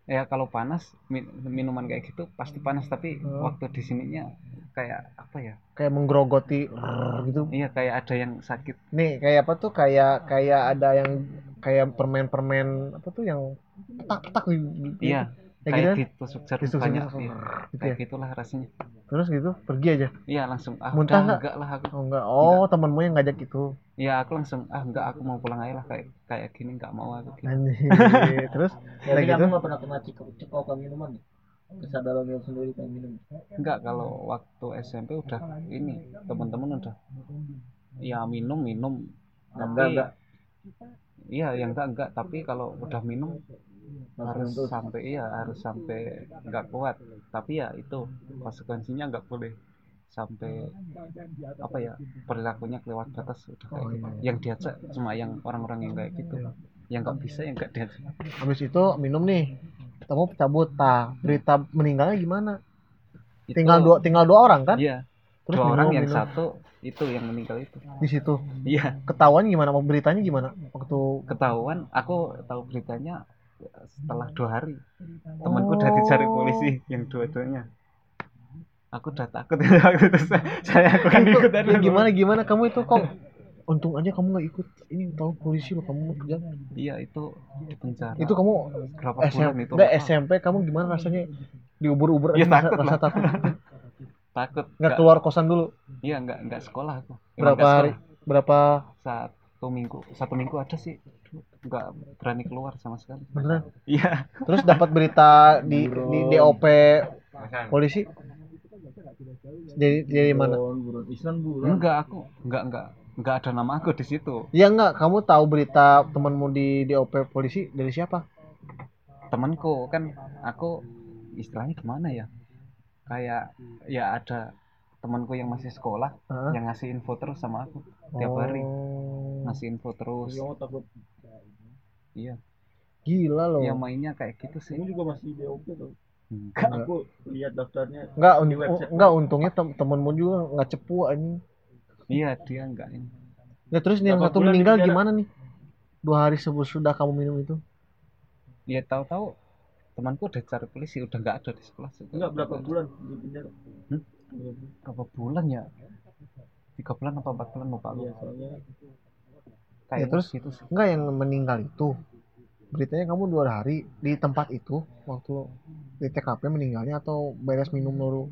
Speaker 3: Ya kalau panas min- minuman kayak gitu pasti panas tapi
Speaker 1: Hmm.
Speaker 3: waktu di sininya kayak apa ya?
Speaker 1: kayak menggerogoti rrrr, gitu
Speaker 3: Iya kayak ada yang sakit.
Speaker 1: nih kayak apa tuh kayak kayak ada yang kayak permen-permen apa tuh yang petak-petak di, di- di-
Speaker 3: Iya,
Speaker 1: ya gitu
Speaker 3: kayak
Speaker 1: kan?
Speaker 3: ditusuk jarum
Speaker 1: Ditusuk
Speaker 3: banyak.
Speaker 1: jarum.
Speaker 3: Iya,
Speaker 1: Gitu ya?
Speaker 3: kayak gitulah rasanya.
Speaker 1: terus gitu pergi aja
Speaker 3: Iya langsung ah
Speaker 1: Muntah
Speaker 3: udah,
Speaker 1: nggak?
Speaker 3: enggak lah aku.
Speaker 1: oh enggak oh temanmu yang ngajak itu
Speaker 3: Ya aku langsung ah enggak aku mau pulang aja lah kayak kayak gini enggak mau aku. Gitu.
Speaker 1: Anjir. terus
Speaker 2: tapi
Speaker 1: kayak gitu
Speaker 2: kamu nggak pernah kena cikok cikokan minuman ya? kesadaran kamu sendiri pengen minum
Speaker 3: Enggak kalau waktu SMP udah ini teman-teman udah ya minum minum
Speaker 2: enggak
Speaker 3: tapi
Speaker 2: enggak
Speaker 3: iya yang enggak enggak tapi kalau udah minum harus
Speaker 2: langsung terus
Speaker 3: sampai iya harus sampai nggak kuat tapi ya itu konsekuensinya nggak boleh sampai apa ya perilakunya kelewat batas udah kayak
Speaker 1: Oh,
Speaker 3: gitu.
Speaker 1: iya.
Speaker 3: yang diajak cuma yang orang-orang yang kayak gitu yang nggak bisa yang nggak diajak
Speaker 1: habis itu minum nih ketemu pecah botak berita meninggalnya gimana
Speaker 3: Itu-
Speaker 1: tinggal dua tinggal dua orang kan
Speaker 3: Iya.
Speaker 1: terus
Speaker 3: dua orang
Speaker 1: minum,
Speaker 3: yang
Speaker 1: minum.
Speaker 3: satu itu yang meninggal itu.
Speaker 1: di situ
Speaker 3: Iya.
Speaker 1: ketahuan gimana mau beritanya gimana waktu
Speaker 3: Ketahuan aku tahu beritanya setelah
Speaker 1: Hmm.
Speaker 3: dua hari. Temanku udah dicari
Speaker 1: Oh.
Speaker 3: polisi yang dua-duanya. Aku udah takut waktu itu saya, saya aku kan
Speaker 1: Itu-
Speaker 3: ikut
Speaker 1: ya gimana gimana kamu itu kok untung aja kamu nggak ikut ini tahu polisi lo kamu kerja
Speaker 3: Iya itu di penjara.
Speaker 1: itu kamu
Speaker 3: berapa bulan
Speaker 1: SMP
Speaker 3: itu?
Speaker 1: nggak
Speaker 3: Pak.
Speaker 1: SMP kamu gimana rasanya diubur-ubur
Speaker 3: Ya,
Speaker 1: aja rasa,
Speaker 3: takut lah.
Speaker 1: rasa takut
Speaker 3: Takut.
Speaker 1: nggak
Speaker 3: nggak-
Speaker 1: keluar kosan dulu
Speaker 3: Iya nggak nggak sekolah aku. Emang
Speaker 1: berapa
Speaker 3: nggak
Speaker 1: hari
Speaker 3: sekolah.
Speaker 1: berapa
Speaker 3: Satu minggu. Satu minggu ada sih. Nggak berani keluar sama sekali.
Speaker 1: beneran
Speaker 3: Iya.
Speaker 1: terus dapat berita di di DOP polisi jadi jadi mana
Speaker 6: Buron Islam buron.
Speaker 3: Enggak aku nggak nggak nggak ada nama aku di situ.
Speaker 1: ya nggak kamu tahu berita temanmu di DOP polisi dari siapa
Speaker 3: temanku kan aku istilahnya gimana ya kayak ya ada temanku yang masih sekolah
Speaker 1: Hah?
Speaker 3: yang ngasih info terus sama aku Ya, tiap hari
Speaker 1: Oh,
Speaker 3: ngasih info terus
Speaker 1: Iya.
Speaker 6: Kamu takut.
Speaker 1: gila loh
Speaker 3: ya mainnya kayak gitu sih
Speaker 6: Kamu juga masih DOP tuh.
Speaker 3: Hmm.
Speaker 6: Aku lihat daftarnya.
Speaker 1: nggak un-
Speaker 6: Di website.
Speaker 1: nggak untungnya tem temenmu juga nggak cepu anjing
Speaker 3: iya dia enggak ini
Speaker 1: Ya terus nih yang
Speaker 6: Berapa
Speaker 1: satu
Speaker 6: bulan di
Speaker 1: meninggal
Speaker 6: penjara?
Speaker 1: gimana nih? Dua hari sesudah kamu minum itu?
Speaker 3: ya tahu-tahu temanku udah cari polisi udah nggak ada di sekolah juga.
Speaker 6: Enggak berapa bulan di penjara.
Speaker 3: Hmm?
Speaker 6: Iya,
Speaker 3: berapa bulan ya tiga bulan apa empat bulan lupa aku
Speaker 6: Iya, soalnya
Speaker 3: kayak
Speaker 1: Ya, terus?
Speaker 3: gitu sih
Speaker 1: Enggak yang meninggal itu. Beritanya kamu dua hari di tempat itu waktu di TKP meninggalnya atau beres minum dulu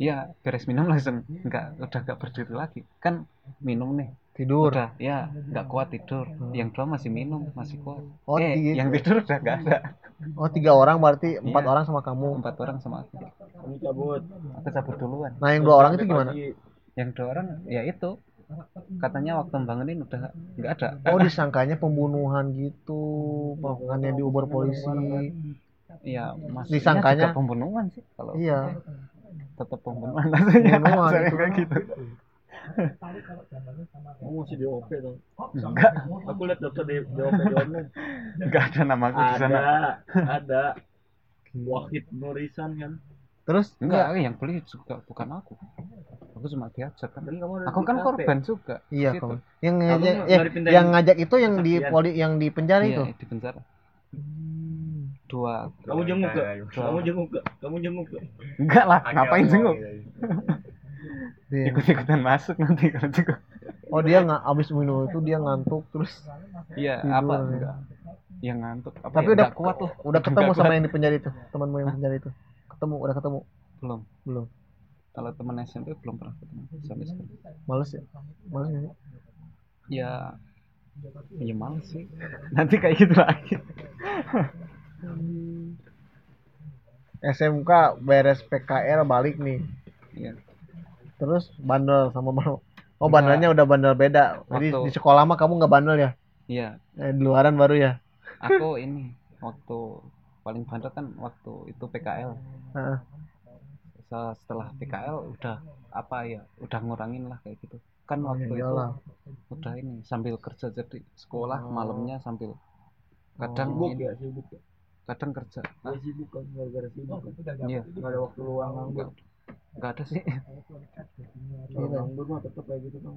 Speaker 3: iya beres minum langsung enggak udah enggak berdiri lagi kan minum nih
Speaker 1: tidur? Hmm.
Speaker 3: udah ya nggak kuat tidur yang dua masih minum masih kuat
Speaker 1: Oh,
Speaker 3: eh
Speaker 1: di-
Speaker 3: yang tidur udah nggak ada
Speaker 1: Oh tiga orang berarti empat
Speaker 3: Iya.
Speaker 1: orang sama kamu.
Speaker 3: empat orang sama aku
Speaker 6: kamu cabut.
Speaker 3: aku cabut duluan
Speaker 1: Nah yang dua orang itu gimana?
Speaker 6: Pagi,
Speaker 3: yang dua orang ya itu katanya waktu bangunin udah nggak ada
Speaker 1: Oh disangkanya pembunuhan gitu, pembunuhannya diuber polisi.
Speaker 3: ya masih
Speaker 1: Disangkanya-
Speaker 3: juga pembunuhan sih kalau
Speaker 1: Iya.
Speaker 3: tetap pembunuhan rasanya
Speaker 1: Pembunuhan,
Speaker 3: Rasanya
Speaker 1: itu.
Speaker 3: kayak gitu
Speaker 6: Kamu masih DOP tuh.
Speaker 3: nggak
Speaker 6: Aku lihat daftar di DOP di online.
Speaker 3: nggak ada nama aku di sana
Speaker 6: Ada, ada. Wahid Nurisan kan.
Speaker 1: Terus
Speaker 3: nggak yang beli juga bukan aku aku cuma diajak kan
Speaker 6: Tapi kamu ada
Speaker 3: aku
Speaker 6: di
Speaker 3: kan
Speaker 6: KP.
Speaker 3: korban juga di
Speaker 1: Iya
Speaker 3: situ.
Speaker 1: kamu. Yang
Speaker 6: Kamu
Speaker 1: ngajak,
Speaker 6: nggak
Speaker 1: yang,
Speaker 6: dipindahin
Speaker 1: yang ngajak itu yang di
Speaker 6: kesaksian?
Speaker 1: poli, yang di penjara itu. Hmm.
Speaker 3: iya di penjara dua
Speaker 6: Kamu jenguk gak? Kamu jenguk gak? Kamu jenguk gak?
Speaker 3: enggak lah ngapain jenguk
Speaker 1: Iya.
Speaker 3: ikut-ikutan masuk nanti kalau gitu. juga
Speaker 1: Oh dia nggak abis minum itu dia ngantuk terus
Speaker 3: iya
Speaker 1: Tidur,
Speaker 3: apa
Speaker 1: ya.
Speaker 3: enggak yang ngantuk apa
Speaker 1: Tapi
Speaker 3: ya,
Speaker 1: udah-
Speaker 3: nggak kuat lah
Speaker 1: udah
Speaker 3: Nggak
Speaker 1: ketemu
Speaker 3: kuat.
Speaker 1: sama yang di penjara itu temanmu yang di penjara itu ketemu udah ketemu
Speaker 3: belum
Speaker 1: belum
Speaker 3: kalau teman SMP belum pernah ketemu sampai sekarang
Speaker 1: males ya males ya
Speaker 3: ya ya males sih nanti kayak gitu lagi
Speaker 1: SMK beres PKR balik nih
Speaker 3: Iya.
Speaker 1: terus bandel sama baru oh
Speaker 3: Enggak.
Speaker 1: bandelnya udah bandel beda jadi
Speaker 3: Waktu-
Speaker 1: di sekolah mah kamu nggak bandel ya
Speaker 3: iya
Speaker 1: eh, di luaran baru ya
Speaker 3: aku ini waktu paling bandel kan waktu itu PKL
Speaker 1: Heeh.
Speaker 3: Se- setelah PKL udah apa ya udah ngurangin lah kayak gitu kan
Speaker 1: Oh,
Speaker 3: waktu
Speaker 1: iya
Speaker 3: itu
Speaker 1: lah.
Speaker 3: udah ini sambil kerja jadi sekolah malamnya sambil kadang
Speaker 6: Sibuk
Speaker 3: ini,
Speaker 6: ya, sibuk ya.
Speaker 3: kadang kerja
Speaker 2: Nah,
Speaker 6: Gua sibuk kan, gara-gara sibuk kan.
Speaker 3: Iya.
Speaker 6: Gak ada waktu luang nganggur.
Speaker 3: Enggak, enggak ada sih.
Speaker 6: Kalau
Speaker 1: Iya.
Speaker 6: nganggur mah tetep kayak gitu kan.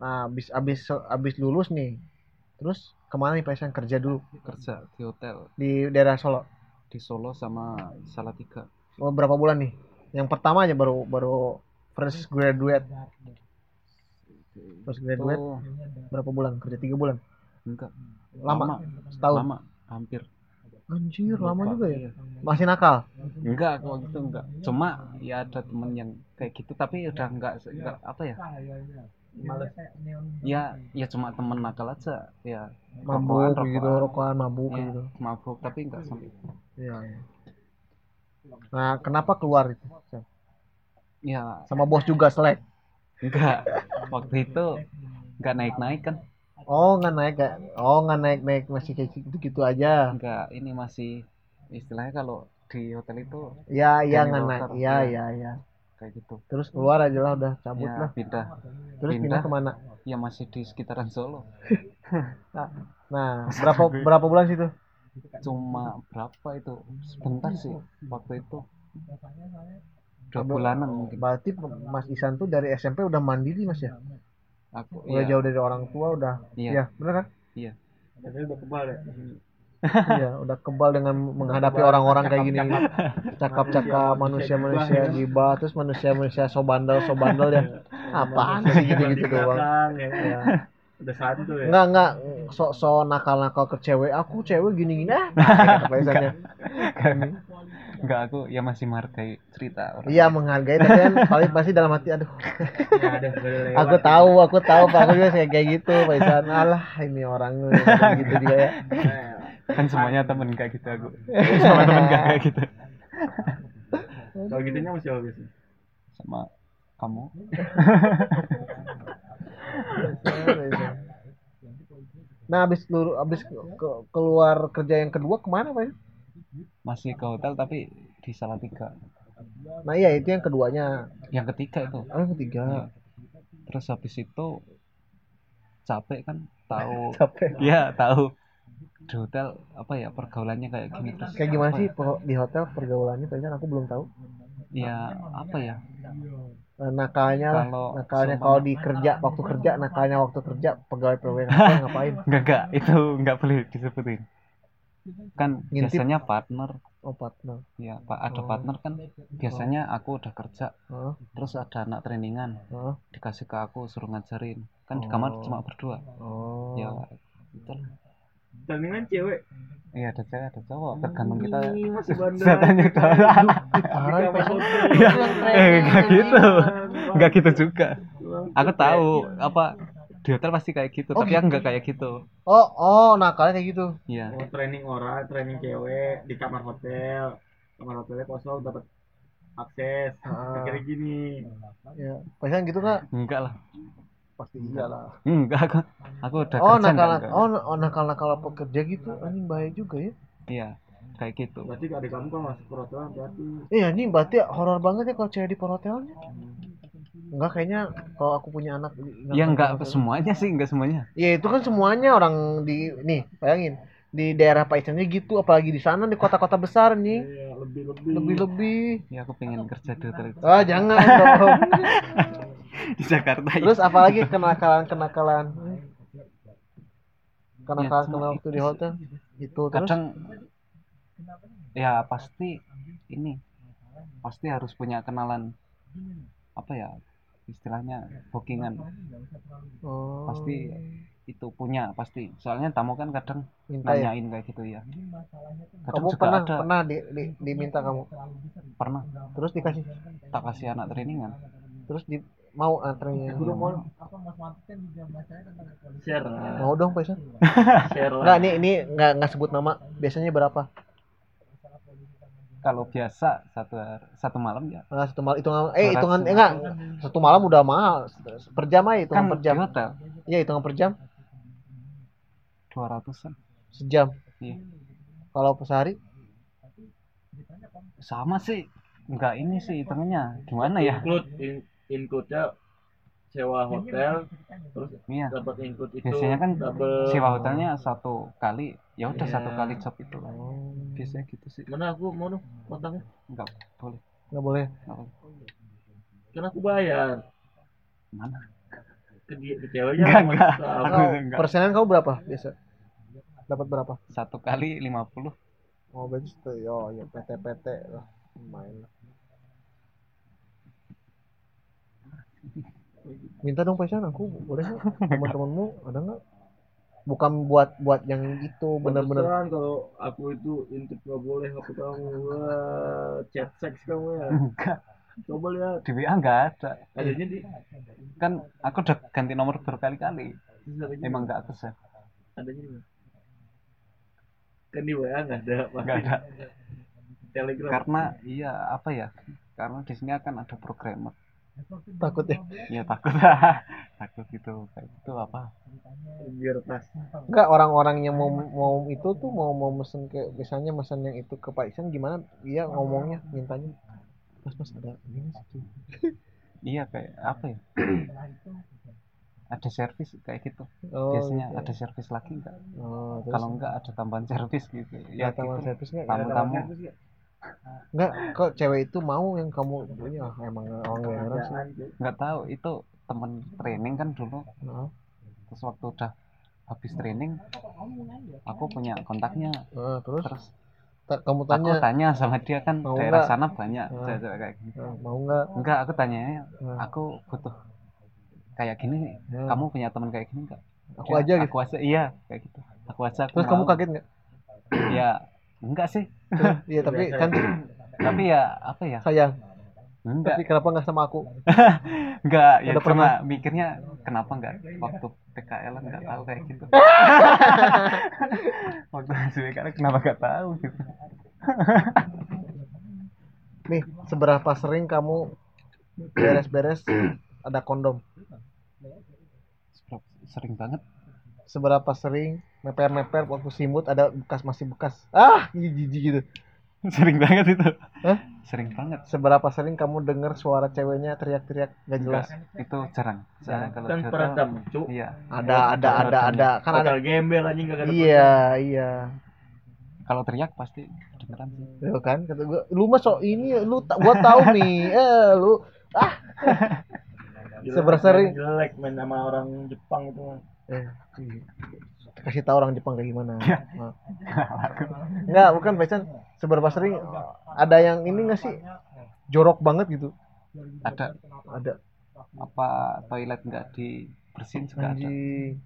Speaker 1: nah abis abis abis lulus nih terus kemana nih PSN kerja dulu
Speaker 3: Kerja di hotel
Speaker 1: di daerah Solo
Speaker 3: di Solo sama Salatiga.
Speaker 1: Oh, berapa bulan nih? Yang pertama aja baru baru fresh graduate. Fresh graduate
Speaker 3: Tuh,
Speaker 1: berapa bulan? Kerja tiga bulan.
Speaker 3: Oh, enggak.
Speaker 1: Lama, setahun.
Speaker 3: Lama, hampir.
Speaker 1: Anjir, lama
Speaker 3: Lupa,
Speaker 1: juga ya.
Speaker 3: iya.
Speaker 1: Masih nakal.
Speaker 3: Enggak, kalau gitu enggak. Cuma ya ada temen yang kayak gitu tapi udah enggak enggak apa ya?
Speaker 6: Males.
Speaker 3: Ya, ya cuma temen nakal aja. Ya,
Speaker 1: Mabuk
Speaker 3: Rokokan,
Speaker 1: gitu,
Speaker 3: rokokan.
Speaker 1: rokokan, mabuk
Speaker 3: ya,
Speaker 1: gitu.
Speaker 3: mabuk tapi enggak sampai.
Speaker 1: Iya. iya. Nah, kenapa keluar itu?
Speaker 3: Ya,
Speaker 1: Sama bos juga selek.
Speaker 3: enggak. Waktu itu enggak naik-naik kan?
Speaker 1: Oh, nggak naik nggak? Oh, nggak naik naik masih kayak gitu gitu aja.
Speaker 3: Enggak, ini masih istilahnya kalau di hotel itu
Speaker 1: Ya, iya
Speaker 3: Jadi
Speaker 1: nggak
Speaker 3: rocker,
Speaker 1: naik. Iya,
Speaker 3: iya.
Speaker 1: iya, iya.
Speaker 3: kayak gitu.
Speaker 1: Terus keluar aja lah, udah cabut
Speaker 3: ya,
Speaker 1: lah.
Speaker 3: pindah.
Speaker 1: Terus pindah
Speaker 3: pindah.
Speaker 1: kemana?
Speaker 3: Ya masih di sekitaran Solo.
Speaker 1: Nah, berapa berapa bulan situ?
Speaker 3: cuma berapa itu sebentar sih waktu itu dua bulanan mungkin
Speaker 1: Berarti Mas Isan tuh dari SMP udah mandiri Mas ya?
Speaker 3: aku
Speaker 1: Udah
Speaker 3: iya
Speaker 1: jauh dari orang tua udah.
Speaker 3: Iya.
Speaker 1: Iya, bener kan?
Speaker 6: Jadi udah kebal ya.
Speaker 1: Iya, udah kebal dengan menghadapi orang-orang kayak
Speaker 3: Iya,
Speaker 1: gini. Cakap-cakap manusia-manusia gibah, terus manusia-manusia sobandel sobandel
Speaker 3: Iya.
Speaker 1: yang apaan sih gitu-gitu gitu doang.
Speaker 6: Ya. Udah satu ya.
Speaker 1: Enggak enggak sok-sok nakal-nakal ke cewek. Aku cewek gini-gini ah. kata Pak Isan ya.
Speaker 3: nggak aku ya masih menghargai cerita orang
Speaker 1: Iya menghargai tapi kan paling pasti dalam hati aduh
Speaker 6: Ya, ada boleh
Speaker 1: aku tahu aku tahu Pak aku juga kayak- kayak gitu Pak Isan alah ini orangnya gitu juga ya
Speaker 3: kan semuanya temen kayak gitu aku sama temen nggak kayak gitu
Speaker 6: Kalau gitunya masih bagus. nih.
Speaker 3: sama kamu
Speaker 1: Nah, abis, lur- abis ke- keluar kerja yang kedua kemana, Pak?
Speaker 3: masih ke hotel tapi di salah tiga
Speaker 1: Nah, iya itu yang keduanya.
Speaker 3: yang ketiga itu
Speaker 1: Oh, yang ketiga.
Speaker 3: Iya. terus habis itu capek kan tahu
Speaker 1: Capek.
Speaker 3: ya tahu di hotel apa ya pergaulannya kayak gini terus
Speaker 1: Kayak gimana
Speaker 3: apa
Speaker 1: sih
Speaker 3: ya?
Speaker 1: pe- di hotel pergaulannya? Ternyata aku belum tahu.
Speaker 3: ya apa ya
Speaker 1: Eh, Nakalnya lah.
Speaker 3: Kalau
Speaker 1: Nakalnya
Speaker 3: seumpama-
Speaker 1: kalau di kerja, waktu kerja, nakalnya waktu kerja, pegawai-pegawai kantor ngapain?
Speaker 3: enggak enggak itu enggak boleh disebutin kan
Speaker 1: Ngintip.
Speaker 3: biasanya partner
Speaker 1: Oh, partner.
Speaker 3: ya pak ada
Speaker 1: Oh.
Speaker 3: partner kan biasanya aku udah kerja
Speaker 1: Heeh,
Speaker 3: terus ada anak trainingan
Speaker 1: heeh.
Speaker 3: dikasih ke aku suruh ngajarin kan di
Speaker 1: Oh.
Speaker 3: kamar cuma berdua
Speaker 1: Oh.
Speaker 3: ya itulah
Speaker 6: Trainingan cewek.
Speaker 3: iya ada cewek ada cowok
Speaker 1: Hmm,
Speaker 3: tergantung kita
Speaker 6: Ih, masih bandel.
Speaker 3: setannya ke
Speaker 1: Parah, Pak Isan.
Speaker 3: ya eh enggak gitu enggak gitu juga aku tahu apa di hotel pasti kayak gitu
Speaker 1: Oh,
Speaker 3: tapi aku enggak kayak gitu
Speaker 1: Oh, oh, nakalnya kayak gitu.
Speaker 3: ya
Speaker 6: Oh, training orang, training cewek di kamar hotel. Kamar hotelnya kosong dapat akses.
Speaker 1: Ah.
Speaker 6: Akhirnya gini.
Speaker 1: Ya. Pak Isan gitu nggak?
Speaker 3: enggak lah
Speaker 1: Pasti iyalah.
Speaker 3: enggak aku aku udah kan,
Speaker 1: Oh
Speaker 3: kerja enggak,
Speaker 1: nakal
Speaker 3: enggak.
Speaker 1: oh, oh nakal nakal pekerja gitu anjing bahaya juga ya
Speaker 3: iya kayak gitu
Speaker 6: Berarti ada kamu kalau masuk ke hotel berarti
Speaker 1: eh anjing berarti horor banget ya kalau cewek di perhotelannya enggak kayaknya kalau aku punya anak
Speaker 3: ya enggak
Speaker 1: nakal-
Speaker 3: semuanya sih enggak semuanya
Speaker 1: ya itu kan semuanya orang di nih bayangin di daerah Paisannya gitu apalagi di sana di kota-kota besar nih
Speaker 6: ya, lebih lebih.
Speaker 1: lebih lebih
Speaker 3: ya aku pengen kerja di hotel itu.
Speaker 1: ah jangan dong
Speaker 3: di Jakarta ya.
Speaker 1: terus apalagi kenakalan kenakalan kenakalan
Speaker 3: cuma
Speaker 1: kenakalan waktu di hotel itu terus
Speaker 3: kadang ya pasti ini pasti harus punya kenalan apa ya istilahnya bookingan
Speaker 1: oh,
Speaker 3: pasti itu punya pasti soalnya tamu kan kadang
Speaker 1: minta ya
Speaker 3: nanyain kayak gitu ya kadang
Speaker 1: kamu
Speaker 3: juga
Speaker 1: pernah
Speaker 3: ada
Speaker 1: pernah di- di- diminta kamu
Speaker 3: pernah
Speaker 1: terus dikasih
Speaker 3: tak kasih anak trainingan
Speaker 1: terus di mau antrenya
Speaker 6: share
Speaker 1: mau dong Pak Isan
Speaker 3: Iya.
Speaker 6: share lah.
Speaker 1: Oh. nggak ini ini nggak nggak sebut nama biasanya berapa
Speaker 3: kalau biasa satu hari- satu malam ya
Speaker 1: nah, satu malam hitungan eh
Speaker 3: 200.
Speaker 1: hitungan eh nggak satu malam udah mahal per jam aja hitungan
Speaker 3: kan
Speaker 1: per jam
Speaker 3: di hotel
Speaker 1: iya hitungan per jam
Speaker 3: dua ratusan
Speaker 1: sejam
Speaker 3: Iya.
Speaker 1: kalau per sehari
Speaker 3: sama sih enggak ini sih hitungannya gimana ya
Speaker 6: Include in, include-nya sewa hotel terus
Speaker 3: iya
Speaker 1: Ah.
Speaker 6: dapat include itu
Speaker 3: biasanya kan
Speaker 6: double
Speaker 3: sewa hotelnya satu kali ya udah
Speaker 6: Iya.
Speaker 3: satu kali job itu lah biasanya gitu sih
Speaker 6: mana aku mau dong kontaknya
Speaker 3: enggak boleh
Speaker 1: nggak boleh
Speaker 3: Nggak boleh.
Speaker 6: karena aku bayar
Speaker 3: mana
Speaker 6: ke, dia- ke ceweknya sama
Speaker 3: Enggak, enggak.
Speaker 6: kita.
Speaker 3: Aku
Speaker 1: Kau,
Speaker 3: enggak.
Speaker 1: persenan kamu berapa biasa dapat berapa
Speaker 3: satu kali 50
Speaker 1: oh berarti itu yo ya PT PT lah main lah. minta dong Pak Isan aku boleh nggak teman-temanmu ada nggak bukan buat buat yang itu bener-bener
Speaker 6: Pantesan kalau aku itu intip gak boleh aku kamu Wah, chat seks kamu ya
Speaker 3: enggak
Speaker 6: coba lihat
Speaker 3: di WA enggak ada
Speaker 6: adanya di
Speaker 3: kan aku udah ganti nomor berkali-kali
Speaker 6: adanya
Speaker 3: emang enggak akses ya
Speaker 6: adanya di mana? kan di WA nggak ada pasti.
Speaker 3: enggak ada
Speaker 6: telegram
Speaker 3: karena iya apa ya karena di sini akan ada programmer
Speaker 1: takut ya
Speaker 3: ya takut takut gitu kayak gitu apa
Speaker 6: biar tas
Speaker 1: Enggak orang-orang yang mau mau itu tuh mau mau mesen ke misalnya mesen yang itu ke Pak Isan gimana dia ngomongnya mintanya Mas Mas ada ini sih, cuy."
Speaker 3: iya kayak apa ya ada servis kayak gitu
Speaker 1: Oh,
Speaker 3: biasanya
Speaker 1: gitu.
Speaker 3: ada servis lagi enggak
Speaker 1: Oh, terus
Speaker 3: kalau enggak ada tambahan servis gitu
Speaker 1: ya
Speaker 3: ya
Speaker 1: tamu
Speaker 3: gitu.
Speaker 1: servis nggak?
Speaker 3: tamu tamu
Speaker 1: Enggak, kok cewek itu mau yang kamu ini ah, emang orang daerah sih.
Speaker 3: nggak tahu itu temen training kan dulu
Speaker 1: Heeh.
Speaker 3: terus waktu udah habis training aku punya kontaknya
Speaker 1: Nah, terus
Speaker 3: terus
Speaker 1: ta- kamu
Speaker 3: aku
Speaker 1: tanya
Speaker 3: tanya sama dia kan
Speaker 1: Mau
Speaker 3: daerah
Speaker 1: nggak?
Speaker 3: sana banyak
Speaker 1: Ah.
Speaker 3: cewek-cewek kayak gini
Speaker 1: "Ah, mau nggak?
Speaker 3: enggak aku tanya
Speaker 1: Ah,
Speaker 3: aku butuh kayak gini
Speaker 1: ya,
Speaker 3: kamu punya teman kayak gini enggak
Speaker 1: aku aja gitu.
Speaker 3: aku aja iya kayak gitu aku aja aku
Speaker 1: Terus kamu
Speaker 3: mau.
Speaker 1: kaget nggak?
Speaker 3: ya enggak sih
Speaker 1: Iya, tapi kan
Speaker 3: tapi ya apa ya
Speaker 1: sayang.
Speaker 3: enggak
Speaker 1: Tapi kenapa nggak sama aku?
Speaker 3: enggak ya
Speaker 1: Udah
Speaker 3: cuma mikirnya kenapa enggak waktu PKL enggak tahu kayak gitu waktu hasil PKL kenapa enggak tahu gitu
Speaker 1: Nih, seberapa sering kamu beres-beres ada kondom?
Speaker 3: sering banget
Speaker 1: Seberapa sering meper-meper waktu simut ada bekas masih bekas? Ah, iya, jijik gitu.
Speaker 3: sering banget itu
Speaker 1: Hah?
Speaker 3: sering banget
Speaker 1: Seberapa sering kamu dengar suara ceweknya teriak-teriak nggak jelas?
Speaker 3: itu jarang jarang kalau
Speaker 6: dan
Speaker 3: jarang,
Speaker 6: pernah Kan cuk
Speaker 3: iya
Speaker 1: Ada, ada, ada, ada. Kan ada.
Speaker 6: hotel gembel anjing gak ada
Speaker 1: Iya, iya.
Speaker 3: kalau teriak pasti kedengeran sih
Speaker 1: Lu kan kata gua, lu mah sok ini lu ta- gua tahu nih. Eh, lu
Speaker 6: Jelek, men,
Speaker 1: Seberapa sering?
Speaker 6: jelek main sama orang Jepang itu mah
Speaker 1: Eh, iya. kasih tahu orang Jepang kayak gimana. Nah. Enggak, bukan Pesan. Seberapa sering ada yang ini nggak sih? Jorok banget gitu.
Speaker 3: ada
Speaker 1: Ada
Speaker 3: apa toilet enggak dibersihin juga ada
Speaker 1: anjing.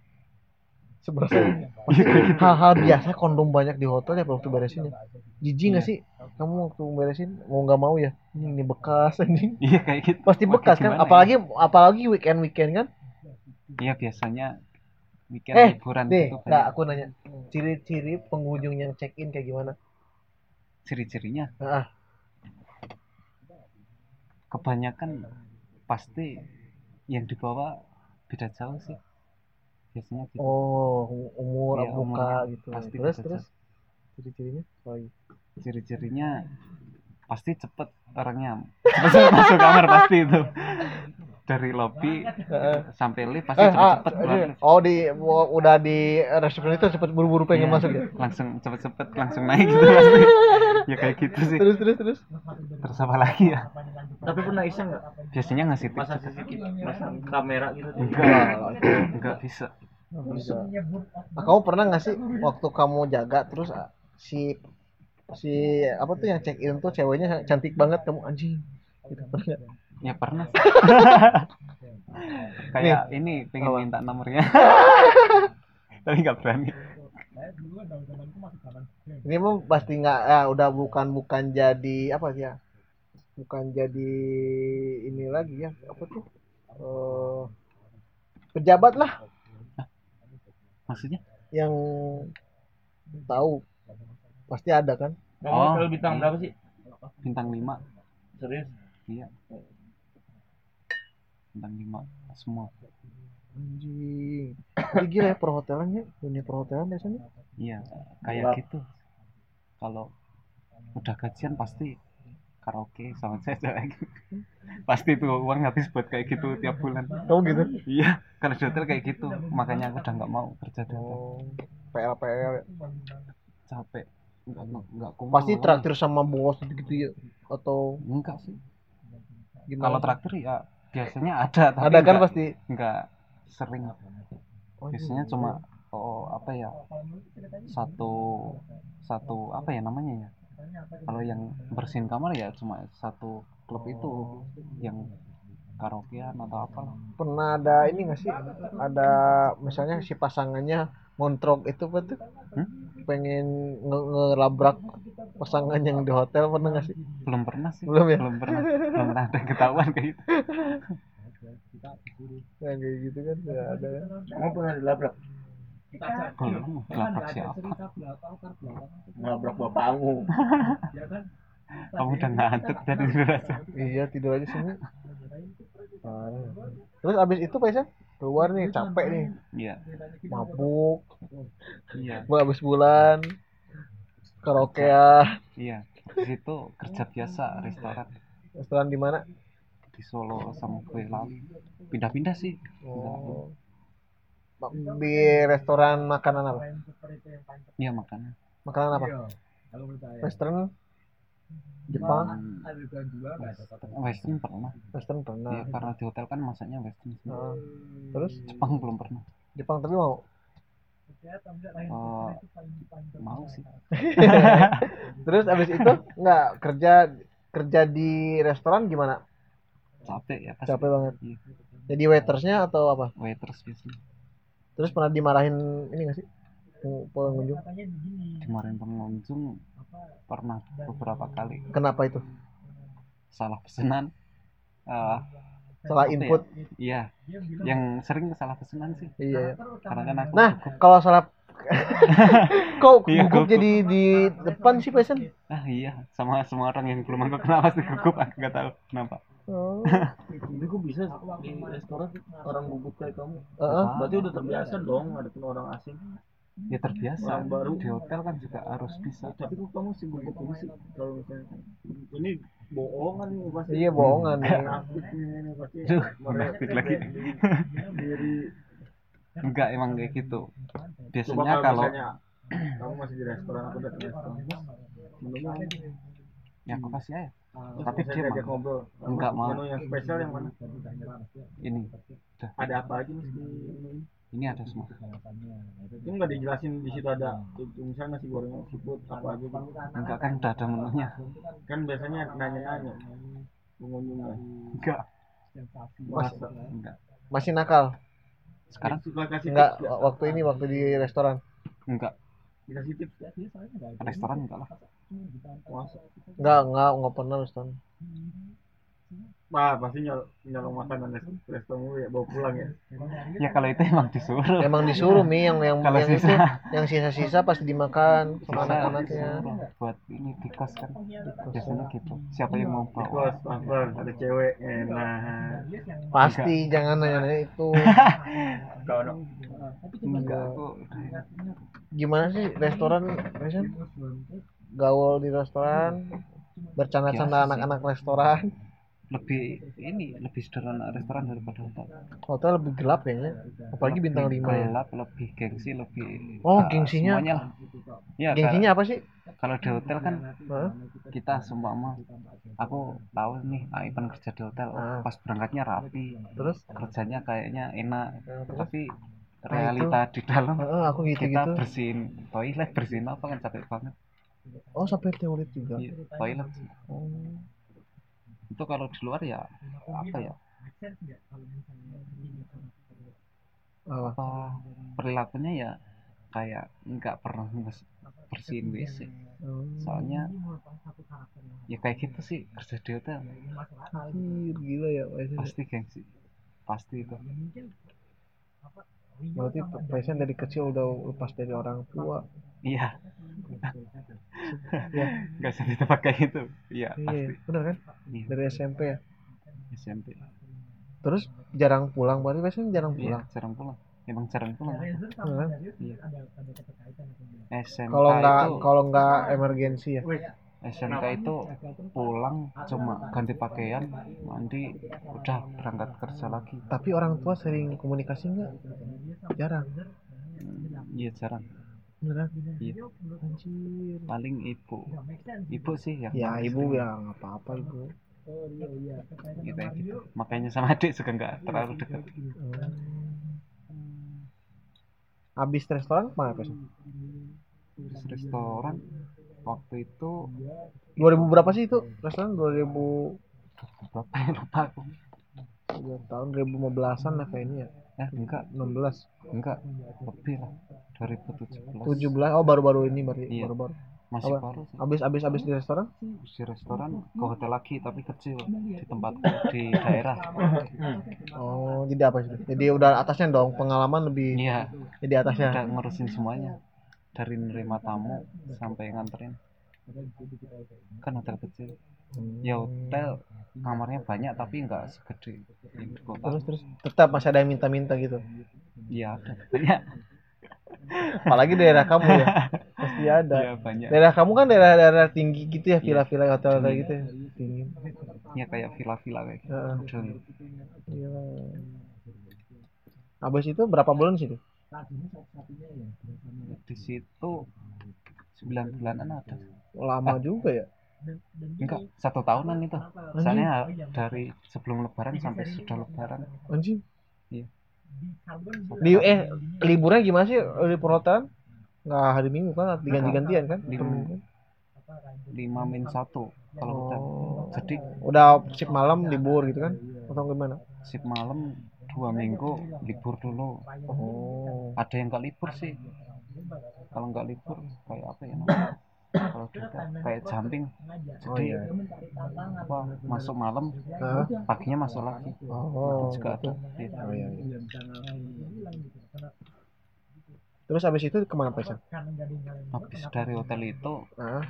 Speaker 1: Seberapa sering?
Speaker 3: Iya.
Speaker 1: Pasti Hal-hal biasa kondom banyak di hotel ya waktu beresin ya. Jijik
Speaker 3: Iya.
Speaker 1: nggak sih? Kamu waktu beresin mau nggak mau ya? Ini, ini bekas anjing.
Speaker 3: iya kayak gitu
Speaker 1: Pasti
Speaker 3: Waduh,
Speaker 1: bekas kan,
Speaker 3: gimana ya?
Speaker 1: apalagi apalagi weekend-weekend kan.
Speaker 3: iya biasanya weekend
Speaker 1: Eh,
Speaker 3: liburan
Speaker 1: Nih,
Speaker 3: gitu
Speaker 1: nah
Speaker 3: banyak
Speaker 1: aku nanya ciri-ciri pengunjung yang check in kayak gimana?
Speaker 3: ciri-cirinya
Speaker 1: Ah.
Speaker 3: kebanyakan pasti yang dibawa beda jauh sih biasanya gitu
Speaker 1: Oh, umur,
Speaker 3: Iya, umur.
Speaker 1: muka gitu.
Speaker 3: Pasti
Speaker 1: terus
Speaker 3: beda
Speaker 1: terus Eh, ciri-cirinya apa lagi?
Speaker 3: ciri-cirinya pasti cepet orangnya cepet masuk kamar pasti itu dari lobby sampai lift pasti
Speaker 1: Eh,
Speaker 3: cepet
Speaker 1: ah,
Speaker 3: cepet
Speaker 1: ini. oh di mau- udah di resepsionis itu cepet buru-buru
Speaker 3: Iya.
Speaker 1: pengen masuk ya.
Speaker 3: langsung cepet cepet langsung naik gitu pasti ya kayak gitu sih
Speaker 1: Terus terus terus.
Speaker 3: terus apa lagi ya
Speaker 6: tapi pernah iseng gak
Speaker 3: biasanya ngasih tips
Speaker 6: masa CCTV masang kamera gitu tuh
Speaker 3: enggak enggak bisa
Speaker 1: Nah, kamu pernah nggak sih waktu kamu jaga terus ah, si si apa tuh yang check in tuh ceweknya cantik banget kamu anjing gitu pernah nggak?
Speaker 3: Ya pernah. Kayak ini pengen
Speaker 1: Apa?
Speaker 3: minta nomornya. Tapi nggak berani.
Speaker 1: ini mah pasti nggak ya udah bukan bukan jadi apa sih ya bukan jadi ini lagi ya apa tuh Eh, pejabat lah
Speaker 3: Maksudnya?
Speaker 1: yang tahu pasti ada kan
Speaker 6: kamu
Speaker 3: Oh.
Speaker 6: hotel bintang berapa sih
Speaker 3: Bintang 5.
Speaker 6: serius
Speaker 3: Iya. Bintang 5 semua.
Speaker 1: anjing Jadi gila ya perhotelannya dunia perhotelan biasanya
Speaker 3: Iya, kayak
Speaker 6: Gelap.
Speaker 3: gitu. Kalau udah gajian pasti karaoke sama cewek pasti tuh uang habis buat kayak gitu tiap bulan
Speaker 1: kamu gitu
Speaker 3: iya kalau di hotel kayak gitu makanya aku udah nggak mau kerja di hotel
Speaker 1: oh, PL PL
Speaker 3: capek nggak nggak kumpul
Speaker 1: pasti
Speaker 3: uang.
Speaker 1: traktir sama bos gitu, gitu ya atau
Speaker 3: enggak sih
Speaker 1: gimana
Speaker 3: kalau traktir ya biasanya ada tapi
Speaker 1: ada kan
Speaker 3: nggak-
Speaker 1: pasti
Speaker 3: nggak sering biasanya cuma oh apa ya satu satu apa ya namanya ya kalau yang bersihin kamar ya cuma satu klub itu yang karaokean atau apa
Speaker 1: pernah ada ini nggak sih ada misalnya si pasangannya ngontrok itu apa tuh
Speaker 3: Hmm?
Speaker 1: pengen nge- ngelabrak pasangan yang di hotel pernah nggak sih
Speaker 3: belum pernah sih
Speaker 1: Belum ya?
Speaker 3: belum pernah belum pernah ada yang ketahuan kayak gitu
Speaker 1: Nah, kayak gitu kan nggak ada kan
Speaker 6: kamu pernah dilabrak
Speaker 7: kan
Speaker 3: belum labrak siapa
Speaker 6: ngelabrak bapakmu
Speaker 3: kamu udah ngantuk dari tidur aja
Speaker 1: iya tidur aja sini Parah. terus abis itu Faisal keluar nih capek nih
Speaker 3: iya
Speaker 1: mabuk
Speaker 3: iya
Speaker 1: gua abis bulan karaokean
Speaker 3: iya di situ kerja biasa restoran
Speaker 1: restoran di mana
Speaker 3: di Solo sama gue lalu pindah-pindah sih
Speaker 1: oh di restoran makanan apa?
Speaker 3: Iya makan.
Speaker 1: Makanan apa?
Speaker 7: Iya.
Speaker 6: Kalau menurut saya.
Speaker 1: Western, Jepang,
Speaker 3: Hmm,
Speaker 6: Ada dua dua nggak ada kata.
Speaker 3: Western pernah.
Speaker 1: Western
Speaker 3: Ya,
Speaker 1: pernah.
Speaker 3: karena di hotel kan masaknya Western. semua.
Speaker 1: Nah, terus
Speaker 3: Jepang belum pernah.
Speaker 1: Jepang tapi mau
Speaker 3: Eh, mau sih.
Speaker 1: terus abis itu nggak kerja kerja di restoran gimana?
Speaker 3: Capek ya pasti.
Speaker 1: Capek banget.
Speaker 3: Iya.
Speaker 1: Jadi waitersnya atau apa?
Speaker 3: Waiters biasanya.
Speaker 1: Terus pernah dimarahin ini nggak sih? Peng- Pengunjung.
Speaker 3: Kemarin pengunjung pernah beberapa kali
Speaker 1: Kenapa itu?
Speaker 3: salah pesanan. Eh,
Speaker 1: Salah
Speaker 3: Apa ya?
Speaker 1: input.
Speaker 3: iya, yang sering salah pesanan sih.
Speaker 1: Iya. iya.
Speaker 3: Karena kan aku
Speaker 1: Nah, kalau salah kok
Speaker 3: Iya,
Speaker 1: gugup
Speaker 3: gugup.
Speaker 1: jadi di depan sih Pesen?
Speaker 3: ah iya sama semua orang yang belum aku kenal pasti gugup aku nggak tahu kenapa.
Speaker 1: Oh.
Speaker 6: Jadi gue bisa di restoran orang gugup kayak kamu.
Speaker 1: Heeh.
Speaker 6: Berarti udah terbiasa dong ngadepin orang asing.
Speaker 3: Ya terbiasa.
Speaker 6: Orang baru.
Speaker 3: Di hotel kan juga harus bisa.
Speaker 6: Tapi kok kamu sih gugup ini sih kalau misalnya ini bohongan nih pasti.
Speaker 1: Iya bohongan nih.
Speaker 6: Munafik nih, ini pasti.
Speaker 3: Duh,
Speaker 6: merepek
Speaker 3: munafik lagi.
Speaker 6: diri- Diri.
Speaker 3: Enggak emang kayak gitu.
Speaker 6: Coba
Speaker 3: Biasanya kalau
Speaker 6: misalnya kamu masih di restoran aku udah di restoran. Menunya
Speaker 3: ya aku kasih aja
Speaker 6: Terus
Speaker 3: Tapi
Speaker 6: saya
Speaker 3: dia
Speaker 6: diajak
Speaker 3: mau.
Speaker 6: ngobrol.
Speaker 3: Enggak mau.
Speaker 6: Menu yang spesial yang mana?
Speaker 3: ini. Udah,
Speaker 6: Ada apa aja nih di menu ini?
Speaker 3: ini ada semua.
Speaker 6: Ini nggak dijelasin di situ ada misalnya nasi goreng seafood apa aja gitu.
Speaker 3: Enggak kan udah ada menunya.
Speaker 6: Kan biasanya nanya-nanya pengunjungnya.
Speaker 3: Enggak.
Speaker 6: Masa?
Speaker 3: Enggak.
Speaker 1: Masih nakal.
Speaker 3: Sekarang
Speaker 6: Suka kasih
Speaker 1: Enggak
Speaker 6: tips, ya?
Speaker 1: waktu ini waktu di restoran.
Speaker 3: enggak
Speaker 6: Dikasih tips ya?
Speaker 3: restoran enggak lah.
Speaker 6: Masa?
Speaker 1: Enggak, enggak, enggak pernah restoran.
Speaker 6: Wah, pasti nyol nyolong makanan res- resto mulu ya, bawa pulang ya.
Speaker 3: Ya kalau itu emang disuruh.
Speaker 1: Emang disuruh Mi yang yang
Speaker 3: Kalau
Speaker 1: yang itu
Speaker 3: sisa-
Speaker 1: yang sisa-sisa pasti dimakan sama
Speaker 3: Bisa
Speaker 1: anak-anaknya.
Speaker 3: disuruh buat ini di kos kan. Biasanya gitu. Siapa yang mau
Speaker 6: Di
Speaker 3: bawa?
Speaker 6: kos, lapar, ada cewek, ya, nah. enak.
Speaker 1: Pasti jangan nanya-nanya itu.
Speaker 3: Enggak aku udah
Speaker 1: Gimana sih restoran Resen? Gaul di restoran bercanda-canda
Speaker 3: Biasa sih.
Speaker 1: anak-anak restoran.
Speaker 3: lebih ini lebih sederhana restoran daripada hotel.
Speaker 1: Hotel lebih gelap kayaknya. Apalagi bintang 5
Speaker 3: Lebih
Speaker 1: ya.
Speaker 3: gelap, lebih gengsi, lebih
Speaker 1: Oh,
Speaker 3: eh,
Speaker 1: gengsinya.
Speaker 3: semuanya lah. Ya,
Speaker 1: Gengsinya apa sih?
Speaker 3: kalau- Kalau di hotel kan
Speaker 1: Hah?
Speaker 3: kita semua mah aku tahu nih ah, Ipan kerja di hotel
Speaker 1: Ah.
Speaker 3: pas berangkatnya rapi
Speaker 1: Terus?
Speaker 3: kerjanya kayaknya enak
Speaker 1: Nah, terus?
Speaker 3: tapi
Speaker 1: itu. Nah, gitu.
Speaker 3: realita di dalam
Speaker 1: Heeh, aku
Speaker 3: kita
Speaker 1: gitu-gitu.
Speaker 3: bersihin toilet bersihin apa kan capek banget
Speaker 1: Oh, sampai teorit juga. Oh,
Speaker 3: Iya, toilet sih. itu kalau di luar ya apa ya
Speaker 1: Apa?
Speaker 3: apa perilakunya ya kayak nggak pernah nges- bersihin WC soalnya ya kayak gitu sih kerja di hotel
Speaker 1: Anjir, gila ya passion.
Speaker 3: pasti gengsi pasti itu
Speaker 1: Berarti passion dari kecil udah lepas dari orang tua.
Speaker 3: iya nggak usah di tempat kayak gitu iya pasti
Speaker 1: Iya, bener kan?
Speaker 3: Iya,
Speaker 1: Dari SMP ya.
Speaker 3: SMP
Speaker 1: Terus jarang pulang, berarti passion jarang
Speaker 3: iya
Speaker 1: pulang.
Speaker 3: jarang pulang emang Iya. jarang pulang
Speaker 1: Bener kan?
Speaker 3: SMK
Speaker 1: Kalau nggak
Speaker 3: Nah, itu
Speaker 1: kalau nggak emergensi ya.
Speaker 3: SMK itu pulang cuma ganti pakaian mandi udah berangkat kerja lagi
Speaker 1: Tapi orang tua sering komunikasi nggak? Jarang. kan?
Speaker 3: Hmm, iya jarang
Speaker 1: Beneran?
Speaker 3: Iya.
Speaker 1: Anjir.
Speaker 3: paling ibu ibu sih yang
Speaker 1: Ya
Speaker 3: paling
Speaker 1: ibu
Speaker 3: sering.
Speaker 1: ya nggak apa-apa ibu.
Speaker 3: Ya, kayak gitu. makanya sama adik juga nggak terlalu dekat
Speaker 1: Abis restoran kemana passion?
Speaker 3: Terus restoran waktu itu
Speaker 1: 2000 berapa sih itu? Restoran 2000
Speaker 3: berapa ya lupa aku
Speaker 1: ya, tahun 2015-an lah kayaknya ya.
Speaker 3: eh enggak
Speaker 1: 16,
Speaker 3: enggak lebih lah 2017
Speaker 1: 17. Oh, baru-baru ini baru
Speaker 3: Iya.
Speaker 1: baru-baru.
Speaker 3: masih
Speaker 1: Apa?
Speaker 3: baru sih
Speaker 1: Abis abis abis di restoran?
Speaker 3: Terus di restoran ke hotel lagi tapi kecil di tempat di daerah
Speaker 1: Oh, jadi apa sih? Jadi udah atasnya dong, pengalaman lebih
Speaker 3: iya
Speaker 1: jadi atasnya.
Speaker 3: udah ngurusin semuanya dari nerima tamu sampai nganterin kan hotel kecil ya hotel kamarnya banyak tapi nggak segede yang di kota
Speaker 1: Terus terus tetap masih ada yang minta-minta gitu.
Speaker 3: iya ada banyak
Speaker 1: Apalagi daerah kamu ya. Pasti ada.
Speaker 3: iya Iya. banyak
Speaker 1: Daerah kamu kan daerah-daerah tinggi gitu ya, villa-villa hotel hotel gitu ya. Tinggi.
Speaker 3: ya kayak villa-villa kayak gitu
Speaker 1: Heeh.
Speaker 3: Hotelnya.
Speaker 1: Iya. Abis itu berapa bulan sih?
Speaker 3: di situ 9 bulanan ada
Speaker 1: Lama juga ya.
Speaker 3: enggak satu tahunan itu misalnya dari sebelum lebaran sampai sudah lebaran
Speaker 1: Anjing.
Speaker 3: Iya.
Speaker 1: Di eh liburnya gimana sih di perhotelan? Nggak hari Minggu kan diganti-gantian kan?
Speaker 3: Minggu.
Speaker 1: Minggu.
Speaker 3: 5 min 1 kalau hutan
Speaker 1: Oh.
Speaker 3: jadi
Speaker 1: Udah shift malam libur gitu kan? Atau gimana?
Speaker 3: sip malam dua minggu libur dulu
Speaker 1: Oh.
Speaker 3: ada yang nggak libur sih kalau nggak libur kayak apa ya namanya kalau di hotel, kayak jumping
Speaker 1: Oh,
Speaker 3: jadi apa masuk malam
Speaker 1: Hah?
Speaker 3: paginya masuk lagi
Speaker 1: Oh.
Speaker 3: juga ada Iya.
Speaker 1: Oh, iya, iya.
Speaker 3: gitu,
Speaker 1: Terus habis itu kemana pesan?
Speaker 3: habis dari hotel itu
Speaker 1: Hah?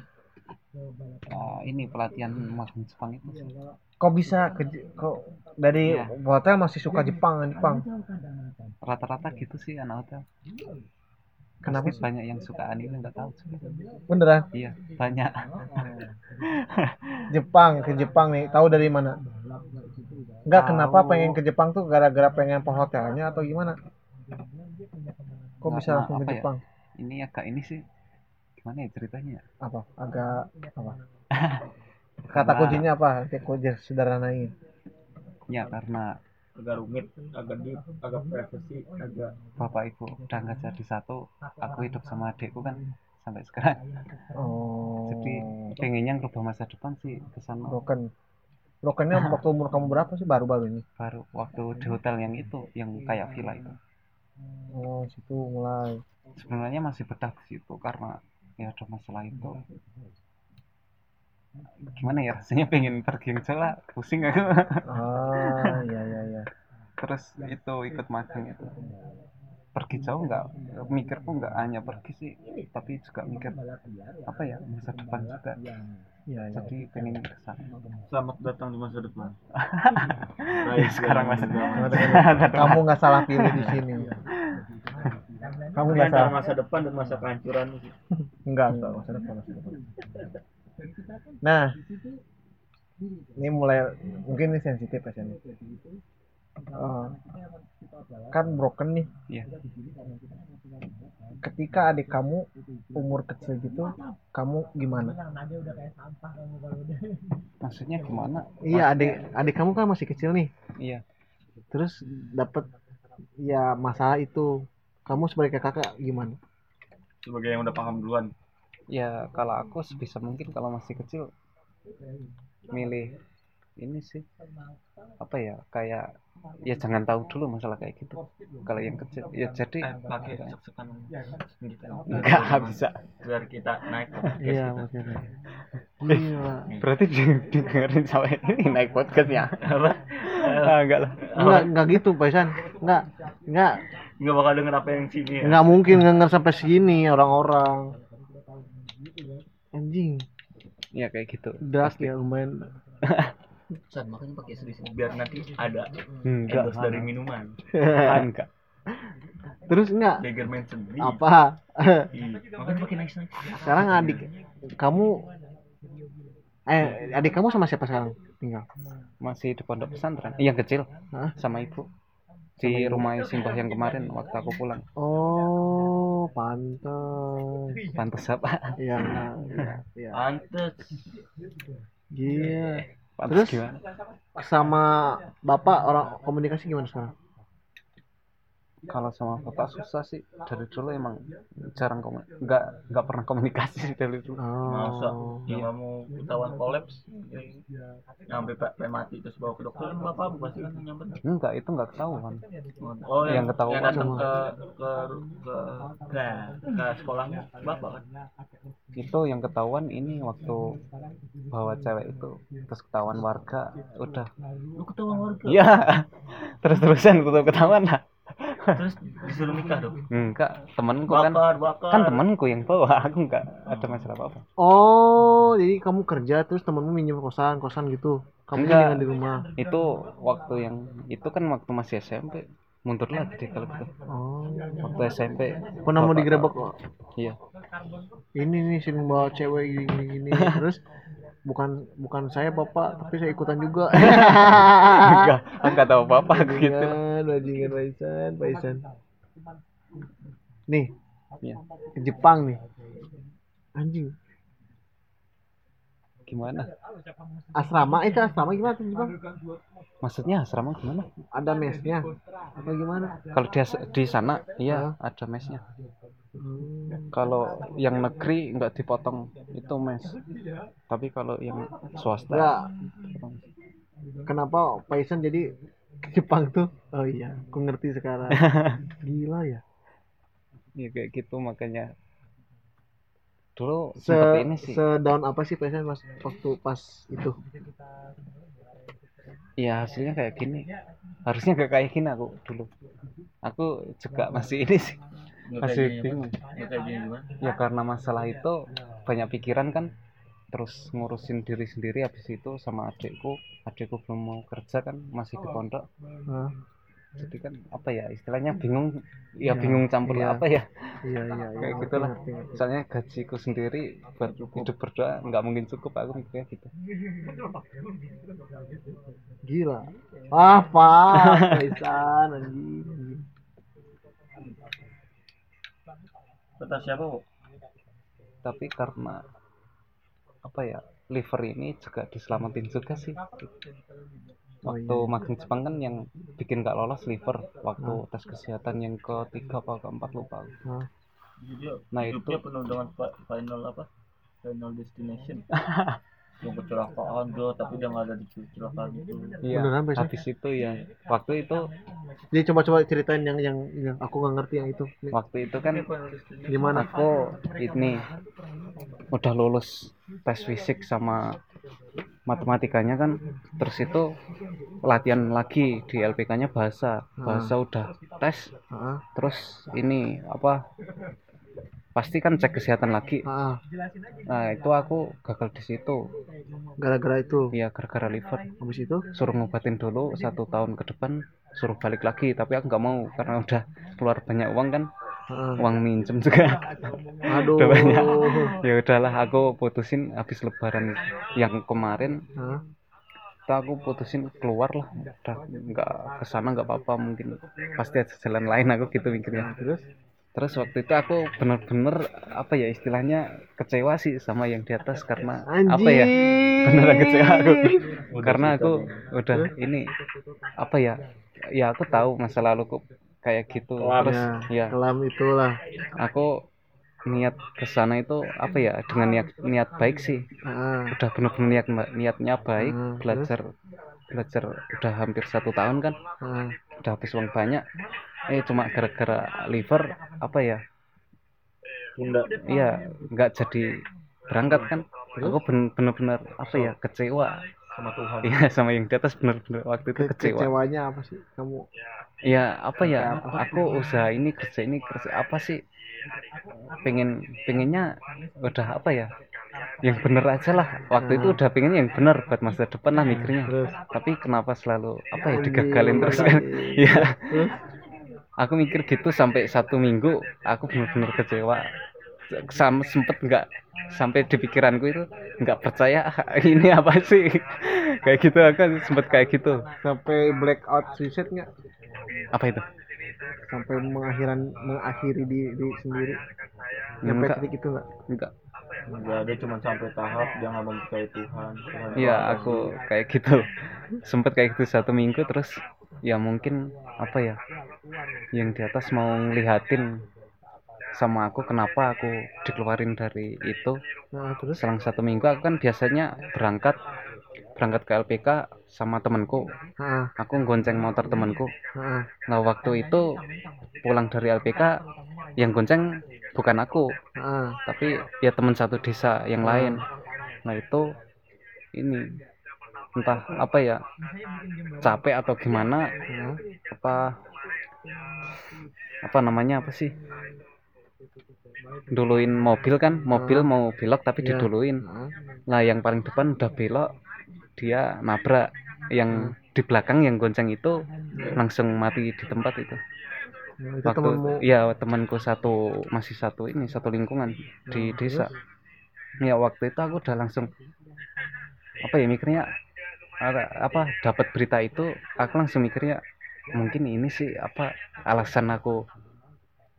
Speaker 3: ya, ini pelatihan makan Jepang itu
Speaker 1: Iya.
Speaker 3: sih.
Speaker 1: Kok bisa ke kok dari
Speaker 3: Iya.
Speaker 1: hotel masih suka Jepang kan, Jepang?
Speaker 3: rata-rata gitu sih anak hotel
Speaker 1: Kenapa
Speaker 3: Pasti banyak yang suka anime nggak tahu juga.
Speaker 1: Beneran
Speaker 3: iya banyak
Speaker 1: Jepang ke Jepang nih tahu dari mana? Enggak
Speaker 3: gitu, Tahu.
Speaker 1: kenapa pengen ke Jepang tuh gara-gara pengen perhotelannya atau gimana? Kok
Speaker 3: Nggak,
Speaker 1: bisa
Speaker 3: nggak,
Speaker 1: langsung ke
Speaker 3: apa ya?
Speaker 1: Jepang?
Speaker 3: ini agak ini sih gimana ya ceritanya
Speaker 1: Apa? Agak apa? Kata
Speaker 3: Karena-
Speaker 1: kuncinya apa? Kayak kunci sederhanain.
Speaker 3: ya karena
Speaker 6: agak rumit agak deep agak privacy agak
Speaker 3: bapak ibu udah nggak jadi satu aku hidup sama adikku kan sampai sekarang
Speaker 1: Oh.
Speaker 3: Jadi, pengennya ngerubah masa depan sih kesan
Speaker 1: broken. Brokennya waktu umur kamu berapa sih baru-baru ini?
Speaker 3: baru waktu di hotel yang itu yang kayak villa itu
Speaker 1: Oh, situ mulai.
Speaker 3: sebenarnya masih betah di situ karena ya ada masalah itu gimana ya rasanya pengen pergi yang jauh lah pusing aku
Speaker 1: Ah, iya iya iya.
Speaker 3: terus itu ikut magang itu pergi jauh nggak mikirku nggak hanya pergi sih tapi juga mikir apa ya masa depan juga
Speaker 1: Iya iya.
Speaker 3: jadi pengen ke sana
Speaker 2: Selamat datang di masa depan.
Speaker 3: ya
Speaker 2: Iya,
Speaker 3: sekarang masih
Speaker 1: Kamu nggak salah pilih di sini. Kamu nggak salah.
Speaker 2: masa depan dan masa kehancuran.
Speaker 1: Enggak, enggak, masa depan, masa depan. Nah, ini mulai mungkin ini sensitif ya Sen. Eh, kan broken nih.
Speaker 3: Iya.
Speaker 1: Ketika adik kamu umur kecil gitu, kamu gimana?
Speaker 3: maksudnya gimana
Speaker 1: Iya, adik adik kamu kan masih kecil nih.
Speaker 3: iya
Speaker 1: Terus dapat ya masalah itu. Kamu sebagai kakak gimana?
Speaker 2: Sebagai yang udah paham duluan.
Speaker 3: ya kalau aku sebisa mungkin kalau masih kecil milih ini sih apa ya kayak ya jangan tahu dulu masalah kayak gitu kalau yang kecil ya
Speaker 2: Eh,
Speaker 3: jadi
Speaker 2: pakai sekan
Speaker 1: Ya,
Speaker 2: gitu.
Speaker 3: nggak bisa
Speaker 2: Biar kita naik.
Speaker 1: Iya, maksudnya. Iya.
Speaker 3: berarti dengerin sampai ini naik podcast ya
Speaker 1: Ah,
Speaker 2: Eh,
Speaker 3: enggak lah
Speaker 1: Enggak, enggak gitu, Paisan. Enggak, enggak,
Speaker 2: Enggak bakal denger apa yang sini ya.
Speaker 1: Nggak mungkin ngenger sampai segini orang-orang. Anjing,
Speaker 3: ya kayak gitu
Speaker 1: deras ya lumayan.
Speaker 6: San, makanya pakai sedih biar nanti ada
Speaker 3: enggak
Speaker 2: Endorse dari minuman.
Speaker 3: enggak
Speaker 1: Terus enggak
Speaker 2: Jagger Mansion. Ih,
Speaker 1: apa?
Speaker 2: ih.
Speaker 6: makanya pakai nice nice
Speaker 1: Sekarang adik kamu eh adik kamu sama siapa sekarang tinggal?
Speaker 3: masih di pondok pesantren Iya, yang kecil
Speaker 1: Hah?
Speaker 3: sama ibu di rumah simbah yang kemarin waktu aku pulang
Speaker 1: Oh, pantes.
Speaker 3: pantas apa
Speaker 1: Iya, nah, iya, iya.
Speaker 2: Pantes.
Speaker 1: Iya.
Speaker 3: pantas
Speaker 1: Terus?
Speaker 3: gimana
Speaker 1: Sama bapak orang komunikasi gimana sekarang?
Speaker 3: Iya. kalau sama bapak susah sih dari dulu emang jarang komunikasi nggak nggak pernah komunikasi sih dari dulu
Speaker 2: Masa
Speaker 1: Oh.
Speaker 2: yang
Speaker 3: Iya.
Speaker 2: kamu ketahuan kolaps nyampe pe- pe mati terus bawa ke dokter enggak apa pasti kan nyampe.
Speaker 3: enggak itu nggak ketahuan
Speaker 2: Oh,
Speaker 3: Yang ketahuan
Speaker 2: yang datang
Speaker 3: sama.
Speaker 2: ke ke ke ke, ke sekolahnya bapak kan.
Speaker 3: itu yang ketahuan ini waktu bawa cewek itu terus ketahuan warga udah
Speaker 2: Lu ketahuan warga.
Speaker 3: iya terus terusan tetap ketahuan lah
Speaker 2: Terus disuruh nikah dong.
Speaker 3: enggak temenku kan
Speaker 2: Bakar, bakar.
Speaker 3: kan temenku yang bawa aku enggak ada masalah apa apa
Speaker 1: Oh, jadi kamu kerja terus temenmu minjem kosan, kosan gitu. Kamu
Speaker 3: Enggak.
Speaker 1: tinggal di rumah.
Speaker 3: itu waktu yang itu kan waktu masih SMP mundur lagi deh kalau gitu
Speaker 1: Oh.
Speaker 3: waktu SMP
Speaker 1: Pernah mau
Speaker 3: bapak-
Speaker 1: digerebek kok.
Speaker 3: iya
Speaker 1: Ini nih sering bawa cewek gini gini, gini. terus bukan bukan saya bapak tapi saya ikutan juga. Ah.
Speaker 3: enggak enggak tahu apa apa gitu
Speaker 1: Iya. Kan, Bajingan, bajingan Paisan, Paisan.
Speaker 8: nih
Speaker 3: Iya.
Speaker 8: ke Jepang nih anjing
Speaker 3: Gimana?
Speaker 1: eh,
Speaker 8: asrama itu asrama gimana tuh di Jepang
Speaker 3: Maksudnya asrama gimana?
Speaker 8: ada mesnya atau gimana
Speaker 3: Kalau dia s- di sana, iya ada mesnya.
Speaker 8: Hmm.
Speaker 3: Kalau yang negeri nggak dipotong itu mes. Tapi kalau yang swasta,
Speaker 8: enggak kenapa Paisan jadi ke Jepang tuh oh iya aku ngerti sekarang gila ya
Speaker 3: ya kayak gitu makanya. Dulu
Speaker 8: se
Speaker 3: seperti ini sih.
Speaker 8: se down apa sih Paisan pas waktu pas itu
Speaker 3: Ya hasilnya kayak gini. Harusnya gak kayak gini aku dulu. Aku juga masih ini sih. Masih bingung. Ya karena masalah itu banyak pikiran kan. Terus ngurusin diri sendiri habis itu sama adikku. Adikku belum mau kerja kan masih di pondok.
Speaker 8: Hah?
Speaker 3: Jadi kan apa ya istilahnya bingung. Ya bingung campur
Speaker 8: iya.
Speaker 3: apa ya.
Speaker 8: iya iya iya
Speaker 3: Kayak gitu
Speaker 8: ngerti,
Speaker 3: gitulah.
Speaker 8: ngerti, ngerti.
Speaker 3: Misalnya gajiku sendiri buat hidup berdoa nggak mungkin cukup aku mikirnya gitu.
Speaker 8: gila ah Pak Paisan anjing
Speaker 2: Kata siapa? Bu?
Speaker 3: tapi karena apa ya liver ini juga diselamatin juga sih
Speaker 8: Oh, iya.
Speaker 3: waktu magang Jepang kan yang bikin gak lolos liver waktu
Speaker 8: Hmm.
Speaker 3: tes kesehatan yang ketiga apa keempat lupa aku.
Speaker 8: Hah.
Speaker 3: nah itu
Speaker 2: Hidupnya penuh dengan fa- final apa? Final destination. yang kecelakaan bro, tapi dia nggak ada di kecelakaan itu.
Speaker 3: iya
Speaker 8: Beneran, Pak, sih?
Speaker 3: habis itu ya waktu itu
Speaker 8: jadi coba-coba ceritain yang yang yang aku nggak ngerti yang itu Nih,
Speaker 3: waktu itu kan
Speaker 8: gimana
Speaker 3: aku ini udah lulus tes fisik sama matematikanya kan terus itu latihan lagi di LPK-nya bahasa bahasa udah tes
Speaker 8: Heeh.
Speaker 3: terus ini apa pasti kan cek kesehatan lagi
Speaker 8: Ah,
Speaker 3: nah itu aku gagal di situ
Speaker 8: gara-gara itu
Speaker 3: ya gara-gara liver
Speaker 8: habis itu
Speaker 3: suruh ngobatin dulu satu tahun ke depan suruh balik lagi tapi aku nggak mau karena udah keluar banyak uang kan
Speaker 8: Heeh.
Speaker 3: uang minjem juga
Speaker 8: aduh
Speaker 1: Oh.
Speaker 3: Udah banyak. ya udahlah aku putusin habis lebaran yang kemarin
Speaker 8: Hah?
Speaker 3: tuh aku putusin keluar lah udah nggak kesana nggak apa-apa mungkin pasti ada jalan lain aku gitu mikirnya terus terus waktu itu aku bener-bener apa ya istilahnya kecewa sih sama yang di atas karena apa ya beneran kecewa aku karena aku udah ini apa ya ya aku tahu masa laluku kayak gitu terus ya
Speaker 8: kelam itulah
Speaker 3: aku niat ke sana itu apa ya dengan niat niat baik sih
Speaker 8: Heeh.
Speaker 3: udah benar-benar niat niatnya baik
Speaker 8: Hmm,
Speaker 3: belajar belajar udah hampir satu tahun kan
Speaker 8: Heeh.
Speaker 3: udah habis uang banyak eh cuma gara-gara liver apa ya iya nggak jadi berangkat kan aku ben- bener-bener apa ya kecewa
Speaker 2: Sama Tuhan.
Speaker 3: iya sama yang di atas bener-bener waktu itu
Speaker 8: Ke-
Speaker 3: kecewa
Speaker 8: kecewanya apa sih kamu
Speaker 3: ya apa ya aku usaha ini kerja ini kerja apa sih pengen pengennya udah apa ya yang bener aja lah waktu itu udah pengen yang bener buat masa depan lah mikirnya tapi kenapa selalu apa ya digagalin terus kan ya aku mikir gitu sampai satu minggu aku bener-bener kecewa sama sempet nggak sampai di pikiranku itu nggak percaya "Ah, ini apa sih kayak gitu aku sempet kayak gitu
Speaker 8: sampai blackout suicide nggak
Speaker 3: apa itu
Speaker 8: sampai mengakhiran mengakhiri di, di sendiri sampai
Speaker 3: Enggak.
Speaker 8: titik itu nggak
Speaker 3: enggak
Speaker 2: Nggak ada cuma sampai tahap dia nggak mempercayai Tuhan. Tuhan
Speaker 3: Iya, aku kayak gitu. Sempet kayak gitu satu minggu terus ya mungkin apa ya? Yang di atas mau ngelihatin sama aku kenapa aku dikeluarin dari itu.
Speaker 8: nah terus
Speaker 3: Selang satu minggu aku kan biasanya berangkat berangkat ke LPK sama temanku.
Speaker 8: Heeh.
Speaker 3: Aku gonceng motor temanku.
Speaker 8: Heeh.
Speaker 3: Nah, waktu itu pulang dari LPK yang gonceng bukan aku,
Speaker 8: Heeh.
Speaker 3: tapi ya teman satu desa yang lain nah itu ini entah apa ya capek atau gimana apa apa namanya apa sih duluin mobil kan mobil mau belok tapi
Speaker 8: Iya.
Speaker 3: diduluin
Speaker 8: Heeh.
Speaker 3: nah yang paling depan udah belok dia nabrak yang di belakang yang gonceng itu langsung mati di tempat itu
Speaker 8: Nah, itu temanmu
Speaker 3: waktu ya temanku satu masih satu ini satu lingkungan di desa ya waktu itu aku udah langsung apa ya mikirnya apa- apa dapat berita itu aku langsung mikirnya mungkin ini sih apa alasan aku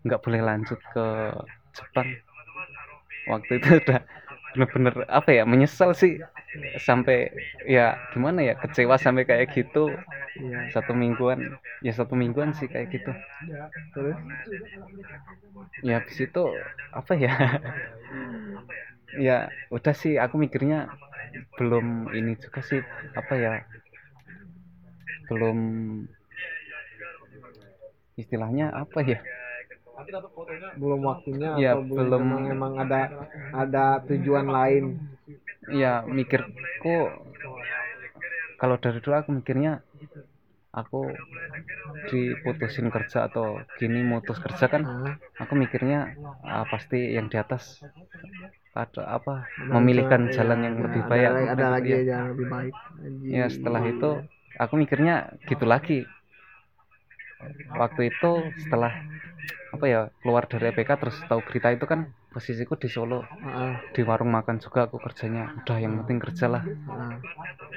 Speaker 3: nggak boleh lanjut ke Jepang waktu itu udah bener-bener apa ya menyesal sih sampai ya gimana ya kecewa sampai kayak gitu satu mingguan ya satu mingguan sih kayak gitu ya habis itu apa ya ya udah sih aku mikirnya belum ini juga sih apa ya belum istilahnya apa ya
Speaker 1: belum waktunya
Speaker 3: Ya,
Speaker 1: atau
Speaker 3: belum.
Speaker 1: belum emang, emang ada ada tujuan lain
Speaker 3: ya mikirku kalau dari dulu aku mikirnya aku diputusin kerja atau gini mutus kerja kan aku mikirnya ah, pasti yang di atas ada apa memilihkan jalan yang lebih
Speaker 1: Nah,
Speaker 3: baik
Speaker 1: ada,
Speaker 3: Aku
Speaker 1: ada
Speaker 3: pikir,
Speaker 1: lagi
Speaker 3: ya.
Speaker 1: yang lebih baik Anjing.
Speaker 3: ya setelah itu aku mikirnya gitu lagi waktu itu setelah apa ya keluar dari EPK terus tahu berita itu kan posisiku di Solo
Speaker 1: Heeh,
Speaker 3: di warung makan juga aku kerjanya udah yang penting kerjalah
Speaker 1: heeh.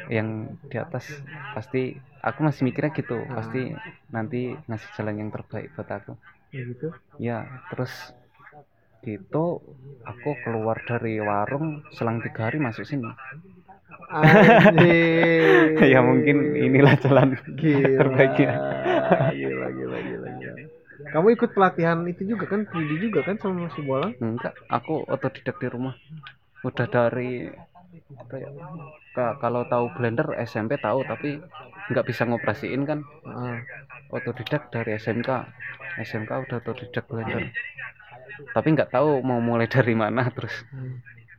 Speaker 3: yang di atas pasti aku masih mikirnya gitu pasti nanti ngasih jalan yang terbaik buat aku
Speaker 1: Ah. Ya gitu
Speaker 3: ya terus gitu aku keluar dari warung selang tiga hari masuk sini
Speaker 1: Anjing.
Speaker 3: ya mungkin inilah jalan
Speaker 1: Gila.
Speaker 3: terbaiknya.
Speaker 1: Gila, gila, gila, gila. Kamu ikut pelatihan itu juga kan, 3D juga kan sama Mas Bolang?
Speaker 3: enggak aku otodidak di rumah udah dari apa ya, ka- kalau tahu blender SMP tahu tapi nggak bisa ngoperasiin kan
Speaker 1: Heeh.
Speaker 3: otodidak dari SMK SMK udah otodidak blender tapi nggak tahu mau mulai dari mana terus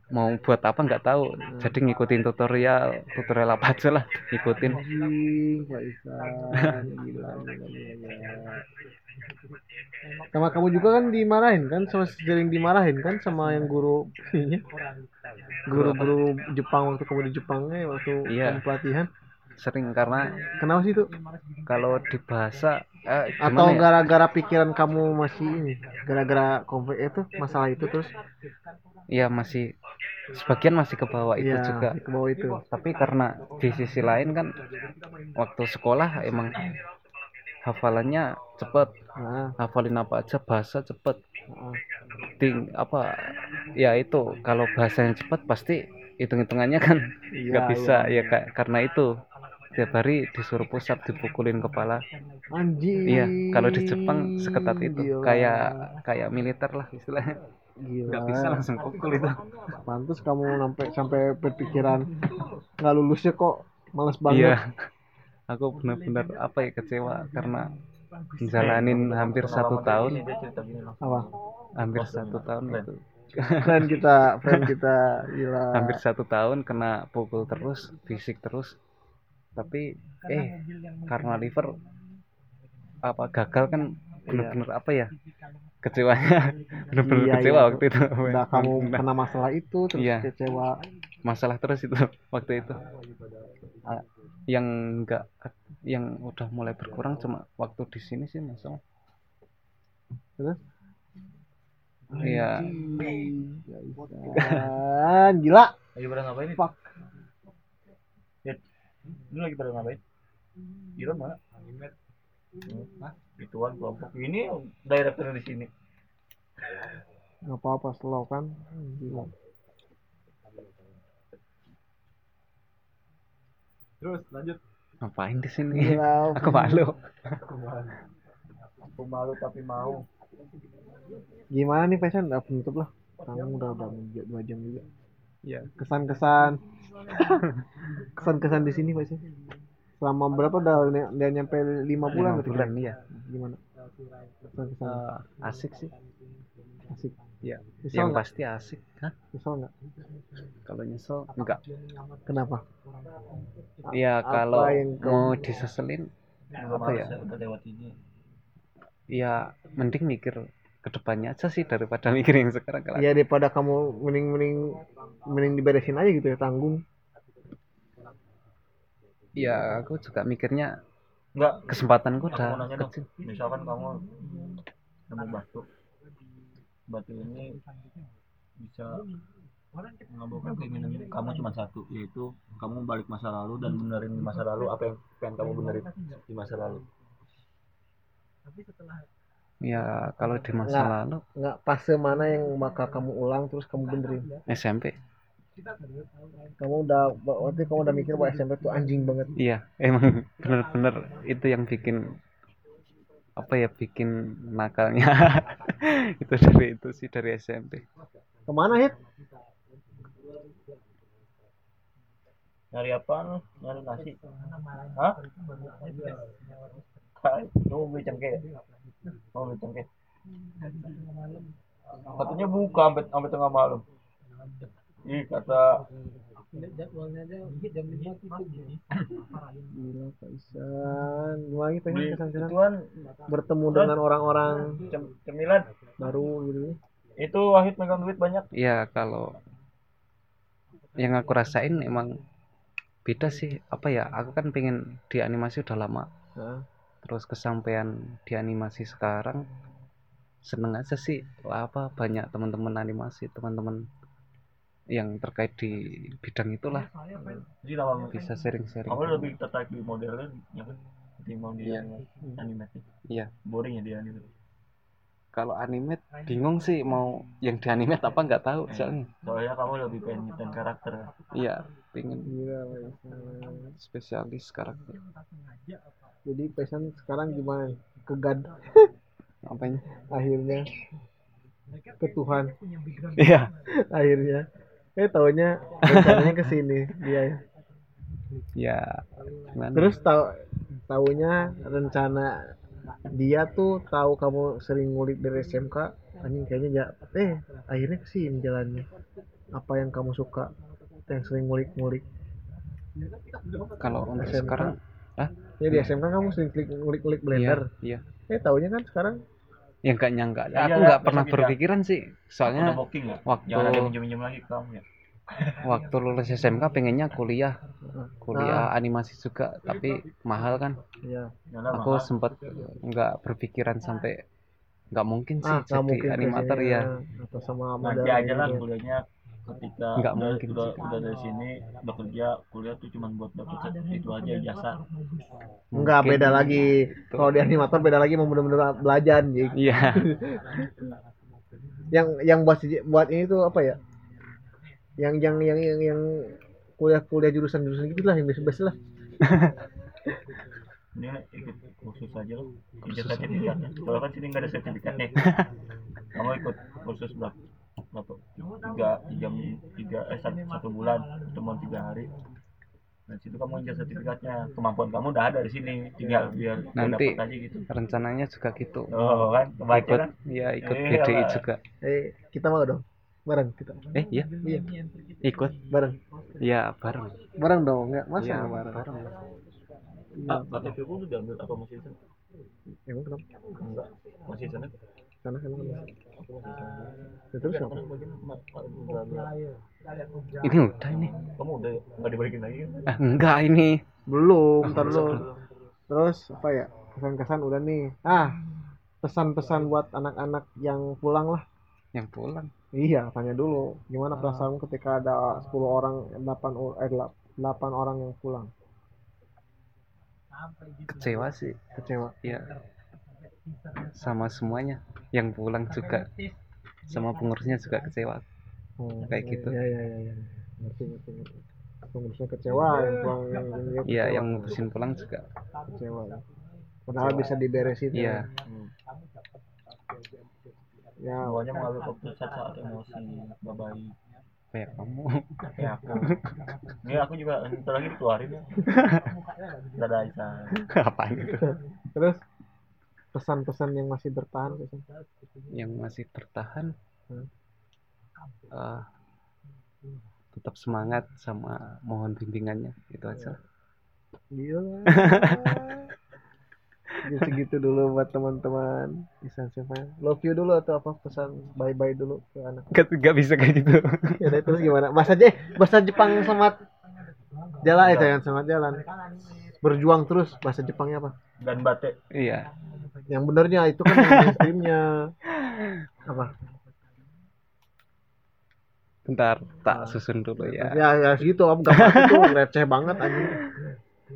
Speaker 3: mau buat apa nggak tahu jadi ngikutin tutorial tutorial apa aja lah ngikutin
Speaker 1: Anjing, Pak Isan. Gila, gila, gila, gila. Sama kamu juga kan dimarahin kan, sama sering dimarahin kan sama yang guru ininya. guru-guru Jepang waktu kamu di Jepangnya waktu
Speaker 3: Iya.
Speaker 1: kamu pelatihan.
Speaker 3: sering karena
Speaker 1: Kenapa sih itu?
Speaker 3: kalau di bahasa eh, gimana
Speaker 1: Atau
Speaker 3: ya?
Speaker 1: gara-gara pikiran kamu masih ini, gara-gara konflik itu masalah itu terus?
Speaker 3: ya masih sebagian masih ke bawah itu
Speaker 1: Iya,
Speaker 3: juga
Speaker 1: ke bawah itu.
Speaker 3: tapi karena di sisi lain kan waktu sekolah emang hafalannya cepet
Speaker 1: Nah,
Speaker 3: hafalin apa aja bahasa cepet
Speaker 1: ah.
Speaker 3: ting apa ya itu kalau bahasanya cepet pasti hitung hitungannya kan
Speaker 1: Iya,
Speaker 3: nggak bisa ya Kak. karena itu tiap hari disuruh pusat dipukulin kepala
Speaker 1: Anjing.
Speaker 3: iya kalau di Jepang seketat itu
Speaker 1: Gila.
Speaker 3: kayak kayak militer lah istilahnya
Speaker 1: Iya. Gila.
Speaker 3: nggak bisa langsung pukul itu
Speaker 1: Pantes kamu sampai sampai berpikiran nggak lulusnya kok males banget.
Speaker 3: iya aku benar-benar apa ya kecewa karena jalanin hampir satu tahun
Speaker 1: Apa?
Speaker 3: hampir satu tahun itu
Speaker 1: Friend kita, friend kita gila.
Speaker 3: hampir satu tahun kena pukul terus fisik terus tapi eh karena liver apa gagal kan
Speaker 1: Iya.
Speaker 3: bener-bener apa ya kecewanya bener-bener
Speaker 1: Iya,
Speaker 3: kecewa
Speaker 1: iya.
Speaker 3: waktu itu
Speaker 1: Udah kamu
Speaker 3: Nah,
Speaker 1: kena masalah itu terus
Speaker 3: Iya.
Speaker 1: kecewa.
Speaker 3: masalah terus itu
Speaker 1: Nah,
Speaker 3: waktu itu Ah, yang enggak yang udah mulai berkurang cuma waktu di sini sih masalah
Speaker 1: Terus?
Speaker 3: Iya,
Speaker 1: Dan gila.
Speaker 2: Lagi pada ngapain nih?
Speaker 1: Fuck.
Speaker 2: Ya, ini lagi pada ngapain? Iron mana? Hah? Ituan kelompok ini director di sini.
Speaker 1: Gak apa-apa slow kan. Gila.
Speaker 2: Terus lanjut.
Speaker 3: ngapain di sini?
Speaker 1: Gila.
Speaker 3: Aku malu.
Speaker 2: Aku malu tapi mau.
Speaker 1: Gimana nih fashion? Udah penutup lah. Kamu udah udah menjadi dua jam juga.
Speaker 3: Iya.
Speaker 1: Kesan-kesan. Kesan-kesan di sini Pak Sin. Selama berapa udah udah nyampe lima bulan
Speaker 3: Lima
Speaker 1: berarti?
Speaker 3: bulan ya.
Speaker 1: Gimana? Kesan-kesan
Speaker 3: Eh, asik sih.
Speaker 1: asik.
Speaker 3: Ya,
Speaker 1: Nyesel
Speaker 3: yang
Speaker 1: nggak?
Speaker 3: pasti asik. Hah?
Speaker 1: Nyesel nggak?
Speaker 3: Kalau nyesel enggak.
Speaker 1: Kenapa?
Speaker 3: Ya
Speaker 1: Apa
Speaker 3: kalau
Speaker 1: yang kau-
Speaker 3: mau diseselin
Speaker 2: Apa
Speaker 3: ya?
Speaker 2: ya? Udah lewat ini.
Speaker 3: ya mending mikir ke depannya aja sih daripada mikir yang sekarang kalau
Speaker 1: Iya daripada kamu mending mending mending diberesin aja gitu ya tanggung.
Speaker 3: ya aku juga mikirnya
Speaker 2: Enggak,
Speaker 3: kesempatanku
Speaker 2: aku mau
Speaker 3: udah
Speaker 2: nanya dong. Misalkan kamu nemu batu. Batu ini bisa mengabulkan keinginan kamu cuma satu yaitu kamu balik masa lalu dan benerin di masa lalu apa yang pengen kamu benerin di masa lalu
Speaker 3: Ya kalau di masa
Speaker 1: Nggak.
Speaker 3: lalu
Speaker 1: nggak fase mana yang bakal kamu ulang terus kamu benerin
Speaker 3: SMP.
Speaker 1: kamu udah waktu itu kamu udah mikir bahwa SMP tuh anjing banget
Speaker 3: Iya, emang bener-bener itu yang bikin apa ya bikin nakalnya itu dari itu sih dari SMP
Speaker 1: kemana hit
Speaker 2: Nyari apa lu? Nyari nasi. Hah? Hai, lu mau beli cengkeh. Mau beli cengkeh. Katanya buka sampai sampai tengah malam. Ih, kata
Speaker 1: gila Kaisan gimana lagi pengen
Speaker 2: beli
Speaker 1: kesan
Speaker 2: ituan
Speaker 1: bertemu dengan orang-orang
Speaker 2: cem- cemilan.
Speaker 1: baru gitu
Speaker 2: Itu Wahid megang duit banyak.
Speaker 3: ya kalau yang aku rasain emang beda sih apa ya aku kan pengen di animasi udah lama
Speaker 1: Heeh.
Speaker 3: terus kesampaian di animasi sekarang seneng aja sih Lah, apa banyak teman-teman animasi teman-teman yang terkait di bidang itulah
Speaker 2: Jadi lama
Speaker 3: bisa sharing-sharing
Speaker 2: Kamu lebih tertarik di modelnya ya kan? Ketimbang di animatif.
Speaker 3: Iya.
Speaker 2: Boring ya di animatif.
Speaker 3: kalau animate bingung sih mau yang di animate apa nggak tahu soalnya
Speaker 2: Soalnya kamu lebih pengen nyiptain karakter.
Speaker 3: iya pengen spesialis karakter
Speaker 1: jadi Kaisan sekarang gimana nih? ke God
Speaker 3: apa ini
Speaker 1: akhirnya ke Tuhan
Speaker 3: iya
Speaker 1: akhirnya eh taunya rencananya ke sini dia
Speaker 3: ya gimana?
Speaker 1: Hmm. terus tahu taunya rencana dia tuh tahu kamu sering ngulik dari SMK anjing kayaknya ya eh akhirnya ke sini jalannya apa yang kamu suka yang sering ngulik-ngulik
Speaker 3: kalau untuk
Speaker 1: SMK.
Speaker 3: sekarang
Speaker 1: ya di SMK kamu sering klik ngulik-ngulik
Speaker 3: iya,
Speaker 1: blender
Speaker 3: iya
Speaker 1: eh taunya kan sekarang
Speaker 3: yang nggak nyangka
Speaker 2: Iya,
Speaker 3: aku nggak
Speaker 2: besok
Speaker 3: pernah
Speaker 2: kita-
Speaker 3: berpikiran sih
Speaker 2: Udah
Speaker 3: soalnya
Speaker 2: booking ya?
Speaker 3: waktu
Speaker 2: Jangan ada minjem-minjem lagi ke kamu ya.
Speaker 3: waktu lulus SMK pengennya kuliah
Speaker 1: Nah.
Speaker 3: kuliah animasi juga
Speaker 1: Iya.
Speaker 3: tapi mahal kan
Speaker 1: ya
Speaker 2: Nyala
Speaker 3: aku
Speaker 2: mahal.
Speaker 3: sempat nggak berpikiran sampai nggak mungkin sih
Speaker 1: ah
Speaker 3: jadi
Speaker 1: kamu mungkin
Speaker 3: animator
Speaker 1: kayaknya.
Speaker 3: ya
Speaker 1: atau sama
Speaker 2: nanti
Speaker 1: modal
Speaker 2: aja lah
Speaker 1: gitu.
Speaker 2: Nah, kuliahnya ketika
Speaker 3: Nggak
Speaker 2: udah,
Speaker 3: mungkin
Speaker 2: udah,
Speaker 3: sih.
Speaker 2: udah dari sini bekerja kuliah tuh cuman buat dapet itu aja jasa
Speaker 1: Enggak
Speaker 3: Mungkin.
Speaker 1: beda lagi. Kalau di animator beda lagi mau bener-bener belajar anjing.
Speaker 3: iya
Speaker 1: Yang yang buat buat ini tuh apa ya? Yang yang yang yang, yang kuliah-kuliah jurusan-jurusan gitu lah yang biasa-biasa lah.
Speaker 2: ini ikut kursus aja lo kerja sertifikatnya kalau kan sini nggak ada sertifikatnya kamu ikut kursus berapa berapa tiga tiga tiga eh satu, satu bulan pertemuan tiga hari dan situ kamu injak sertifikatnya kemampuan kamu udah ada di sini tinggal biar biar
Speaker 3: Nanti.
Speaker 2: dapet aja gitu
Speaker 3: rencananya juga gitu
Speaker 1: Iya
Speaker 2: oh kan kebaca
Speaker 3: ikut
Speaker 2: kan
Speaker 3: ya ikut
Speaker 2: Iya,
Speaker 3: BDI
Speaker 2: Pak.
Speaker 3: juga
Speaker 1: Eh, kita mau dong. Bareng kita.
Speaker 3: eh iya
Speaker 1: Iya,
Speaker 3: ikut
Speaker 1: bareng.
Speaker 3: ya bareng
Speaker 1: Bareng dong, enggak masa
Speaker 3: Iya,
Speaker 1: nggak bareng.
Speaker 2: Ah, KTP ku udah diambil apa masih di sana?
Speaker 1: Emang kenapa?
Speaker 2: Enggak, masih di sana.
Speaker 1: Karena emang kenapa?
Speaker 2: Aku masih di sana.
Speaker 1: Ya, terus apa?
Speaker 2: Karena bagian ma- ma- Hmm. ma-
Speaker 3: ini udah ini
Speaker 2: Kamu udah nggak dibalikin lagi kan?
Speaker 3: ah, enggak ini
Speaker 1: Belum, ntar dulu. Terus apa ya? Kesan-kesan udah nih. Ah, pesan-pesan buat anak-anak yang pulang lah.
Speaker 3: yang pulang
Speaker 1: Iya, tanya dulu. Gimana
Speaker 3: Ah.
Speaker 1: perasaan ketika ada 10 orang, 8, o- eh, delap- 8 orang yang pulang?
Speaker 3: Gitu. kecewa sih
Speaker 1: Kecewa.
Speaker 3: ya sama semuanya yang pulang juga sama pengurusnya juga kecewa
Speaker 1: Hmm,
Speaker 3: Kayak gitu.
Speaker 1: Iya, iya, iya. iya. Ngerti, ngerti, ngerti. Pengurusnya kecewa, yang pulang yang dia
Speaker 3: ya
Speaker 1: kecewa,
Speaker 3: Iya. yang ngurusin pulang juga
Speaker 1: kecewa. Padahal bisa diberesin.
Speaker 3: iya
Speaker 2: Hmm.
Speaker 1: Ya,
Speaker 2: Nah, Awalnya mengambil keputusan saat emosi babai
Speaker 3: kayak kamu
Speaker 2: ya aku. Ini aku juga ntar lagi dikeluarin ya. Gak ada Aisan.
Speaker 3: apaan itu
Speaker 1: terus pesan-pesan yang masih bertahan pesan.
Speaker 3: yang masih bertahan
Speaker 1: Hmm.
Speaker 3: eh, tetap semangat sama mohon bimbingannya itu aja
Speaker 1: Gila. Jadi segitu Gitu, dulu buat teman-teman. Bisa siapa? Love you dulu atau apa pesan bye-bye dulu ke anak.
Speaker 3: nggak nggak bisa kayak gitu
Speaker 1: Ya udah, terus gimana? Bahasa aja, bahasa Jepang selamat jalan ya jangan selamat jalan. Berjuang terus bahasa Jepangnya apa?
Speaker 2: Dan bate
Speaker 3: iya
Speaker 1: Yang benernya itu kan yang mainstreamnya. Apa?
Speaker 3: bentar tak susun dulu ya Iya.
Speaker 1: Ya, ya, harus gitu, om gak itu receh banget anjing.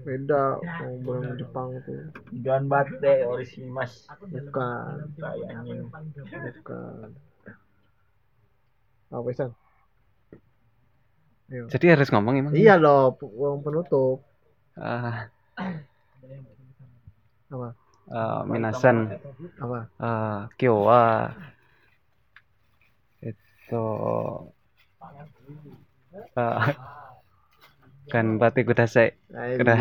Speaker 1: beda ngobrol sama Jepang tuh
Speaker 2: Jangan bate orishimas.
Speaker 1: bukan
Speaker 2: Tai anjing.
Speaker 1: bukan apa Isan
Speaker 3: Jadi harus ngomong emang.
Speaker 1: iya loh uang penutup
Speaker 3: Ah,
Speaker 1: apa
Speaker 3: ah, minasan
Speaker 1: apa
Speaker 3: ah, kyo wa itu ah, ganbate kudasai.
Speaker 1: Nah, ini.
Speaker 3: Kena.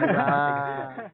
Speaker 1: Ya,